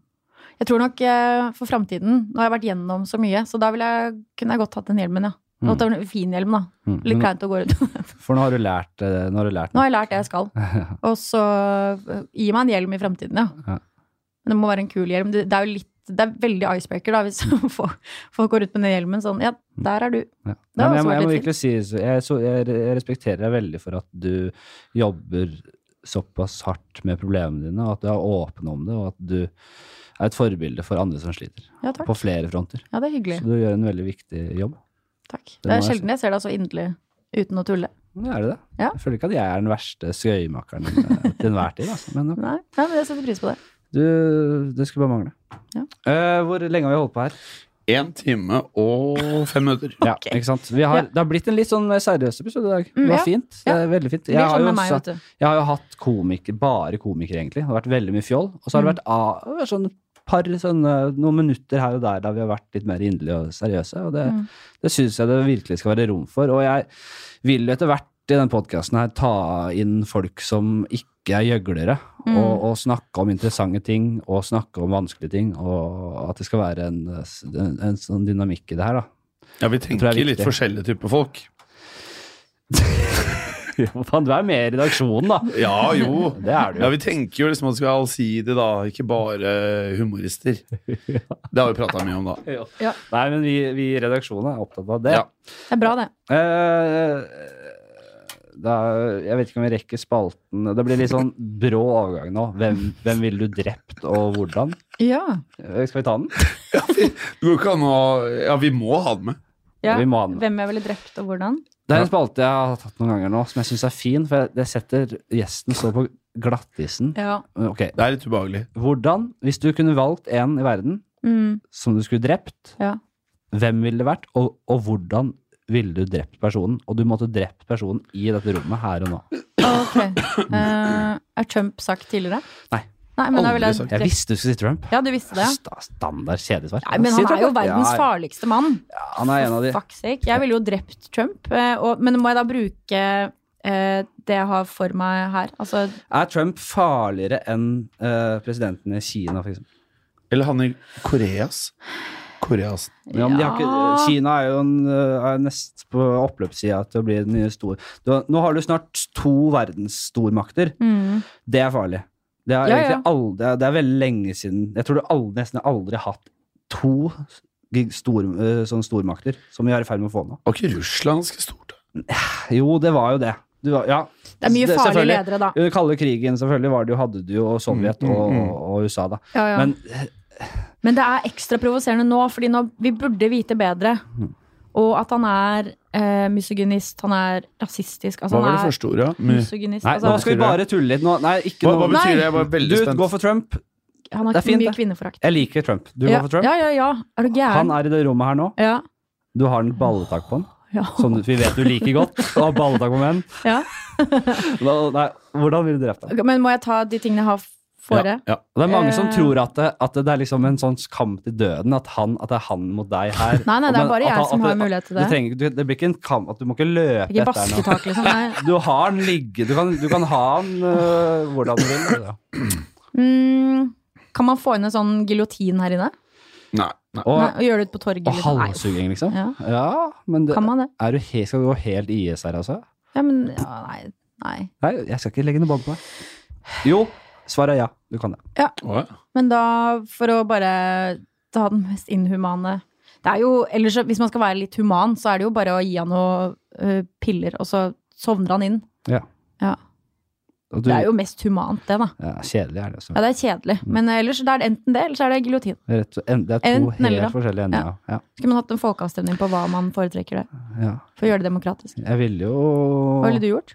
Speaker 2: Jeg tror nok eh, for framtiden Nå har jeg vært gjennom så mye, så da ville jeg, kunne jeg godt hatt den hjelmen, ja.
Speaker 1: Mm.
Speaker 2: Godt ha en fin hjelm, da.
Speaker 1: Mm.
Speaker 2: Litt
Speaker 1: Men,
Speaker 2: kleint å gå rundt. [laughs]
Speaker 1: for nå har du lært, eh, nå har du lært
Speaker 2: Nå
Speaker 1: noe.
Speaker 2: har jeg lært det jeg skal.
Speaker 1: [laughs]
Speaker 2: Og så eh, gi meg en hjelm i framtiden, ja.
Speaker 1: Ja.
Speaker 2: Men det må være en kul hjelm. Det, det er jo litt det er veldig icebreaker da, hvis [laughs] folk, folk går rundt med den hjelmen sånn Ja,
Speaker 1: Mm.
Speaker 2: der er du.
Speaker 1: Ja.
Speaker 2: Det
Speaker 1: Nei, men
Speaker 2: har
Speaker 1: jeg,
Speaker 2: også
Speaker 1: må-
Speaker 2: vært
Speaker 1: jeg må
Speaker 2: litt
Speaker 1: virkelig si så jeg, så jeg, jeg respekterer deg veldig for at du jobber såpass hardt med problemene dine, og at du er åpen om det, og at du er et forbilde for andre som sliter.
Speaker 2: Ja, takk.
Speaker 1: På flere fronter.
Speaker 2: Ja, det er hyggelig.
Speaker 1: Så du gjør en veldig viktig jobb.
Speaker 2: Takk.
Speaker 1: må
Speaker 2: Det
Speaker 1: jeg
Speaker 2: er
Speaker 1: si.
Speaker 2: sjelden jeg ser deg så inderlig uten å tulle.
Speaker 1: Ja, er det det?
Speaker 2: Ja.
Speaker 1: Jeg føler ikke at jeg er den verste skøyemakeren eh, til enhver tid, altså. men eh,
Speaker 2: Nei, ja, men jeg setter pris på det.
Speaker 1: du, det skulle bare mangle.
Speaker 2: Ja.
Speaker 1: Eh, hvor lenge har vi holdt på her?
Speaker 3: Én time og fem minutter.
Speaker 1: Ja, ikke sant? Vi har,
Speaker 2: Ja.
Speaker 1: Det har blitt en litt sånn seriøs episode i dag.
Speaker 2: Mm,
Speaker 1: det var
Speaker 2: ja.
Speaker 1: fint. Det er veldig fint.
Speaker 2: Det blir sånn med
Speaker 1: jo
Speaker 2: meg,
Speaker 1: sa-
Speaker 2: vet du.
Speaker 1: Jeg har jo hatt komiker, bare komikere, egentlig. Det har vært veldig mye fjoll. Og så har det vært ah, sånn par sånne, noen minutter her og der der vi har vært litt mer inderlige og seriøse. Og det,
Speaker 2: Mm.
Speaker 1: det syns jeg det virkelig skal være rom for. Og jeg vil jo etter hvert i den podkasten her ta inn folk som ikke er gjøglere,
Speaker 2: Mm.
Speaker 1: og, og snakke om interessante ting, og snakke om vanskelige ting, og at det skal være en, en, en sånn dynamikk i det her, da.
Speaker 3: Ja, vi
Speaker 1: tror jeg
Speaker 3: tenker
Speaker 1: er
Speaker 3: litt
Speaker 1: viktig.
Speaker 3: forskjellige typer folk.
Speaker 1: Hva faen, du er med i redaksjonen, da!
Speaker 3: Ja, jo.
Speaker 1: Det er du
Speaker 3: Ja,
Speaker 1: jo.
Speaker 3: vi tenker jo liksom at det skal være allsidig, da. Ikke bare humorister. Det har vi prata mye om, da.
Speaker 2: Ja.
Speaker 1: Nei, men vi, vi i redaksjonen er opptatt av det.
Speaker 3: Ja.
Speaker 2: Det er bra, det.
Speaker 1: Eh, da, jeg vet ikke om vi rekker spalten. Det blir litt sånn brå overgang nå. Hvem, hvem ville du drept, og hvordan?
Speaker 2: Ja.
Speaker 1: Eh, Skal vi ta den?
Speaker 3: Det går ikke an å Ja, vi må ha det med.
Speaker 2: ja.
Speaker 1: Vi må ha den.
Speaker 2: Hvem jeg ville drept, og hvordan.
Speaker 1: Det er en spalte jeg har tatt noen ganger nå, som jeg syns er fin. For jeg- det setter gjesten så på glattisen.
Speaker 2: Ja.
Speaker 1: Ok,
Speaker 3: Det er litt ubehagelig.
Speaker 1: Hvordan, hvis du kunne valgt en i verden
Speaker 2: Mm.
Speaker 1: som du skulle drept,
Speaker 2: Ja.
Speaker 1: hvem ville det vært, og, og hvordan ville du drept personen? Og du måtte drept personen i dette rommet her og nå.
Speaker 2: Ok. Eh, er Trump sagt tidligere?
Speaker 1: Nei.
Speaker 2: Nei, men da
Speaker 3: Aldri
Speaker 2: ville jeg
Speaker 3: sagt.
Speaker 1: Jeg
Speaker 2: drept
Speaker 1: visste du skulle si Trump.
Speaker 2: Ja, du visste det.
Speaker 1: Sta- Standard kjedesvar.
Speaker 2: Nei, men
Speaker 1: Si
Speaker 2: han
Speaker 1: Trump,
Speaker 2: er jo
Speaker 1: da.
Speaker 2: verdens
Speaker 1: Ja,
Speaker 2: farligste mann.
Speaker 1: ja, Han er en av de.
Speaker 2: For fuck's sake. Jeg ville jo drept Trump. eh, Og, men må jeg da bruke eh, det jeg har for meg her? Altså,
Speaker 1: Er Trump farligere enn eh, presidenten i Kina, for eksempel?
Speaker 3: Eller han i Koreas. Koreas.
Speaker 1: Ja, men de har ikke, Kina er jo en, eh, er nest på oppløpssida til å bli den nye store du, har- Nå har du snart to verdensstormakter.
Speaker 2: Mm.
Speaker 1: Det er farlig. Det er,
Speaker 2: Ja,
Speaker 1: egentlig
Speaker 2: ja.
Speaker 1: aldri, det er- det er veldig lenge siden Jeg tror du aldri, nesten aldri har hatt to gig- stor, eh, sånne stormakter som vi er i ferd med å få nå.
Speaker 3: Var ikke Russland ganske stort? da?
Speaker 1: Jo, det var jo det. Du, var- ja.
Speaker 2: Det er mye farlige
Speaker 1: selvfølgelig.
Speaker 2: ledere, da.
Speaker 1: Under den kalde krigen selvfølgelig var det jo, hadde du jo Sovjet
Speaker 3: Mm, mm,
Speaker 1: og,
Speaker 3: mm.
Speaker 1: og USA, da.
Speaker 2: Ja, ja. Men,
Speaker 1: Men
Speaker 2: det er ekstra provoserende nå, fordi nå, vi burde vite bedre.
Speaker 1: Mm.
Speaker 2: Og at han er eh, misogynist, han er rasistisk altså,
Speaker 3: Hva var
Speaker 2: han
Speaker 3: det
Speaker 2: er
Speaker 3: første ordet? Mu-
Speaker 2: Misogynist.
Speaker 1: nei, nå
Speaker 2: Altså,
Speaker 1: skal vi bare tulle litt. Nå, nei, ikke
Speaker 3: Hva, hva
Speaker 1: noe
Speaker 3: betyr
Speaker 2: Nei.
Speaker 3: det? Jeg var veldig
Speaker 1: Du
Speaker 3: spent.
Speaker 1: går for Trump.
Speaker 2: han har
Speaker 1: Det er
Speaker 2: ikke
Speaker 1: fint,
Speaker 2: mye
Speaker 1: det.
Speaker 2: kvinneforakt.
Speaker 1: Jeg liker Trump. Du
Speaker 2: ja,
Speaker 1: går for Trump.
Speaker 2: Ja, ja, ja. Er du
Speaker 1: Han
Speaker 2: gæren?
Speaker 1: er i det rommet her nå.
Speaker 2: Ja.
Speaker 1: Du har en balletak på han,
Speaker 2: Ja.
Speaker 1: som du- vi vet du liker godt. Du har balletak på menn.
Speaker 2: [laughs] ja.
Speaker 1: Da- Nei, hvordan vil du drept ham?
Speaker 2: Ok, Men må jeg ta de tingene jeg har fore?
Speaker 3: Ja.
Speaker 1: Det er mange som
Speaker 2: Eh.
Speaker 1: tror at det, at det er liksom en sånn kamp til døden, at, han, at det er han mot deg her.
Speaker 2: Nei, nei, det er
Speaker 1: Men
Speaker 2: bare
Speaker 1: at han-
Speaker 2: jeg som
Speaker 1: at
Speaker 2: har
Speaker 1: det-
Speaker 2: mulighet til
Speaker 1: Du
Speaker 2: det.
Speaker 1: trenger, du, det blir ikke en kamp at du må ikke løpe
Speaker 2: Ikke
Speaker 1: etter ham.
Speaker 2: basketak,
Speaker 1: [laughs]
Speaker 2: liksom. Nei.
Speaker 1: Du har den ligge, du kan, du kan ha den øh, hvordan du vil. Ja.
Speaker 2: Mm, kan man få inn en sånn giljotin her inne?
Speaker 3: Nei, nei.
Speaker 1: Og,
Speaker 2: Nei, og gjøre det ut på torget?
Speaker 1: og
Speaker 2: liksom? Nei,
Speaker 1: halshugging, liksom.
Speaker 2: Ja.
Speaker 1: Ja, men det,
Speaker 2: Kan man det?
Speaker 1: er du he, skal du gå helt IS her, altså?
Speaker 2: Ja, men ja, Nei. nei.
Speaker 1: Nei, jeg skal ikke legge noe bånd på deg. Jo, svaret er ja. Du kan det.
Speaker 3: Å, ja.
Speaker 2: Men da, for å bare ta den mest inhumane Det er jo, ellers, så- Hvis man skal være litt human, så er det jo bare å gi han noen piller, og så sovner han inn.
Speaker 1: Og du,
Speaker 2: Det er jo mest humant, det, da.
Speaker 1: ja, kjedelig er det også.
Speaker 2: Ja, Det er kjedelig. Men ellers det er det enten det, eller så er det giljotin.
Speaker 1: Det er, rett- en- det er to
Speaker 2: Enten
Speaker 1: helt
Speaker 2: eller, da.
Speaker 1: forskjellige ender. Ja.
Speaker 2: Skulle man hatt en folkeavstemning på hva man foretrekker der?
Speaker 1: Ja. Ja.
Speaker 2: For å gjøre det demokratisk.
Speaker 1: Jeg ville jo
Speaker 2: Hva ville du gjort?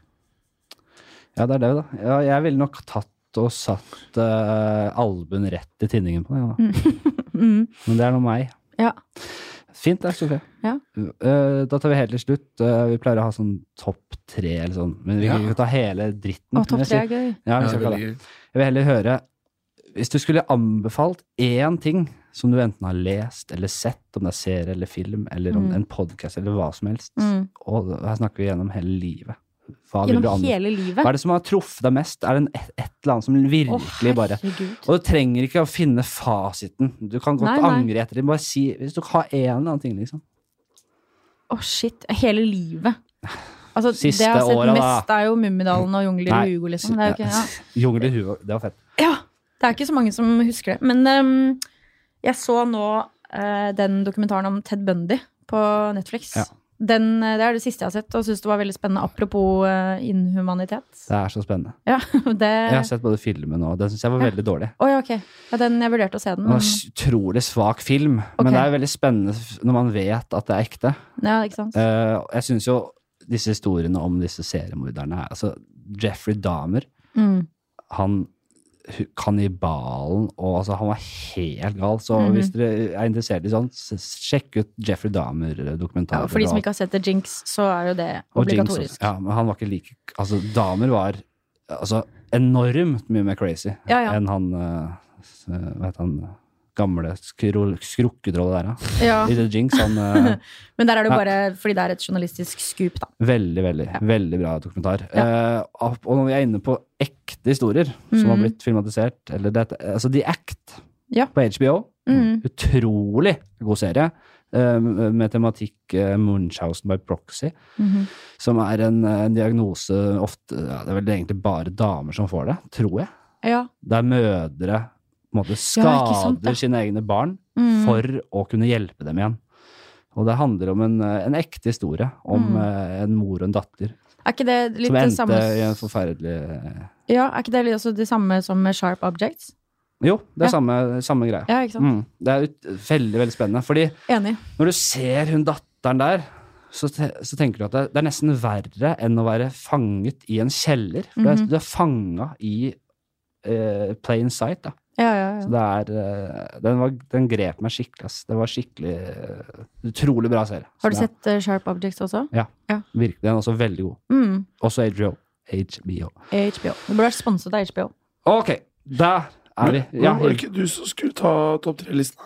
Speaker 1: Ja, det er det, da. Ja, jeg ville nok tatt og satt øh, albuen rett i tinningen på den. Ja, da.
Speaker 2: Mm.
Speaker 1: Men det er nå meg.
Speaker 2: Ja.
Speaker 1: Fint, det, Sofie.
Speaker 2: Ja.
Speaker 1: Eh, da tar vi helt til slutt. Eh, vi pleier å ha sånn topp tre eller sånn, men vi kan
Speaker 3: Ja.
Speaker 1: ikke ta hele dritten.
Speaker 2: Å,
Speaker 1: men
Speaker 2: topp
Speaker 1: jeg sier-
Speaker 2: tre er gøy.
Speaker 1: Ja, vi
Speaker 3: Ja,
Speaker 1: skal ikke ha det.
Speaker 3: veldig-
Speaker 1: Jeg vil heller høre Hvis du skulle anbefalt én ting som du enten har lest eller sett, om det er serie eller film eller om
Speaker 2: Mm.
Speaker 1: en podkast eller hva som helst,
Speaker 2: Mm.
Speaker 1: og her snakker vi gjennom hele livet Hva vil du
Speaker 2: Gjennom
Speaker 1: anbefale?
Speaker 2: hele livet.
Speaker 1: Hva er det som har truffet deg mest? Er det en, et, et eller annet som
Speaker 2: Å,
Speaker 1: virkelig bare
Speaker 2: herregud.
Speaker 1: Og du trenger ikke å finne fasiten. Du kan godt
Speaker 2: Nei, nei.
Speaker 1: angre etter det. Bare si Hvis du har en eller annen ting, liksom.
Speaker 2: Å, shit. Hele livet. Altså,
Speaker 1: Siste
Speaker 2: det jeg har sett
Speaker 1: året, da.
Speaker 2: mest, er jo Mummidalen og Jungler
Speaker 1: Nei.
Speaker 2: i Hugo, liksom. Det er jo ikke, ja.
Speaker 1: [laughs] Jungel i huet. Det var fett.
Speaker 2: ja, det er ikke så mange som husker det. Men ehm, jeg så nå eh, den dokumentaren om Ted Bundy på Netflix.
Speaker 1: Ja.
Speaker 2: Den, eh, det er det siste jeg har sett, og syns det var veldig spennende. Apropos eh, inhumanitet.
Speaker 1: Det er så spennende.
Speaker 2: Ja, [laughs] det
Speaker 1: Jeg har sett både filmen og Den syns jeg var
Speaker 2: Eh. Ja.
Speaker 1: veldig dårlig.
Speaker 2: Å ja, ok. Ja, den, jeg vurderte å se den.
Speaker 1: Det var
Speaker 2: Men,
Speaker 1: en utrolig svak film,
Speaker 2: Mm. Ok.
Speaker 1: men det er veldig spennende f- når man vet at det er ekte.
Speaker 2: ja, ikke sant?
Speaker 1: Eh, og jeg syns jo disse historiene om disse seriemorderne er Altså, Jeffrey Dahmer,
Speaker 2: Mm.
Speaker 1: han hu- kannibalen og altså, Han var helt gal. Så
Speaker 2: Mhm.
Speaker 1: hvis dere er interessert i sånn, s- sjekk ut Jeffrey Dahmer-dokumentarer.
Speaker 2: Ja, for de som
Speaker 1: og
Speaker 2: ikke har sett The Jinx, så er jo det
Speaker 1: Og Jinx også.
Speaker 2: obligatorisk.
Speaker 1: Ja, men han var ikke like Altså, damer var altså, enormt mye mer crazy
Speaker 2: Ja, ja.
Speaker 1: enn han eh, s- eh, Hva heter han Gamle skro- skrukkedrollet der, da.
Speaker 2: [laughs] Ja.
Speaker 1: I The Jinx. Han eh,
Speaker 2: Men der er det jo
Speaker 1: Ja.
Speaker 2: bare fordi det er et journalistisk skup, da.
Speaker 1: Veldig, veldig veldig bra dokumentar. Eh, og når vi er inne på ekte historier som har
Speaker 2: Mhm.
Speaker 1: blitt filmatisert, eller dette Altså The Act
Speaker 2: Ja.
Speaker 1: på HBO.
Speaker 2: Mhm.
Speaker 1: Utrolig god serie. eh, Med tematikk eh, Munchhausen by proxy.
Speaker 2: Mhm.
Speaker 1: som er en, eh, diagnose ofte ja, Det er vel egentlig bare damer som får det, tror jeg.
Speaker 2: Ja.
Speaker 1: Der mødre på en måte,
Speaker 2: Ja, ikke sant,
Speaker 1: skader
Speaker 2: ja.
Speaker 1: sine egne barn
Speaker 2: Mm.
Speaker 1: for å kunne hjelpe dem igjen. Og det handler om en, eh, en ekte historie om
Speaker 2: Mm.
Speaker 1: eh, en mor og en datter
Speaker 2: Er ikke det litt
Speaker 1: som
Speaker 2: det
Speaker 1: endte
Speaker 2: samme
Speaker 1: i en forferdelig eh,
Speaker 2: Ja, er ikke det litt også det samme som med Sharp Objects?
Speaker 1: Jo, det
Speaker 2: Ja.
Speaker 1: er samme, samme greia.
Speaker 2: Ja, ikke sant?
Speaker 1: Mm. Det er ut, veldig, veldig spennende. Fordi
Speaker 2: Enig.
Speaker 1: når du ser hun datteren der, så, te, så tenker du at det, det er nesten verre enn å være fanget i en kjeller. For du er-
Speaker 2: Mhm.
Speaker 1: Du er fanga i eh, plain sight. Da.
Speaker 2: Ja, ja,
Speaker 1: Så
Speaker 2: ja.
Speaker 1: det er, eh, den, var, den grep meg skikkelig. Ass. Det var skikkelig eh, Utrolig bra serie. Så
Speaker 2: Har
Speaker 1: det
Speaker 2: du
Speaker 1: er
Speaker 2: sett eh, Sharp Objects også?
Speaker 1: Virkelig, den er også veldig god.
Speaker 2: Mm.
Speaker 1: Også HBO. HBO.
Speaker 2: HBO. Det burde vært sponset av HBO.
Speaker 1: Ok, der er vi. Ja,
Speaker 3: Men var det ikke du som skulle ta topp tre-listen?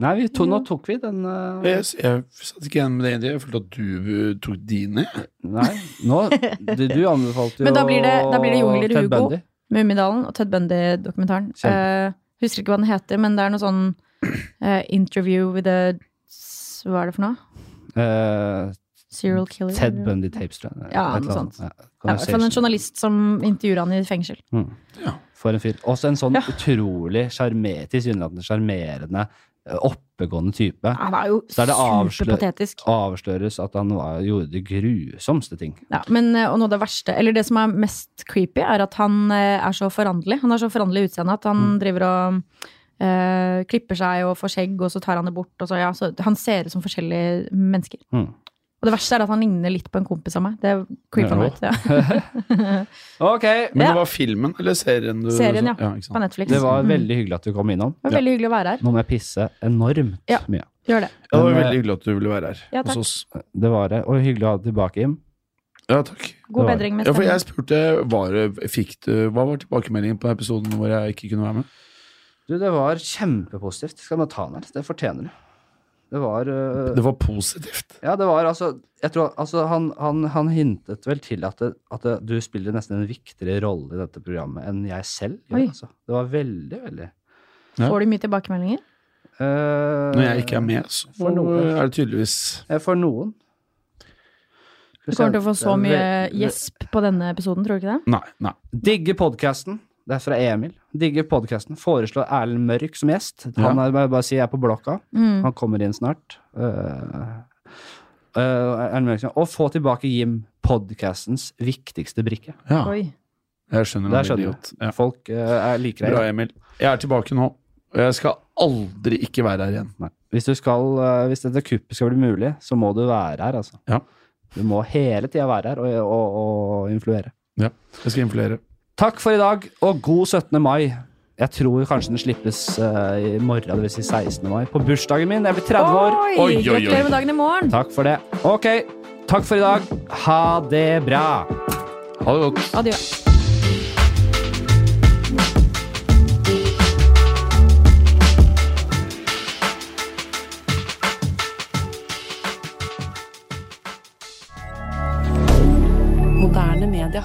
Speaker 1: Nei, vi to, nå tok vi den eh,
Speaker 3: Jeg, jeg satt ikke igjen med det ideen. Jeg følte at du eh, tok dine. jeg.
Speaker 1: Nei, nå Du,
Speaker 2: [laughs]
Speaker 1: du anbefalte jo
Speaker 2: Men da blir det- da blir det Jungler
Speaker 1: Ted
Speaker 2: Hugo.
Speaker 1: Bundy.
Speaker 2: Mummidalen og Ted Bundy-dokumentaren.
Speaker 1: Kjempe.
Speaker 2: Eh, husker ikke hva den heter, men det er noe sånn eh, interview with a s- Hva er det for noe?
Speaker 1: Eh,
Speaker 2: Serial killer?
Speaker 1: Ted Bundy tapes, tror jeg.
Speaker 2: Ja,
Speaker 1: Et eller
Speaker 2: noe
Speaker 1: annet.
Speaker 2: sånt.
Speaker 1: Ja,
Speaker 2: Ja, i hvert fall en
Speaker 1: Conversation.
Speaker 2: journalist som intervjuer han i fengsel.
Speaker 1: For en fyr. Også en sånn
Speaker 2: Ja.
Speaker 1: utrolig sjarme- tilsynelatende sjarmerende, eh, oppegående type.
Speaker 2: Han er jo
Speaker 1: Så er det avslø-
Speaker 2: superpatetisk.
Speaker 1: Avsløres at han var, gjorde de grusomste ting.
Speaker 2: Ja, men, eh, og noe av det verste, eller det som er mest creepy, er at han eh, er så foranderlig. Han har så foranderlig utseende at
Speaker 1: Mm.
Speaker 2: han driver og eh, klipper seg og får skjegg, og så tar han det bort. Og så, ja, så han ser ut som forskjellige mennesker.
Speaker 1: Mm.
Speaker 2: Og det verste er at han ligner litt på en kompis av meg. Det
Speaker 1: Ja.
Speaker 2: creeper meg ut. Ja.
Speaker 1: Ok!
Speaker 3: Men
Speaker 2: Ja.
Speaker 3: det var filmen eller serien? du
Speaker 2: Serien, ja.
Speaker 3: ja ikke sant?
Speaker 2: På Netflix.
Speaker 1: Det var
Speaker 2: Mm.
Speaker 1: veldig hyggelig at du kom innom.
Speaker 2: Det var veldig hyggelig å være her.
Speaker 1: Nå må jeg pisse enormt
Speaker 2: Ja.
Speaker 1: mye.
Speaker 2: Gjør det.
Speaker 3: Ja, det var
Speaker 1: Men,
Speaker 3: veldig hyggelig at du ville være her
Speaker 2: Ja, takk.
Speaker 3: hos oss.
Speaker 1: Det var det. Og hyggelig å ha deg tilbake, Jim.
Speaker 3: Ja, takk.
Speaker 2: God
Speaker 1: Det var-
Speaker 2: bedring med
Speaker 3: Ja, for jeg
Speaker 2: stemmen.
Speaker 3: spurte var, det- fikk du, Hva var tilbakemeldingen på den episoden hvor jeg ikke kunne være med?
Speaker 1: Du, det var kjempepositivt. Skal nå ta den her. Det fortjener du. Det var øh,
Speaker 3: Det var positivt.
Speaker 1: Ja, det var altså Jeg tror altså han, han, han hintet vel til at, det, at det, du spiller nesten en viktigere rolle i dette programmet enn jeg selv gjør.
Speaker 2: Oi.
Speaker 1: Altså. Det var veldig, veldig
Speaker 3: Ja.
Speaker 2: Får du mye tilbakemeldinger?
Speaker 1: Eh,
Speaker 3: Når jeg ikke er med, så
Speaker 1: For noe.
Speaker 3: er det tydeligvis
Speaker 1: eh, For noen.
Speaker 2: Du kommer til å få så mye
Speaker 1: Ve- ve-
Speaker 2: gjesp på denne episoden, tror du ikke det?
Speaker 3: Nei. nei.
Speaker 1: Digger podkasten. Det er fra Emil. Digger podkasten. Foreslår Erlend Mørk som gjest. Han er, bare, bare si jeg er på blokka.
Speaker 2: Mm.
Speaker 1: Han kommer inn snart. Eh, eh, Erlend Mørk sier, Og få tilbake Jim, podkastens viktigste brikke.
Speaker 3: Ja,
Speaker 2: Oi.
Speaker 3: jeg skjønner
Speaker 1: Der
Speaker 3: han er
Speaker 1: skjønner
Speaker 3: idiot.
Speaker 1: du.
Speaker 3: Ja.
Speaker 1: Folk eh, er like
Speaker 3: Bra,
Speaker 1: deg.
Speaker 3: Emil. Jeg er tilbake nå. Og jeg skal aldri ikke være her igjen.
Speaker 1: Nei. Hvis, du skal, eh, hvis dette kuppet skal bli mulig, så må du være her, altså.
Speaker 3: Ja.
Speaker 1: Du må hele tida være her og, og, og influere.
Speaker 3: Ja, jeg skal influere.
Speaker 1: Takk for i dag, og god 17. mai. Jeg tror kanskje den slippes eh, i morgen, dvs. Si 16. mai. På bursdagen min. Jeg blir 30 år.
Speaker 2: Oi! Gratulerer med dagen i morgen!
Speaker 1: Takk for det. Ok, takk for i dag. Ha det bra.
Speaker 3: Ha det godt.
Speaker 2: Adjø.
Speaker 4: Moderne media.